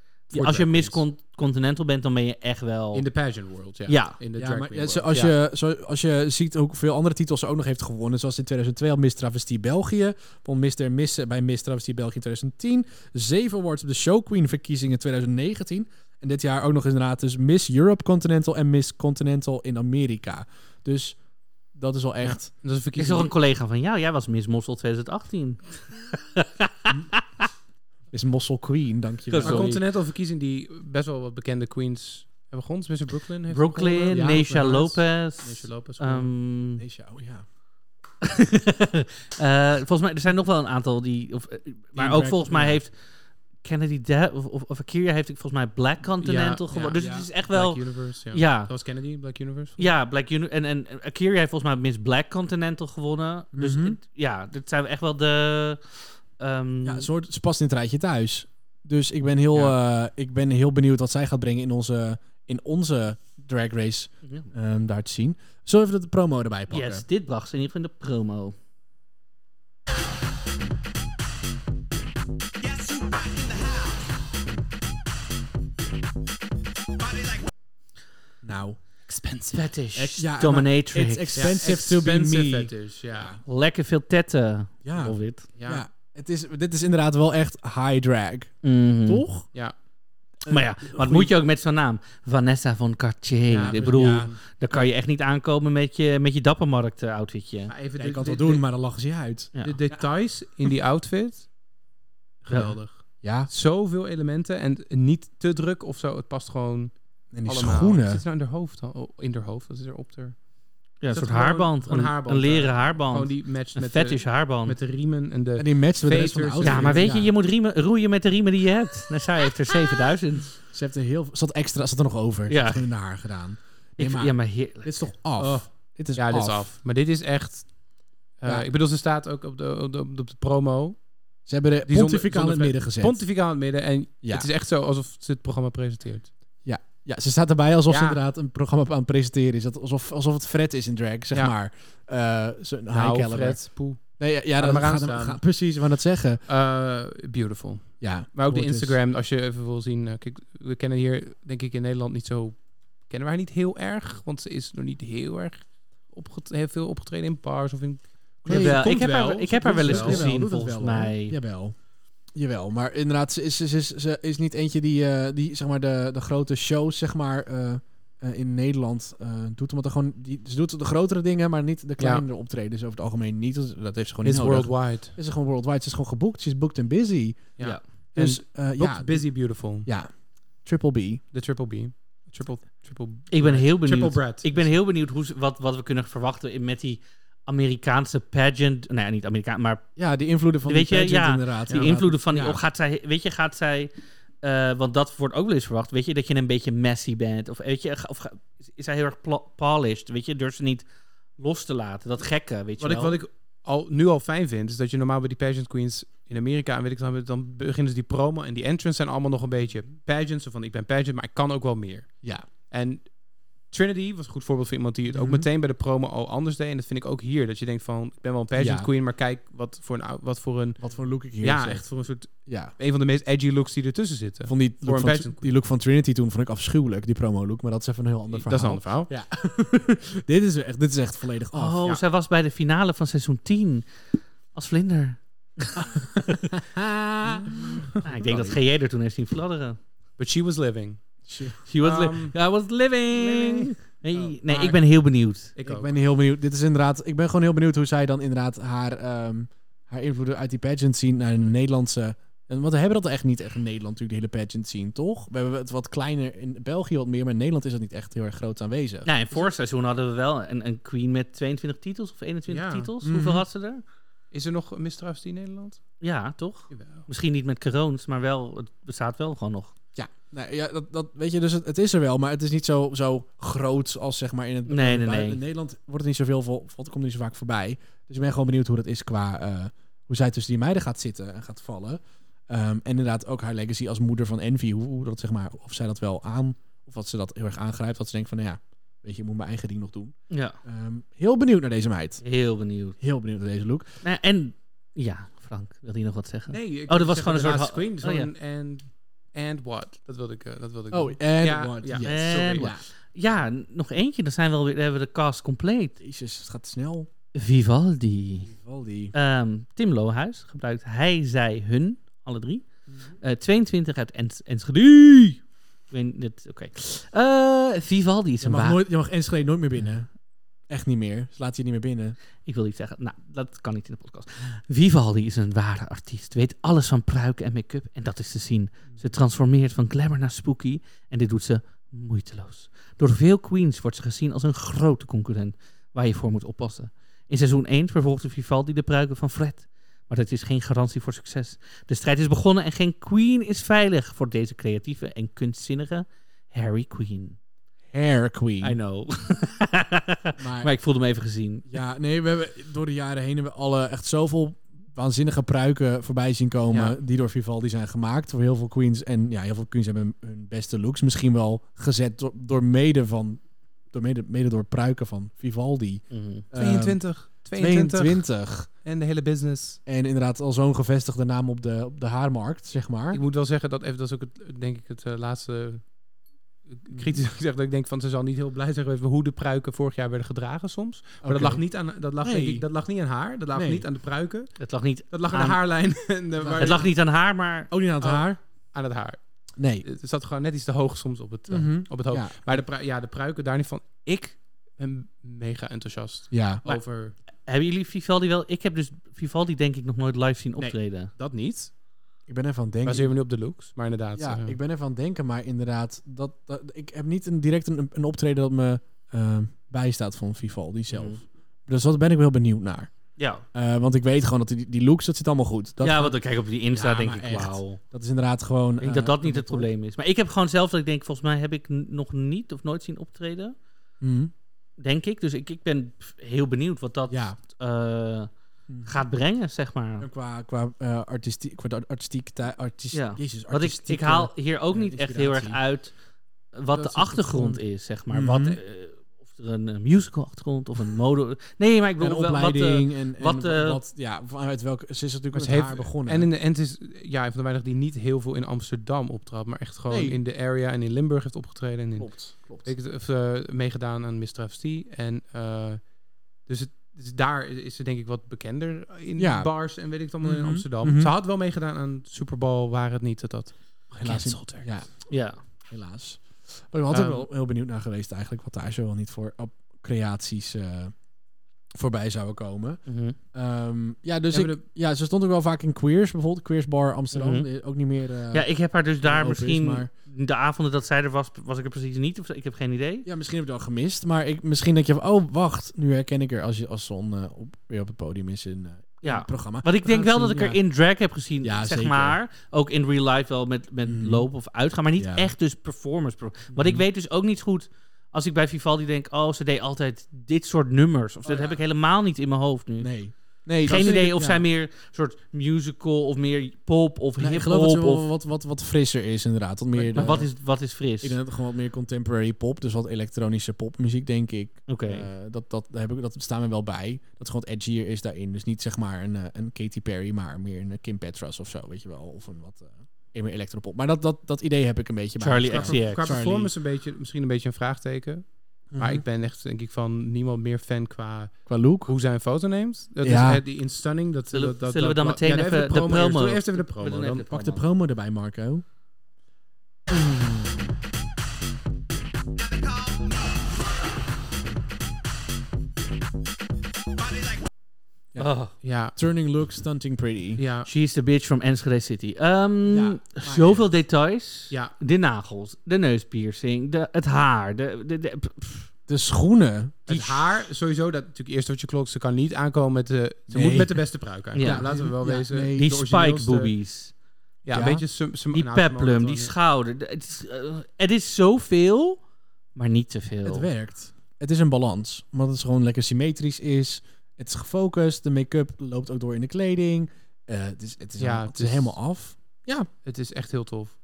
S2: Ja, als je Miss Con- Continental bent, dan ben je echt wel.
S6: In de pageant world, ja.
S2: Ja.
S6: In de
S5: Ja,
S6: drag
S5: maar
S6: queen
S5: ja, zo-
S6: world.
S5: als, je, zo, als je ziet ook veel andere titels ze ook nog heeft gewonnen. Zoals in 2002 al Miss Travestie België. Won Mr. Miss bij Miss Travestie België in 2010. Zeven awards op de Show Queen verkiezingen 2019. En dit jaar ook nog inderdaad dus Miss Europe Continental en Miss Continental in Amerika. Dus dat is wel echt...
S6: Dat is een
S2: Ik
S6: verkiezing.
S2: zag een collega van jou, jij was Miss Mossel 2018.
S5: is Mossel Queen, dankjewel.
S6: Maar Continental verkiezing die best wel wat bekende queens hebben gewonnen. Tenminste, Brooklyn heeft
S2: Brooklyn,
S6: gewonnen.
S2: Neisha
S6: inderdaad.
S2: Lopez.
S6: Neisha Lopez.
S2: ehm,
S5: Neisha, oh ja.
S2: Eh, volgens mij, er zijn nog wel een aantal die... Of, eh, maar ook
S5: Indirect,
S2: volgens mij
S5: ja.
S2: heeft Kennedy... De, of, of, of Akira heeft volgens mij Black Continental
S6: Ja,
S2: gewonnen.
S6: ja,
S2: dus
S6: ja.
S2: het is echt wel...
S6: Black Universe, ja.
S2: Ja.
S6: Dat was Kennedy, Black Universe.
S2: Ja, Black Uni en, en Akira heeft volgens mij Miss Black Continental gewonnen. Dus
S5: Mhm.
S2: het- ja, dit zijn echt wel de... ehm,
S5: Ja, ze, hoort, ze past in het rijtje thuis. Dus ik ben heel, eh, ik ben heel benieuwd wat zij gaat brengen in onze, in onze drag race
S2: Ja.
S5: ehm, daar te zien. Zullen we even de promo erbij pakken?
S2: yes, dit bracht ze in ieder geval in de promo.
S5: Nou,
S2: Expensive. Fetish.
S5: ja,
S2: dominatrix.
S5: it's expensive to be
S6: Expensive
S5: me.
S6: fetish, ja.
S2: Lekker veel tetten.
S5: Ja.
S2: Of dit.
S6: Ja.
S5: Ja. het is, dit is inderdaad wel echt high drag.
S2: Mhm.
S5: Toch?
S6: Ja.
S2: Maar ja, wat moet je ook met zo'n naam? Vanessa van Cartier.
S6: Eh, Ja, dus-
S2: ik bedoel,
S6: ja.
S2: daar kan je echt niet aankomen met je, met je dappermarkt eh, outfitje.
S6: Maar even
S5: Ja,
S6: de-
S5: je kan het wel
S6: de-
S5: doen,
S6: de-
S5: maar dan lachen ze je uit.
S2: Ja.
S6: De details in die outfit. Geweldig.
S5: Ja,
S6: Zoveel elementen en niet te druk of zo. Het past gewoon
S5: en die
S6: allemaal. Wat
S5: schoenen.
S6: Zit nou in haar hoofd dan? Oh, in haar hoofd. Wat is er op haar?
S2: Ja, een
S6: dat
S2: soort
S6: gewoon-
S2: haarband.
S6: gewoon
S2: Een,
S6: haarband,
S2: een leren
S6: ja.
S2: haarband.
S6: Gewoon die matcht
S2: een
S6: met
S2: fetish
S6: de,
S2: haarband.
S6: met de riemen en de.
S5: En die matchen we de rest van de
S6: veters.
S5: outfit.
S2: ja, maar weet je, je moet riemen, roeien met de riemen die je hebt. Nou, zij
S6: [LAUGHS]
S2: heeft er 7000.
S5: Ze heeft er heel veel... Zat extra, zat er nog over.
S2: Ja.
S5: Ja. in haar gedaan.
S2: Ik,
S5: Nee, maar-
S2: ja, maar heerlijk.
S5: Dit is toch af? Dit is
S6: ja,
S5: af.
S6: dit is af. Maar dit is echt. eh,
S5: Ja.
S6: Ik bedoel, ze staat ook op de, op de, op de promo.
S5: Ze hebben de
S6: Die zonder-
S5: pontificaal in het
S6: zonder-
S5: midden gezet.
S6: Pontificaal in het midden. En
S5: Ja.
S6: het is echt zo alsof ze het programma presenteert.
S5: Ja, ze staat erbij alsof ze
S6: Ja.
S5: inderdaad een programma aan het presenteren is. Dat Alsof, alsof het Fred is in drag, zeg
S6: Ja.
S5: maar. Eh zo high
S6: Nou,
S5: caliber.
S6: Fred, poeh.
S5: Nee, ja, ja
S6: Ga
S5: dat
S6: er maar aan
S5: gaat hem-
S6: staan.
S5: gaat- precies, we dat zeggen.
S6: Eh, beautiful.
S5: Ja,
S6: Maar ook de
S5: hoort eens.
S6: Instagram, als je even wil zien. eh, kijk, we kennen hier, denk ik, in Nederland niet zo. Kennen we haar niet heel erg? Want ze is nog niet heel erg opget heel veel opgetreden in bars of in.
S5: Nee,
S2: Jawel,
S5: ze
S2: ik
S5: komt
S2: heb haar- ik
S5: ze
S2: heb haar
S5: komt
S2: wel eens gezien,
S5: doet dat
S2: volgens
S5: hoor.
S2: mij.
S5: Jawel. Jawel, maar inderdaad, ze is, ze, is, ze is niet eentje die, eh, die zeg maar de, de grote shows zeg maar, eh, eh, in Nederland eh, doet. Omdat er gewoon, die, ze doet de grotere dingen, maar niet de kleinere optredens over het algemeen niet. Dat dat heeft ze gewoon
S6: It's
S5: niet nodig.
S6: worldwide.
S5: Ze Is gewoon worldwide, ze is gewoon geboekt. Ze is booked and busy.
S6: Ja.
S2: Ja.
S5: Dus eh, ja,
S6: Booked, busy, beautiful.
S5: ja, triple B.
S6: De triple B. Triple, triple.
S2: Ik ben heel
S6: Triple
S2: benieuwd.
S6: Brad.
S2: Ik ben heel benieuwd hoe, ze- wat, wat we kunnen verwachten in- met die Amerikaanse pageant. Nee, niet Amerikaan, maar
S5: Ja, die invloeden van
S2: Weet
S5: die
S2: je,
S5: pageant
S2: ja,
S5: inderdaad.
S2: Die invloeden van die
S5: Ja.
S2: op gaat zij, weet je, gaat zij, eh, want dat wordt ook wel eens verwacht, weet je, dat je een beetje messy bent of weet je, of ga- is zij heel erg pla- polished, weet je, durft ze niet los te laten, dat gekke, weet je
S6: Wat ik,
S2: wel.
S6: wat ik al, nu al fijn vind, is dat je normaal bij die pageant queens in Amerika en weet ik dan, dan beginnen ze die promo en die entrance zijn allemaal nog een beetje pageants. Zo van ik ben pageant, maar ik kan ook wel meer.
S5: Ja.
S6: En Trinity was een goed voorbeeld van iemand die het ook
S5: Mhm.
S6: meteen bij de promo al anders deed. En dat vind ik ook hier. Dat je denkt van, ik ben wel een pageant
S5: Ja.
S6: queen, maar kijk wat voor een... ou- Wat voor een
S5: Wat voor look ik hier
S6: ja,
S5: zet.
S6: echt voor een soort...
S5: Ja.
S6: Een van de meest edgy looks die ertussen zitten.
S5: Ik vond die
S6: Voor
S5: look,
S6: een
S5: van,
S6: pageant-
S5: die look van Trinity toen vond ik afschuwelijk, die promo-look. Maar dat is even een heel ander
S6: Dat is een
S5: verhaal.
S6: ander verhaal.
S5: [LAUGHS] dit, is echt, dit is echt volledig af.
S2: oh,
S6: ja.
S2: zij was bij de finale van seizoen 10 als vlinder.
S6: [LAUGHS]
S2: [LAUGHS] Nou, ik denk dat GJ er toen heeft zien fladderen.
S6: But she was living.
S2: She was li-
S6: Um,
S2: I was living. Nee,
S6: Oh,
S2: nee
S6: maar-
S2: ik ben heel benieuwd.
S6: Ik,
S5: Ik
S6: ook.
S5: ben heel benieuwd. Dit is inderdaad, ik ben gewoon heel benieuwd hoe zij dan inderdaad haar, ehm, haar invloeden uit die pageant zien naar een Nederlandse. en- Want we hebben dat echt niet echt in Nederland, natuurlijk, de hele pageant zien, toch? We hebben het wat kleiner in België wat meer, maar in Nederland is dat niet echt heel erg groot aanwezig.
S2: Nou, in vorig seizoen hadden we wel een, een queen met 22 titels of 21
S6: Ja.
S2: titels.
S5: Mhm.
S2: Hoeveel had ze er?
S6: Is er nog een mistrust in Nederland?
S2: Ja, toch?
S6: Jawel.
S2: Misschien niet met Caroons, maar wel, het bestaat wel gewoon nog.
S5: Nou, ja, dat, dat weet je, dus het, het is er wel, maar het is niet zo, zo groot als zeg maar in het.
S2: Nee, nee,
S5: in
S2: nee.
S5: Nederland wordt het niet zoveel, vol, vol- het komt niet zo vaak voorbij. Dus ik ben gewoon benieuwd hoe dat is qua eh, hoe zij tussen die meiden gaat zitten en gaat vallen. Ehm, en inderdaad ook haar legacy als moeder van Envy, hoe, hoe dat zeg maar, of zij dat wel aan, of wat ze dat heel erg aangrijpt, dat ze denkt van, nou ja, weet je, ik moet mijn eigen ding nog doen.
S2: Ja.
S5: Ehm, heel benieuwd naar deze meid.
S2: Heel benieuwd.
S5: Heel benieuwd naar deze look.
S2: Nou, en ja, Frank, wil je nog wat zeggen?
S6: Nee, ik
S2: Oh, dat
S6: wil
S2: was
S6: zeggen,
S2: gewoon een
S6: de
S2: soort
S6: laatste
S2: ha-
S6: queen.
S2: oh,
S6: Zo'n and, and what? Dat wilde ik, eh, dat wilde ik
S5: Oh,
S6: doen.
S5: en
S6: Ja,
S5: what?
S6: ja.
S5: Yes.
S2: En
S5: Sorry.
S2: what?
S5: Ja.
S2: Ja, n- nog eentje. Dan zijn we alweer, dan hebben we de cast compleet.
S5: Jezus, het gaat snel.
S2: Vivaldi.
S5: Vivaldi.
S2: Ehm, Tim Lohuis gebruikt hij, zij, hun. Alle drie. Eh, 22 uit Ens Enschede. Ik weet niet, oké. Eh, Vivaldi is
S5: Je
S2: een
S5: mag,
S2: waar.
S5: nooit, je mag Enschede nooit meer binnen. Echt niet meer. Ze laat je niet meer binnen.
S2: Ik wil iets zeggen. Nou, dat kan niet in de podcast. Vivaldi is een ware artiest. Weet alles van pruiken en make-up. En dat is te zien. Ze transformeert van glamour naar spooky. En dit doet ze moeiteloos. Door veel queens wordt ze gezien als een grote concurrent. Waar je voor moet oppassen. In seizoen 1 vervolgde Vivaldi de pruiken van Fred. Maar dat is geen garantie voor succes. De strijd is begonnen en geen queen is veilig voor deze creatieve en kunstzinnige Harry Queen.
S5: Hair Queen.
S2: I [LAUGHS] know. maar, ik voelde hem even gezien.
S5: Ja, nee, we hebben door de jaren heen hebben we alle echt zoveel waanzinnige pruiken voorbij zien komen.
S6: Ja.
S5: Die door Vivaldi zijn gemaakt. Voor heel veel queens. En ja, heel veel queens hebben hun beste looks misschien wel gezet door, door mede van. Door mede, mede door pruiken van Vivaldi. Ehm,
S2: Mhm.
S6: 22.
S5: 22.
S6: 22.
S5: 22.
S6: En de hele business.
S5: En inderdaad al zo'n gevestigde naam op de, op de haarmarkt, zeg maar.
S6: Ik moet wel zeggen dat even, dat is ook het, denk ik het eh, laatste eh, kritisch [LAUGHS] gezegd dat ik denk van ze zal niet heel blij zijn geweest met hoe de pruiken vorig jaar werden gedragen soms. Maar dat
S5: Oké.
S6: lag niet aan dat lag, denk
S5: Nee.
S6: ik, dat lag niet aan haar, dat lag
S5: Nee.
S6: niet aan de pruiken,
S2: Het lag niet,
S6: dat lag aan,
S2: Aan-
S6: de haarlijn [LAUGHS] en de, waar-
S2: het lag niet aan haar, maar
S5: Ook niet aan het
S6: Oh.
S5: haar.
S6: aan het haar.
S5: Nee.
S6: Het zat gewoon net iets te hoog soms op het eh,
S5: Mhm.
S6: op het hoofd.
S5: Ja.
S6: Maar de, pru- ja, de pruiken daar niet van. Ik ben mega enthousiast
S5: Ja.
S2: Maar-
S6: over
S2: hebben jullie Vivaldi wel... Ik heb dus Vivaldi denk ik nog nooit live zien
S6: Nee.
S2: optreden.
S6: dat niet.
S5: Ik ben even aan het denken.
S6: Baseer me nu op de looks, maar inderdaad.
S5: Ja,
S6: eh,
S5: ik ben even aan het denken, maar inderdaad, dat, dat- ik heb niet een, direct een, een optreden dat me eh, bijstaat van Vivaldi zelf.
S2: Mhm.
S5: Dus daar ben ik wel benieuwd naar.
S2: Ja,
S5: Eh, want ik weet gewoon dat die, die looks, dat zit allemaal goed. Dat,
S2: ja want dan kijk ik op die Insta
S6: Ja,
S2: denk
S6: maar
S2: ik,
S6: echt.
S2: wauw.
S5: dat is inderdaad gewoon...
S2: Ik denk
S5: eh,
S2: dat dat niet
S5: een
S2: het probleem is. Maar ik heb gewoon zelf dat ik denk, volgens mij heb ik n- nog niet of nooit zien optreden.
S5: Mhm.
S2: Denk ik. Dus ik, ik ben pff, heel benieuwd wat dat
S5: Ja.
S2: eh,
S5: Mhm.
S2: gaat brengen, zeg maar.
S5: En Qua, qua, eh, artistie- qua de artistiek... tui- artiest,
S2: Ja.
S5: Jezus,
S2: Want ik, ik
S5: artistieke-
S2: haal hier ook
S5: eh,
S2: niet echt heel erg
S5: inspiratie.
S2: uit wat
S5: Dat
S2: de
S5: is het
S2: achtergrond
S5: gewoon.
S2: is, zeg maar.
S5: Mhm.
S2: Wat, eh, of er een eh, musical achtergrond of een mode... Nee, maar ik
S5: En
S2: bedoel, wel- wat, eh,
S5: opleiding en, en
S2: wat,
S5: wat,
S2: eh,
S5: ja, vanuit welke... Ze is natuurlijk met
S6: Maar het
S5: haar
S6: heeft-
S5: begonnen.
S6: En, in de, en het is ja, een van de weinigen die niet heel veel in Amsterdam optrad, maar echt gewoon
S5: Nee.
S6: in de area en in Limburg heeft opgetreden. En in,
S5: Klopt, klopt.
S6: Ik heb eh, meegedaan aan Miss Travestie. En eh, dus, het, dus daar is ze denk ik wat bekender in
S5: Ja.
S6: bars en weet ik het allemaal
S5: Mhm,
S6: in Amsterdam.
S5: mhm.
S6: Ze had wel meegedaan aan Super Bowl, waar het niet dat dat.
S5: helaas, in-
S6: Cancelled werd.
S5: ja,
S2: Ja.
S5: helaas. Maar ik had er
S6: Ehm,
S5: wel heel benieuwd naar geweest eigenlijk... wat daar zo wel niet voor op- creaties eh, voorbij zouden komen.
S2: Mhm.
S5: Ehm, ja, dus
S6: Ja,
S5: ik,
S6: maar
S5: ja, ze stond ook wel vaak in Queers, bijvoorbeeld. Queers Bar Amsterdam.
S2: Mhm.
S5: eh, Ook niet meer... eh,
S2: Ja, ik heb haar dus daar
S5: open is,
S2: misschien...
S5: maar-
S2: De avonden dat zij er was, was ik er precies niet. Of, zo, ik heb geen idee.
S5: Ja, misschien heb ik het al gemist. Maar ik, misschien denk je van... Oh, wacht. Nu herken ik haar als, je, als Zon eh, op, weer op het podium is in eh,
S2: Ja.
S5: het programma.
S2: Want ik denk wel dat ik
S5: Aanzien,
S2: er in drag heb gezien,
S5: Ja,
S2: zeg
S5: zeker.
S2: maar. Ook in real life wel met, met
S5: Mhm.
S2: lopen of uitgaan. Maar niet
S5: Ja.
S2: echt dus performance. pro- Want ik
S5: Mhm.
S2: weet dus ook niet goed... Als ik bij Vivaldi denk, oh, ze deed altijd dit soort nummers. Of dat heb ik helemaal niet in mijn hoofd nu.
S5: ja. Oh, Nee. nee dat
S2: Geen
S5: is-
S2: idee of
S5: ja.
S2: zij meer soort musical of meer pop of
S5: Nee, ik geloof dat
S2: hip-hop.
S5: ze wel
S2: Of...
S5: wat, wat, wat frisser is inderdaad. Wat meer,
S2: Maar
S5: eh,
S2: wat is, wat is fris?
S5: Ik denk dat het gewoon wat meer contemporary pop. Dus wat elektronische popmuziek, denk ik.
S2: Oké.
S5: Eh, dat, dat, daar heb ik, dat staan we wel bij. Dat het gewoon edgier is daarin. Dus niet zeg maar een, eh, een Katy Perry, maar meer een eh, Kim Petras of zo, weet je wel. Of een wat eh, meer elektropop. Maar dat, dat, dat idee heb ik een beetje
S2: Charlie
S5: bij.
S6: Qua,
S2: XCX. Charlie.
S6: qua performance een beetje, misschien een beetje een vraagteken. Maar ik ben echt denk ik van niemand meer fan qua
S5: Mhm. Qua look.
S6: hoe zij een foto neemt. Dat
S5: Ja.
S6: is het, die in stunning. Dat,
S2: Zullen-
S6: dat, dat,
S2: zullen we
S6: dat-
S2: dan meteen
S6: doe
S2: even de
S6: eerst.
S2: promo?
S6: Doe eerst even de
S2: We
S6: promo.
S2: doen
S6: Dan
S2: even
S5: Pak de
S2: promo.
S5: promo erbij, Marco.
S2: Oh.
S6: ja,
S5: Turning look, stunting pretty.
S6: ja,
S2: She is the bitch from Enschede City. Ehm,
S5: Ja, maar
S2: zoveel details.
S6: ja.
S2: De nagels, de neuspiercing, de, het haar. De, de, de- pff.
S5: De schoenen.
S6: Het haar, sowieso, dat natuurlijk eerst wat je klokt. Ze kan niet aankomen met de... Ze
S5: Nee.
S6: moet met de beste pruik aan.
S2: Ja.
S6: Ja. laten we wel
S5: Ja,
S6: wezen.
S5: nee.
S6: de
S2: die
S6: origineelste-
S2: spike boobies.
S6: Ja,
S5: Ja.
S6: een beetje... Sum, sum,
S2: Die
S6: nou, Sum-
S2: peplum, die schouder. De- Het is, eh, het is zoveel, maar niet te veel.
S5: Het werkt. Het is een balans. Omdat het gewoon lekker symmetrisch is. Het is gefocust. De make-up loopt ook door in de kleding. Eh, het is, het is,
S6: Ja,
S5: helemaal-
S6: het
S5: het is
S6: is-
S5: helemaal af.
S6: Het is echt heel tof.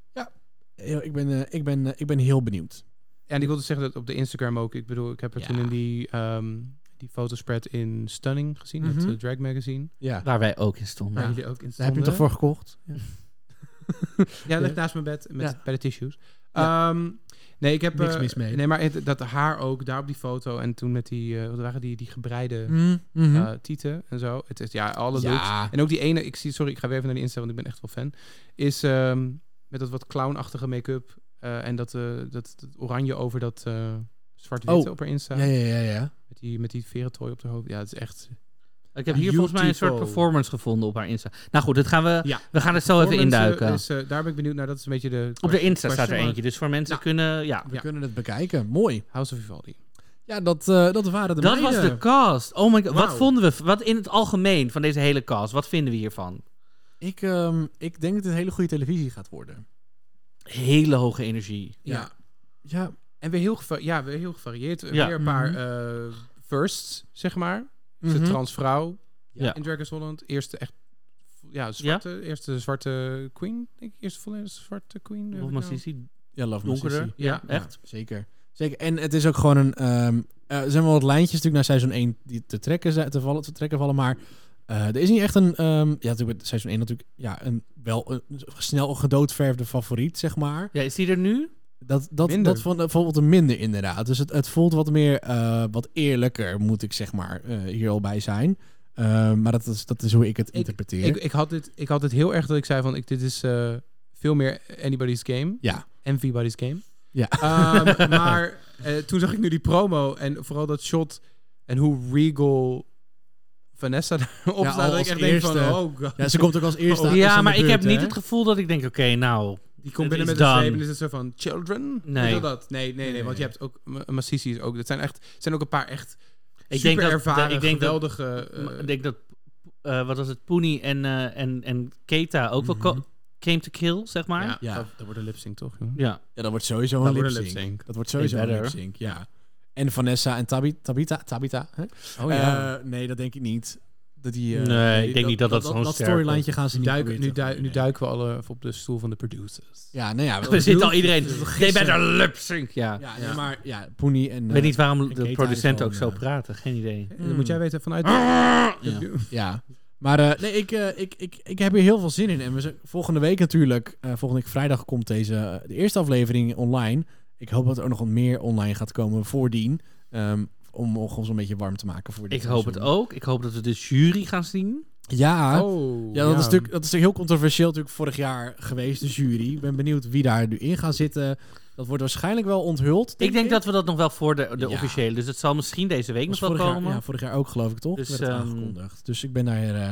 S5: Heel- Ik ben, eh, ik, ben, eh, ik ben heel benieuwd.
S6: En ik wilde zeggen dat op de Instagram ook... Ik bedoel, ik heb er
S5: Ja.
S6: toen in die, ehm die fotospread in Stunning gezien. Het
S5: Mhm.
S6: eh, drag magazine.
S5: Ja.
S2: Waar wij ook in stonden.
S6: Waar jullie ook in
S5: Daar heb je hem
S6: stonden.
S5: toch voor gekocht? Ja.
S6: Ja, dat ligt naast mijn bed met,
S5: Ja.
S6: bij de tissues. Ehm, nee, ik heb...
S5: Niks
S6: eh,
S5: mis mee.
S6: Nee, maar het- dat haar ook, daar op die foto. En toen met die... eh, wat waren die, die gebreide... eh, tieten en zo. Het is ja, alle looks.
S5: Hm, mhm. ja.
S6: En ook die ene, ik zie, sorry, ik ga weer even naar die Insta, want ik ben echt wel fan. Is ehm, met dat wat clownachtige make-up eh, en dat, eh, dat, dat oranje over dat eh zwart-wit
S5: Oh.
S6: op haar Insta.
S5: Ja, ja, ja, ja.
S6: Met die, met die verentooi op haar hoofd. Ja, het is echt...
S2: Ik heb hier volgens mij een soort
S6: UTFO.
S2: performance gevonden op haar Insta. Nou goed, dat gaan we,
S6: Ja.
S2: we gaan het zo even
S6: Performance, eh,
S2: induiken.
S6: is, eh, daar ben ik benieuwd naar. Dat is een beetje de...
S2: op de Insta staat
S6: question
S2: er
S6: mark.
S2: eentje, dus voor mensen
S6: Nou,
S2: kunnen... Ja.
S6: Ja.
S5: We kunnen het bekijken. Mooi.
S6: House of Vivaldi.
S5: Ja, dat, eh, dat waren de
S2: Dat was
S5: meiden.
S2: de cast. Oh my god, wat
S5: Wauw.
S2: vonden we? Wat in het algemeen van deze hele cast? Wat vinden we hiervan?
S5: Ik, ehm, ik denk dat het hele goede televisie gaat worden.
S2: Hele hoge energie.
S6: Ja.
S5: Ja,
S6: En weer heel, geva- ja, weer heel gevarieerd.
S2: Ja.
S6: Weer een paar eh, firsts, zeg maar. Ze
S5: Mhm.
S6: transvrouw
S2: Ja.
S6: in Dragons Holland. Eerste echt... Ja, zwarte. Eerste zwarte queen, denk ik. Eerste volledig zwarte queen. heb
S2: Of
S6: ik nou.
S2: Masisi.
S5: ja love
S2: Donkerder.
S5: Masisi.
S6: Ja.
S2: Ja, echt.
S5: Ja, zeker. zeker. En het is ook gewoon een... ehm, eh, er zijn wel wat lijntjes natuurlijk naar seizoen 1 die te trekken, zijn- te vallen, te trekken vallen, maar... eh, er is niet echt een... ehm, ja, natuurlijk met seizoen 1 natuurlijk ja, een, wel een, snel gedoodverfde favoriet, zeg maar.
S2: Ja, is die er nu?
S5: Dat, dat,
S6: Minder.
S5: dat vond ik bijvoorbeeld een minder inderdaad. Dus het, het voelt wat meer, eh, wat eerlijker, moet ik zeg maar eh, hier al bij zijn. Eh, maar dat is, dat is hoe ik het interpreteer.
S6: Ik, ik, had dit, ik had dit heel erg dat ik zei van... Ik, dit is eh, veel meer anybody's game.
S5: ja.
S6: Everybody's game.
S5: Ja. [LAUGHS]
S6: Ehm, maar eh, toen zag ik nu die promo en vooral dat shot en hoe Regal Vanessa [LAUGHS] daarop
S5: Ja,
S6: staat.
S5: al
S6: Dat ik echt
S5: als
S6: denk van,
S5: eerste.
S6: oh god.
S5: ja, ze komt ook als eerste. aan- dus is
S2: ja,
S5: aan
S2: maar
S5: de
S2: ik
S5: beurt,
S2: heb niet
S5: hè?
S2: het gevoel dat ik denk, oké, nou...
S6: Die komt
S2: Het
S6: binnen
S2: is
S6: met een
S2: done.
S6: zweep en is het zo van children?
S2: Nee.
S6: Weet je Dat? Nee, nee, nee, want je hebt ook Ma- Massisi is ook. Dat zijn echt, zijn ook een paar echt
S2: Ik
S6: ik
S2: denk
S6: super
S2: dat-
S6: ervaren,
S2: dat- ik denk dat-
S6: geweldige. eh,
S2: maar ik denk dat, eh, wat was het, Poenie en, eh, en, en Keta ook
S5: Mhm.
S2: wel co- came to kill, zeg maar.
S6: ja,
S2: Ja.
S5: Ja.
S6: Dat, dat wordt een lipsync toch? jongen?
S5: Ja, dat wordt sowieso
S6: Dat
S5: een
S6: wordt
S5: lip
S6: een
S5: sync.
S6: lipsync.
S5: Dat wordt sowieso
S2: Hey,
S5: een
S2: better.
S5: lip sync, ja. En Vanessa en Tabi, Tabita, Tabita. Hè?
S6: Oh ja.
S5: Eh, nee, dat denk ik niet. Dat die, eh,
S2: Nee, ik denk niet dat dat zo'n
S5: Dat
S2: sterk
S5: storylijntje gaan ze
S6: nu,
S5: niet
S6: duiken,
S5: proberen
S6: nu,
S5: te
S6: duik- nu
S5: gooien, nee.
S6: duiken we alle even op de stoel van de producers.
S5: Ja, nou
S2: [LAUGHS]
S5: ja.
S2: Er zit al
S5: bedoel-
S2: iedereen, they better lip sync, ja.
S5: Ja, nee, maar ja, Poenie en...
S2: Ik weet
S5: eh,
S2: niet waarom
S5: en
S2: de
S5: Keita
S2: producenten ook
S5: is
S2: zo
S5: gewoon,
S2: praten, geen idee.
S6: En Dan moet jij weten vanuit...
S5: Ah! Ja. Ja. Maar eh, nee, ik, eh, ik, ik, ik heb hier heel veel zin in. En we zijn, volgende week natuurlijk, eh, volgende week vrijdag komt deze, eh, de eerste aflevering online. Ik hoop dat er ook nog wat meer online gaat komen voordien. ehm, om ons een beetje warm te maken voor dit
S2: Ik hoop het
S5: seizoen.
S2: ook. Ik hoop dat we de jury gaan zien.
S5: Ja,
S6: Oh,
S5: ja, dat, Is natuurlijk, dat is heel controversieel natuurlijk vorig jaar geweest, de jury. Ik ben benieuwd wie daar nu in gaan zitten. Dat wordt waarschijnlijk wel onthuld.
S2: Ik denk dat we dat nog wel voor de, de
S5: Ja.
S2: officiële. Dus het zal misschien deze week nog
S5: Was
S2: wel
S5: vorig
S2: komen.
S5: jaar, ja, vorig jaar ook, geloof ik, toch?
S2: Dus,
S5: Dus, werd het
S2: ehm,
S5: aangekondigd. Dus ik ben daar... eh,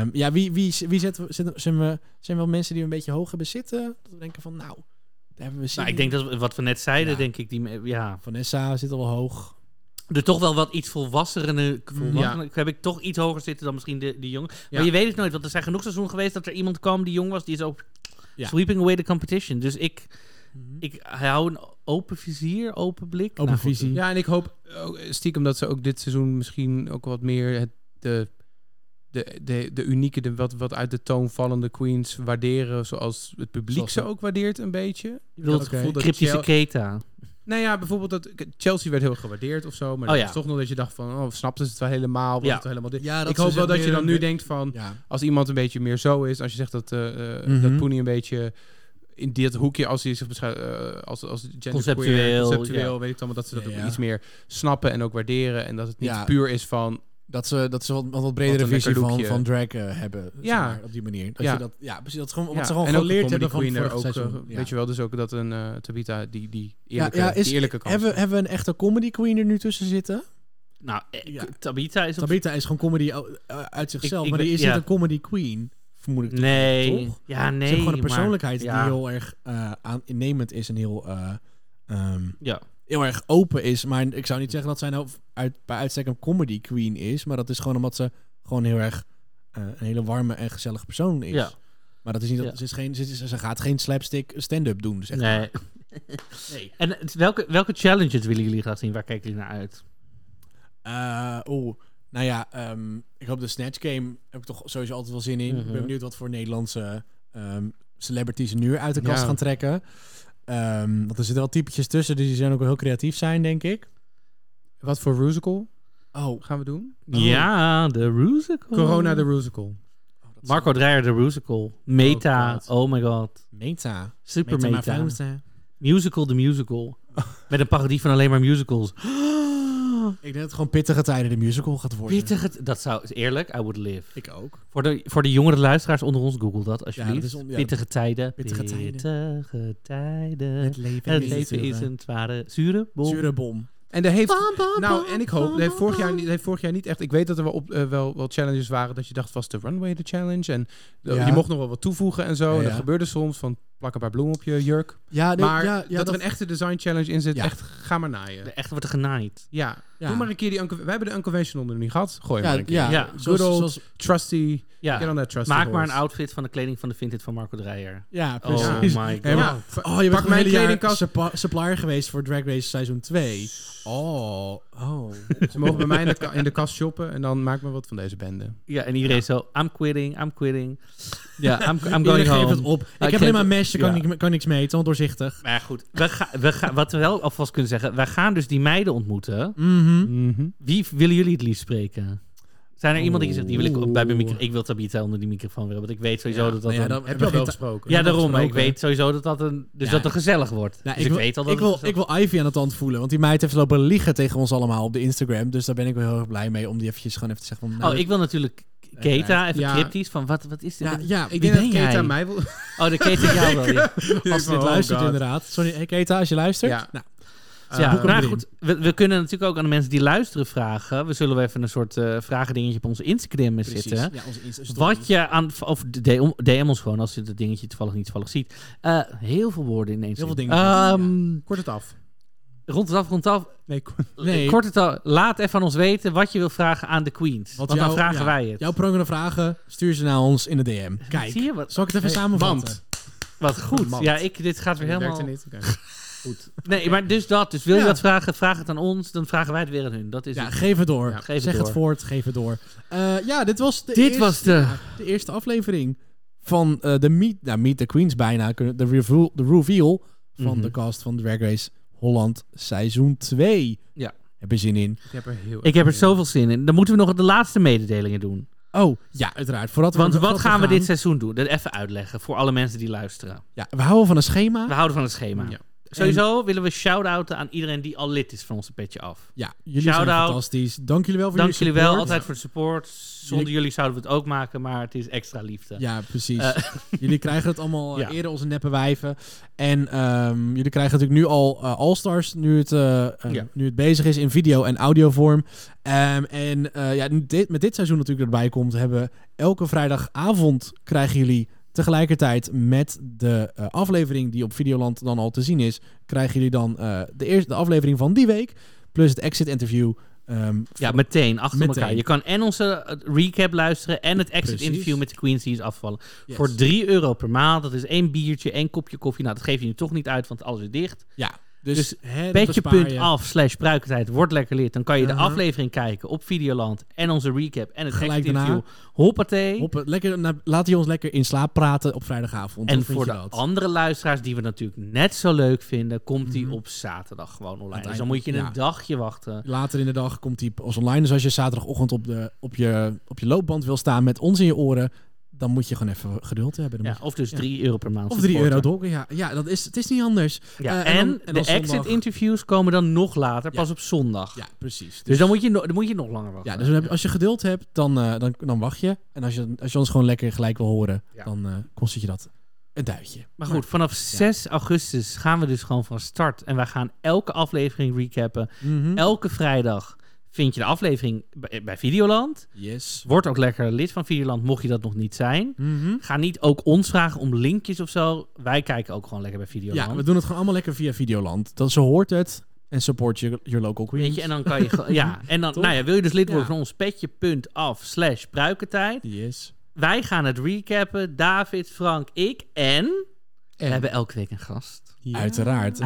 S5: ehm, ja, wie, wie, wie zetten we, zetten- zijn we... Zijn wel mensen die we een beetje hoog hebben zitten? Dat we denken van, nou, daar hebben we zin
S2: Nou, ik
S5: in.
S2: denk dat we- wat we net zeiden,
S5: Ja.
S2: denk ik, die, me- ja,
S5: Vanessa zit al wel hoog.
S2: er toch wel wat iets volwassenere, volwassener, heb ik toch iets hoger zitten dan misschien de, die jongen. Maar
S6: Ja.
S2: je weet het nooit, want er zijn genoeg seizoenen geweest dat er iemand kwam die jong was, die is ook
S5: Ja. Mhm.
S2: sweeping away the competition. Dus ik, ik hou een open vizier, open blik.
S5: Open
S2: Nou, goed.
S5: visie.
S6: Ja, en ik hoop ook stiekem dat ze ook dit seizoen misschien ook wat meer het, de, de, de, de unieke, de, wat, wat uit de toon vallende queens waarderen. Zoals het publiek
S5: Zoals
S6: ze
S5: de-
S6: ook waardeert een beetje.
S2: Ik bedoel,
S6: het
S5: Oké.
S6: gevoel dat
S2: cryptische
S6: Chel-
S2: keta.
S6: Nou ja, bijvoorbeeld dat Chelsea werd heel erg gewaardeerd of zo. Maar
S2: Oh
S6: dat
S2: ja.
S6: was toch nog dat je dacht van, oh, snapten ze het wel helemaal? Was
S2: Ja.
S6: het wel helemaal dit?
S5: Ja, dat
S6: ik
S5: ze
S6: hoop
S5: zich
S6: wel dat je
S5: meer
S6: dan
S5: een
S6: nu
S5: be-
S6: denkt van,
S5: Ja.
S6: als iemand een beetje meer zo is. Als je zegt dat, eh eh,
S5: Mhm.
S6: dat Poenie een beetje in dit hoekje, als hij zich beschouwt eh, als, als genderqueer,
S2: Conceptueel,
S6: conceptueel
S2: ja.
S6: weet ik dan, maar dat ze dat
S5: Ja,
S6: ook
S5: ja.
S6: iets meer snappen en ook waarderen. En dat het niet
S5: Ja.
S6: puur is van,
S5: Dat ze, dat ze wat, wat, wat bredere
S6: Wat een
S5: visie
S6: lekker
S5: van,
S6: lookje.
S5: van drag eh, hebben. zeg
S6: Ja.
S5: maar, op die manier. Dat
S6: Ja.
S5: je dat, ja, precies. Dat is gewoon, wat
S6: Ja,
S5: ze gewoon
S6: en ook de
S5: geleerd
S6: comedy
S5: hebben van
S6: queen er
S5: vorig
S6: ook,
S5: seizoen.
S6: eh,
S5: Ja.
S6: Weet je wel, dus ook dat een eh, Tabita die, die
S5: Ja,
S6: eerlijke,
S5: ja, is,
S6: die eerlijke kant.
S5: hebben, we- hebben we een echte comedy queen er nu tussen zitten?
S2: Nou, eh,
S5: Ja.
S2: Tabita is op
S5: Tabitha is gewoon comedy eh, uit zichzelf.
S2: ik
S5: maar
S2: ben-
S5: die is
S2: ja.
S5: niet een comedy queen, vermoed ik.
S2: Nee.
S5: Toch?
S2: Ja, nee.
S5: Ze hebben gewoon
S2: maar-
S5: een persoonlijkheid
S2: ja.
S5: die heel erg eh, aan, innemend is en heel, eh, ehm,
S2: Ja.
S5: heel erg open is. Maar ik zou niet zeggen dat zij nou uit, bij uitstek een comedy queen is. Maar dat is gewoon omdat ze gewoon heel erg eh, een hele warme en gezellige persoon is.
S2: Ja.
S5: Maar dat is niet dat,
S2: Ja.
S5: ze, is geen, ze, is- ze gaat geen slapstick stand-up doen. Dus echt.
S2: Nee. nee. [LAUGHS] En het- welke, welke challenges willen jullie graag zien? Waar kijken jullie naar uit?
S5: Eh, Oeh, nou ja, ehm, ik hoop de Snatch Game heb ik toch sowieso altijd wel zin in. Ik
S2: Mhm.
S5: ben benieuwd wat voor Nederlandse ehm, celebrities er nu uit de kast
S6: Ja.
S5: gaan trekken. Ehm, want er zitten wel typetjes tussen, dus die zijn ook wel heel creatief zijn, denk ik.
S6: Wat voor rusical
S5: Oh,
S6: gaan we doen?
S2: Ja, de Rusical.
S6: Corona de rusical.
S2: Marco Dreyer, de Rusical. Meta.
S6: Oh,
S2: Oh, my god.
S5: Meta.
S2: Super
S5: Meta
S2: meta.
S5: maar Fausta.
S2: Musical de
S5: [LAUGHS]
S2: Musical. Met een parodie van alleen maar musicals.
S5: Ik denk dat het gewoon pittige tijden de musical gaat worden.
S2: Pittig. het- Dat zou... Eerlijk, I would live.
S5: Ik ook.
S2: Voor de, voor de jongere luisteraars onder ons, google dat alsjeblieft.
S5: Ja, dat is on- ja.
S2: Pittige tijden.
S5: Pittige tijden.
S2: Pittige tijden.
S5: leven,
S2: Het leven is een zware, zure bom.
S5: zure bom.
S6: En daar heeft. nou, en ik hoop. Dat heeft vorig, jaar, niet- dat heeft vorig jaar niet echt. Ik weet dat er wel, op, eh, wel, wel challenges waren. Dat je dacht, was de runway de challenge? En eh,
S5: Ja.
S6: je mocht nog wel wat toevoegen en zo.
S5: Ja,
S6: En dat
S5: ja.
S6: gebeurde soms van plak een paar bloemen op je jurk.
S5: Ja, nee,
S6: maar
S5: ja, ja,
S6: dat,
S5: dat-
S6: er een echte design challenge in zit.
S5: Ja.
S6: Echt, ga maar naaien.
S2: Echt wordt er genaaid.
S6: Ja.
S5: Ja.
S6: Doe maar een keer die... unco- We hebben de unconventional er nu gehad. Gooi
S5: Ja,
S6: maar een keer.
S5: ja.
S2: Ja.
S6: Good
S5: Zoals,
S6: old,
S5: zoals,
S6: trusty.
S2: Ja.
S6: Get on that trusty
S2: Maak maar een
S6: horse.
S2: outfit van de kleding van de Vinted van Marco Dreyer.
S5: ja,
S2: Oh
S5: precies.
S2: my god.
S6: Ja, maar-
S5: Oh, je
S6: Pak
S5: bent
S6: mijn
S5: mijn kledingkast
S6: kledingkast.
S5: supplier geweest voor Drag Race seizoen 2. Oh, oh.
S6: Ze mogen bij mij in de, ka- in de kast shoppen en dan maak me wat van deze bende.
S2: Ja, en iedereen zo, I'm quitting, I'm quitting. Ja, I'm, I'm
S5: Iedereen
S2: going
S5: geeft
S2: home.
S5: het op. Ik
S2: geef
S5: heb alleen maar
S2: het-
S5: mesh, daar kan,
S2: ja.
S5: ik- kan niks mee. Het is allemaal doorzichtig.
S2: Maar goed, we ga, we ga, wat we wel alvast kunnen zeggen, wij gaan dus die meiden ontmoeten.
S5: Mhm.
S2: Wie v- willen jullie het liefst spreken? Zijn er iemand die zegt, die wil ik op- bij mijn micro-
S6: Oeh.
S2: ik wil Tabitha onder die microfoon willen, want ik weet sowieso dat dat...
S5: nou ja,
S2: een-
S5: dan-
S6: Heb
S5: Heb
S6: je
S5: je
S6: al
S5: geen
S6: wel
S5: ta-
S6: gesproken?
S2: ja, daarom. Maar ik
S5: gesproken.
S2: weet sowieso dat dat een, dus
S5: Ja.
S2: dat het gezellig wordt.
S5: Nou,
S2: dus
S5: ik, wil,
S2: ik, weet al dat
S5: ik, wil,
S2: het
S5: ik
S2: gezellig-
S5: wil Ivy aan het tand voelen, want die meid heeft lopen liegen tegen ons allemaal op de Instagram. Dus daar ben ik wel heel erg blij mee om die eventjes gewoon even te zeggen van... nou,
S2: Oh, ik wil natuurlijk Keta, even
S6: Ja.
S2: cryptisch, van wat, wat is dit?
S5: ja, ja, wie
S6: Ik denk dat
S2: [LAUGHS]
S5: ben
S6: Kate
S5: jij?
S6: aan mij Oh, wil...
S2: Oh, de
S5: [LAUGHS]
S2: Keta jou wel. ja.
S5: Als ze
S2: Oh,
S5: dit luistert inderdaad. Sorry, hey, Keta, als je luistert.
S6: Ja.
S5: Nou,
S2: Ja,
S5: boek hem
S2: maar
S5: erin.
S2: goed, we, we kunnen natuurlijk ook aan de mensen die luisteren vragen. We zullen wel even een soort eh vragendingetje op onze Instagram zitten.
S5: Ja, onze Insta story.
S2: Dus Wat je aan... Of DM, DM ons gewoon, als je dat dingetje toevallig niet toevallig ziet. Eh, heel veel woorden ineens.
S5: Heel veel
S2: in.
S5: dingen.
S2: Ehm,
S6: Kort het af.
S2: Rond het af, rond het af.
S6: Nee, kort-
S5: Nee.
S2: Kort het af. Laat even aan ons weten wat je wil vragen aan de queens.
S5: Wat
S2: want dan
S5: jouw-
S2: vragen
S5: ja,
S2: wij het.
S5: Jouw prangende vragen, stuur ze naar ons in de DM. Kijk.
S2: Zie je wat,
S5: Zal ik het even samenvatten?
S6: want-
S2: wat goed.
S6: Man.
S2: Ja, ik, dit gaat weer
S6: Dat werkt
S2: helemaal...
S6: er niet.
S2: [LAUGHS]
S6: Oké.
S2: Nee, maar dus dat. Dus wil je
S5: Ja.
S2: dat vragen, vraag het aan ons. Dan vragen wij het weer aan hun. Dat is
S5: Ja,
S2: het.
S5: geef het door.
S6: Ja,
S2: geef het
S5: zeg
S2: door.
S5: het voort, geef het door. Eh, ja, [LAUGHS] dit was de,
S2: Dit
S5: eerste,
S2: was de-
S5: ja, de eerste aflevering van eh, de Meet, nou, meet the Queens bijna. kunnen- De reveal, de reveal van
S2: Mhm.
S5: de cast van Drag Race Holland seizoen 2.
S2: Ja.
S5: Heb je zin in?
S6: Ik heb er heel
S2: Ik heb er zoveel zin in. Dan moeten we nog de laatste mededelingen doen.
S5: Oh, ja, uiteraard. Voordat we-
S2: Want wat
S5: voordat
S2: gaan we dit seizoen doen? Dat even uitleggen voor alle mensen die luisteren.
S5: Ja, we houden van een schema.
S2: We houden van het schema.
S6: Ja.
S2: Sowieso willen we shout-outen aan iedereen die al lid is van onze petje af.
S5: Ja, jullie zijn
S2: Shout-out.
S5: fantastisch. Dank jullie wel voor
S2: Dank
S5: jullie
S2: jullie wel
S5: support.
S2: altijd voor de support. Zonder jullie zouden we het ook maken, maar het is extra liefde.
S5: Ja, precies.
S2: Eh.
S5: [LAUGHS] jullie krijgen het allemaal eh,
S2: Ja.
S5: eerder onze neppe wijven. En ehm, jullie krijgen natuurlijk nu al eh All-Stars, nu het, eh, eh,
S2: Ja.
S5: nu het bezig is in video- en audiovorm. Ehm, en eh, ja, nu dit, met dit seizoen natuurlijk erbij komt, hebben elke vrijdagavond krijgen jullie tegelijkertijd met de eh, aflevering die op Videoland dan al te zien is, krijgen jullie dan eh, de eerste de aflevering van die week, plus het exit interview. ehm,
S2: Ja, meteen, achter
S5: Meteen.
S2: elkaar. Je kan en onze eh, recap luisteren en het exit
S5: Precies.
S2: interview met de Queens die is afvallen.
S5: yes.
S2: Voor 3 euro per maand, dat is één biertje, één kopje koffie. Nou, dat geef je nu toch niet uit, want alles is dicht.
S5: Ja, dus,
S2: dus
S5: hè, dat bespaar je.
S2: Petje.af slash pruikertijd, wordt lekker lid. Dan kan je de
S5: Aha.
S2: aflevering kijken op Videoland en onze recap en het
S5: Gelijk
S2: exit interview.
S5: daarna.
S2: Hoppatee.
S5: Hoppen, lekker, na- laat hij ons lekker in slaap praten op vrijdagavond.
S2: En
S5: Hoe vind
S2: voor
S5: je
S2: de
S5: dat?
S2: andere luisteraars die we natuurlijk net zo leuk vinden, komt die op zaterdag gewoon online. Dus dan moet je een
S5: Mhm. Ja.
S2: dagje wachten.
S5: Later in de dag komt hij als online. Dus als je zaterdagochtend op, de, op, je, op je loopband wil staan met ons in je oren, dan moet je gewoon even geduld hebben. Dan
S2: Ja,
S5: moet je-
S2: of dus 3 euro per maand.
S5: of 3 euro
S2: supporter.
S5: dollar. Ja, ja dat is, het is niet anders.
S2: Ja,
S5: Eh,
S2: en,
S5: en dan- en
S2: de
S5: dan zondag.
S2: exit interviews komen dan nog later,
S5: Ja.
S2: pas op zondag.
S5: Ja, precies. Dus,
S2: Dus dan moet, je, no- dan moet je nog langer wachten.
S5: ja, dus dan heb- als je geduld hebt, dan, eh, dan, dan wacht je. En als je, als je ons gewoon lekker gelijk wil horen,
S2: Ja.
S5: dan eh, kost het je dat een duitje.
S2: Maar goed, vanaf 6 augustus gaan we dus gewoon van start. En wij gaan elke aflevering recappen.
S5: Mhm.
S2: Elke vrijdag vind je de aflevering bij, bij Videoland.
S5: Yes.
S2: Word ook lekker lid van Videoland, mocht je dat nog niet zijn.
S5: Mhm.
S2: Ga niet ook ons vragen om linkjes of zo. Wij kijken ook gewoon lekker bij Videoland.
S5: Ja, we doen het gewoon allemaal lekker via Videoland. Dat, ze hoort het en support your, your local queens.
S2: Weet je, en dan kan je gewoon- Ja, en dan, nou ja, wil je dus lid worden
S5: Ja.
S2: van ons petje.af slash pruikentijd.
S5: Yes.
S2: Wij gaan het recappen. David, Frank, ik en... We hebben elke week een gast.
S5: Uiteraard. En dat is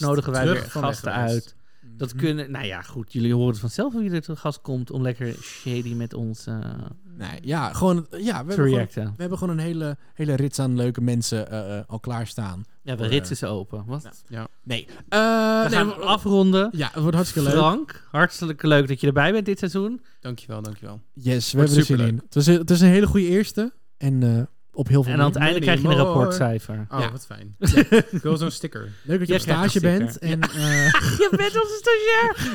S5: natuurlijk
S2: nodigen wij
S6: Terug
S2: weer
S6: van
S2: gasten
S6: weg geweest.
S2: uit. Dat kunnen... Nou ja, goed. Jullie horen het vanzelf wie er te gast komt om lekker shady met ons eh,
S5: best. Nee, ja, gewoon, eh, ja, we
S2: te
S5: hebben gewoon,
S2: reacten.
S5: we hebben gewoon een hele, hele rits aan leuke mensen eh, eh, al klaarstaan.
S2: Ja, we ritsen ze open. Wat?
S5: Nee. Eh,
S2: we
S5: nee,
S2: gaan
S5: we-
S2: afronden.
S5: Ja, het wordt hartstikke leuk.
S2: Frank, hartstikke leuk dat je erbij bent dit seizoen.
S6: Dankjewel, dankjewel.
S5: Yes, we hebben er zin
S6: superleuk.
S5: in. Het is, het is een hele goede eerste. En eh, op heel veel
S2: En aan het
S5: manieren.
S2: einde krijg je een rapportcijfer.
S6: Oh,
S5: Ja.
S6: wat fijn. Ja, Ik wil zo'n sticker.
S5: Leuk dat je
S2: Jij
S5: op
S2: krijgt
S5: stage
S2: een
S5: bent.
S2: sticker.
S5: En, eh, [LAUGHS]
S2: Je bent onze stagiair.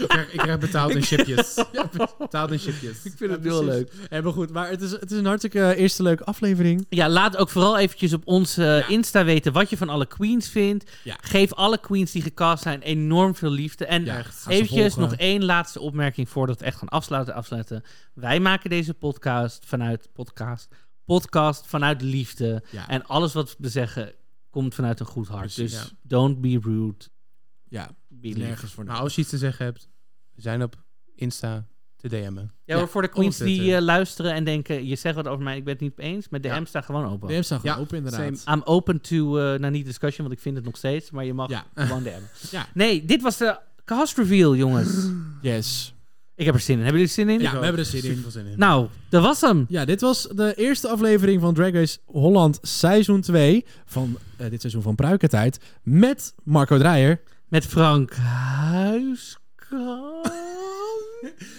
S6: Ik krijg, ik krijg betaald in chipjes. Ja, betaald in chipjes.
S2: Ik vind het heel leuk.
S5: en maar goed, maar het is, het is een hartstikke eh, eerste leuke aflevering.
S2: Ja, laat ook vooral eventjes op ons eh, Insta weten wat je van alle queens vindt.
S6: Ja.
S2: Geef alle queens die gecast zijn enorm veel liefde. En
S6: Ja, echt.
S5: Ga ze
S2: eventjes
S5: volgen.
S2: nog één laatste opmerking voordat we echt gaan afsluiten. afsluiten. Wij maken deze podcast vanuit podcast. Podcast vanuit liefde.
S6: Ja.
S2: En alles wat we zeggen komt vanuit een goed hart.
S6: Precies,
S2: dus
S6: ja.
S2: don't be rude.
S3: Ja,
S2: Be lief.
S3: nergens voor
S6: Maar Nou, als je iets te zeggen hebt, we zijn op Insta te DM'en.
S2: Ja, hoor, voor de queens die
S6: onderzetten.
S2: eh, luisteren en denken... je zegt wat over mij, ik ben het niet mee eens. Maar de
S6: Ja.
S2: M staat gewoon open.
S5: De apps staan gewoon
S6: Ja,
S5: open inderdaad.
S6: same.
S2: I'm open to, eh nou niet discussion, want ik vind het nog steeds, maar je mag
S6: Ja.
S2: gewoon DM'en.
S6: Ja.
S2: Nee, dit was de cast reveal, jongens.
S5: Yes.
S2: ik heb er zin in. Hebben jullie er zin in?
S5: Ja, we hebben er zin in.
S6: veel zin in.
S2: Nou, dat was hem.
S5: Ja, dit was de eerste aflevering van Drag Race Holland seizoen 2 van eh, dit seizoen van Pruikentijd met Marco Dreyer.
S2: Met Frank Huiskamp.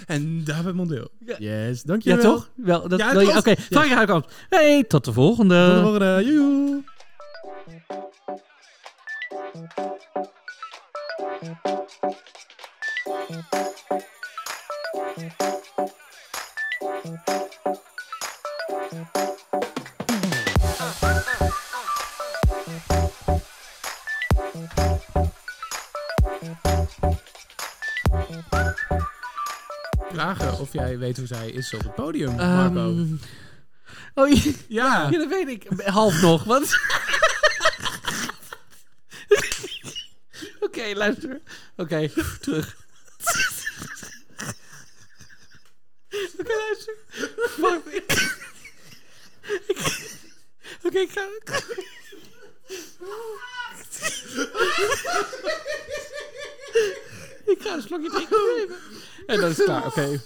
S6: En David Mondeel.
S5: Yes,
S2: ja,
S5: dankjewel.
S2: toch? Wel, dat,
S6: Ja, het
S2: wil je-
S6: was-
S2: Oké, Frank Huiskamp. Hey, tot de volgende.
S5: Tot de volgende. Joejoe.
S6: Vragen of jij weet hoe zij is op het podium,
S2: Ehm,
S6: Marco.
S2: oh, ja,
S6: Ja.
S2: [LAUGHS] ja, dat weet ik. Half nog, want... [LAUGHS] Oké, luister. Oké, terug. Oké, luister. Wacht. Ik- ik- Oké, ik ga... Ik ga een slokje drinken. En dan is het klaar, oké.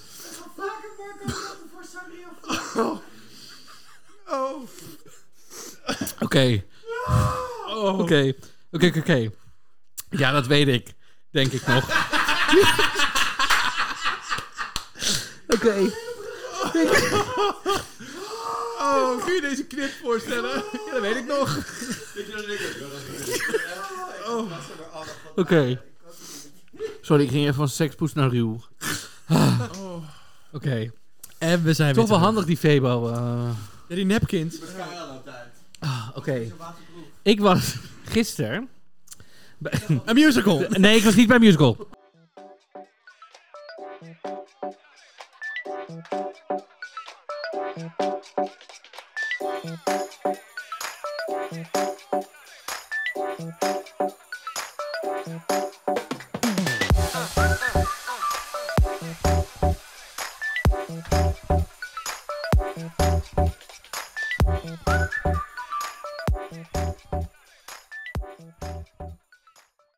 S2: Oké. Oké. Oké, oké, oké. Ja, dat weet ik. Denk ik nog. Oké.
S6: Oh, kun je deze knip voorstellen? Ja, dat weet ik nog.
S2: Oké. Sorry, ik ging even van sekspoes naar ruw. Ah. Oké.
S5: En we zijn weer
S2: Toch wel
S5: terug.
S2: handig die Febo. eh.
S5: Ja, die nepkind. [LAUGHS]
S2: Ah, Oké. Ik was gisteren...
S5: Een musical.
S2: Nee, ik was niet bij musical.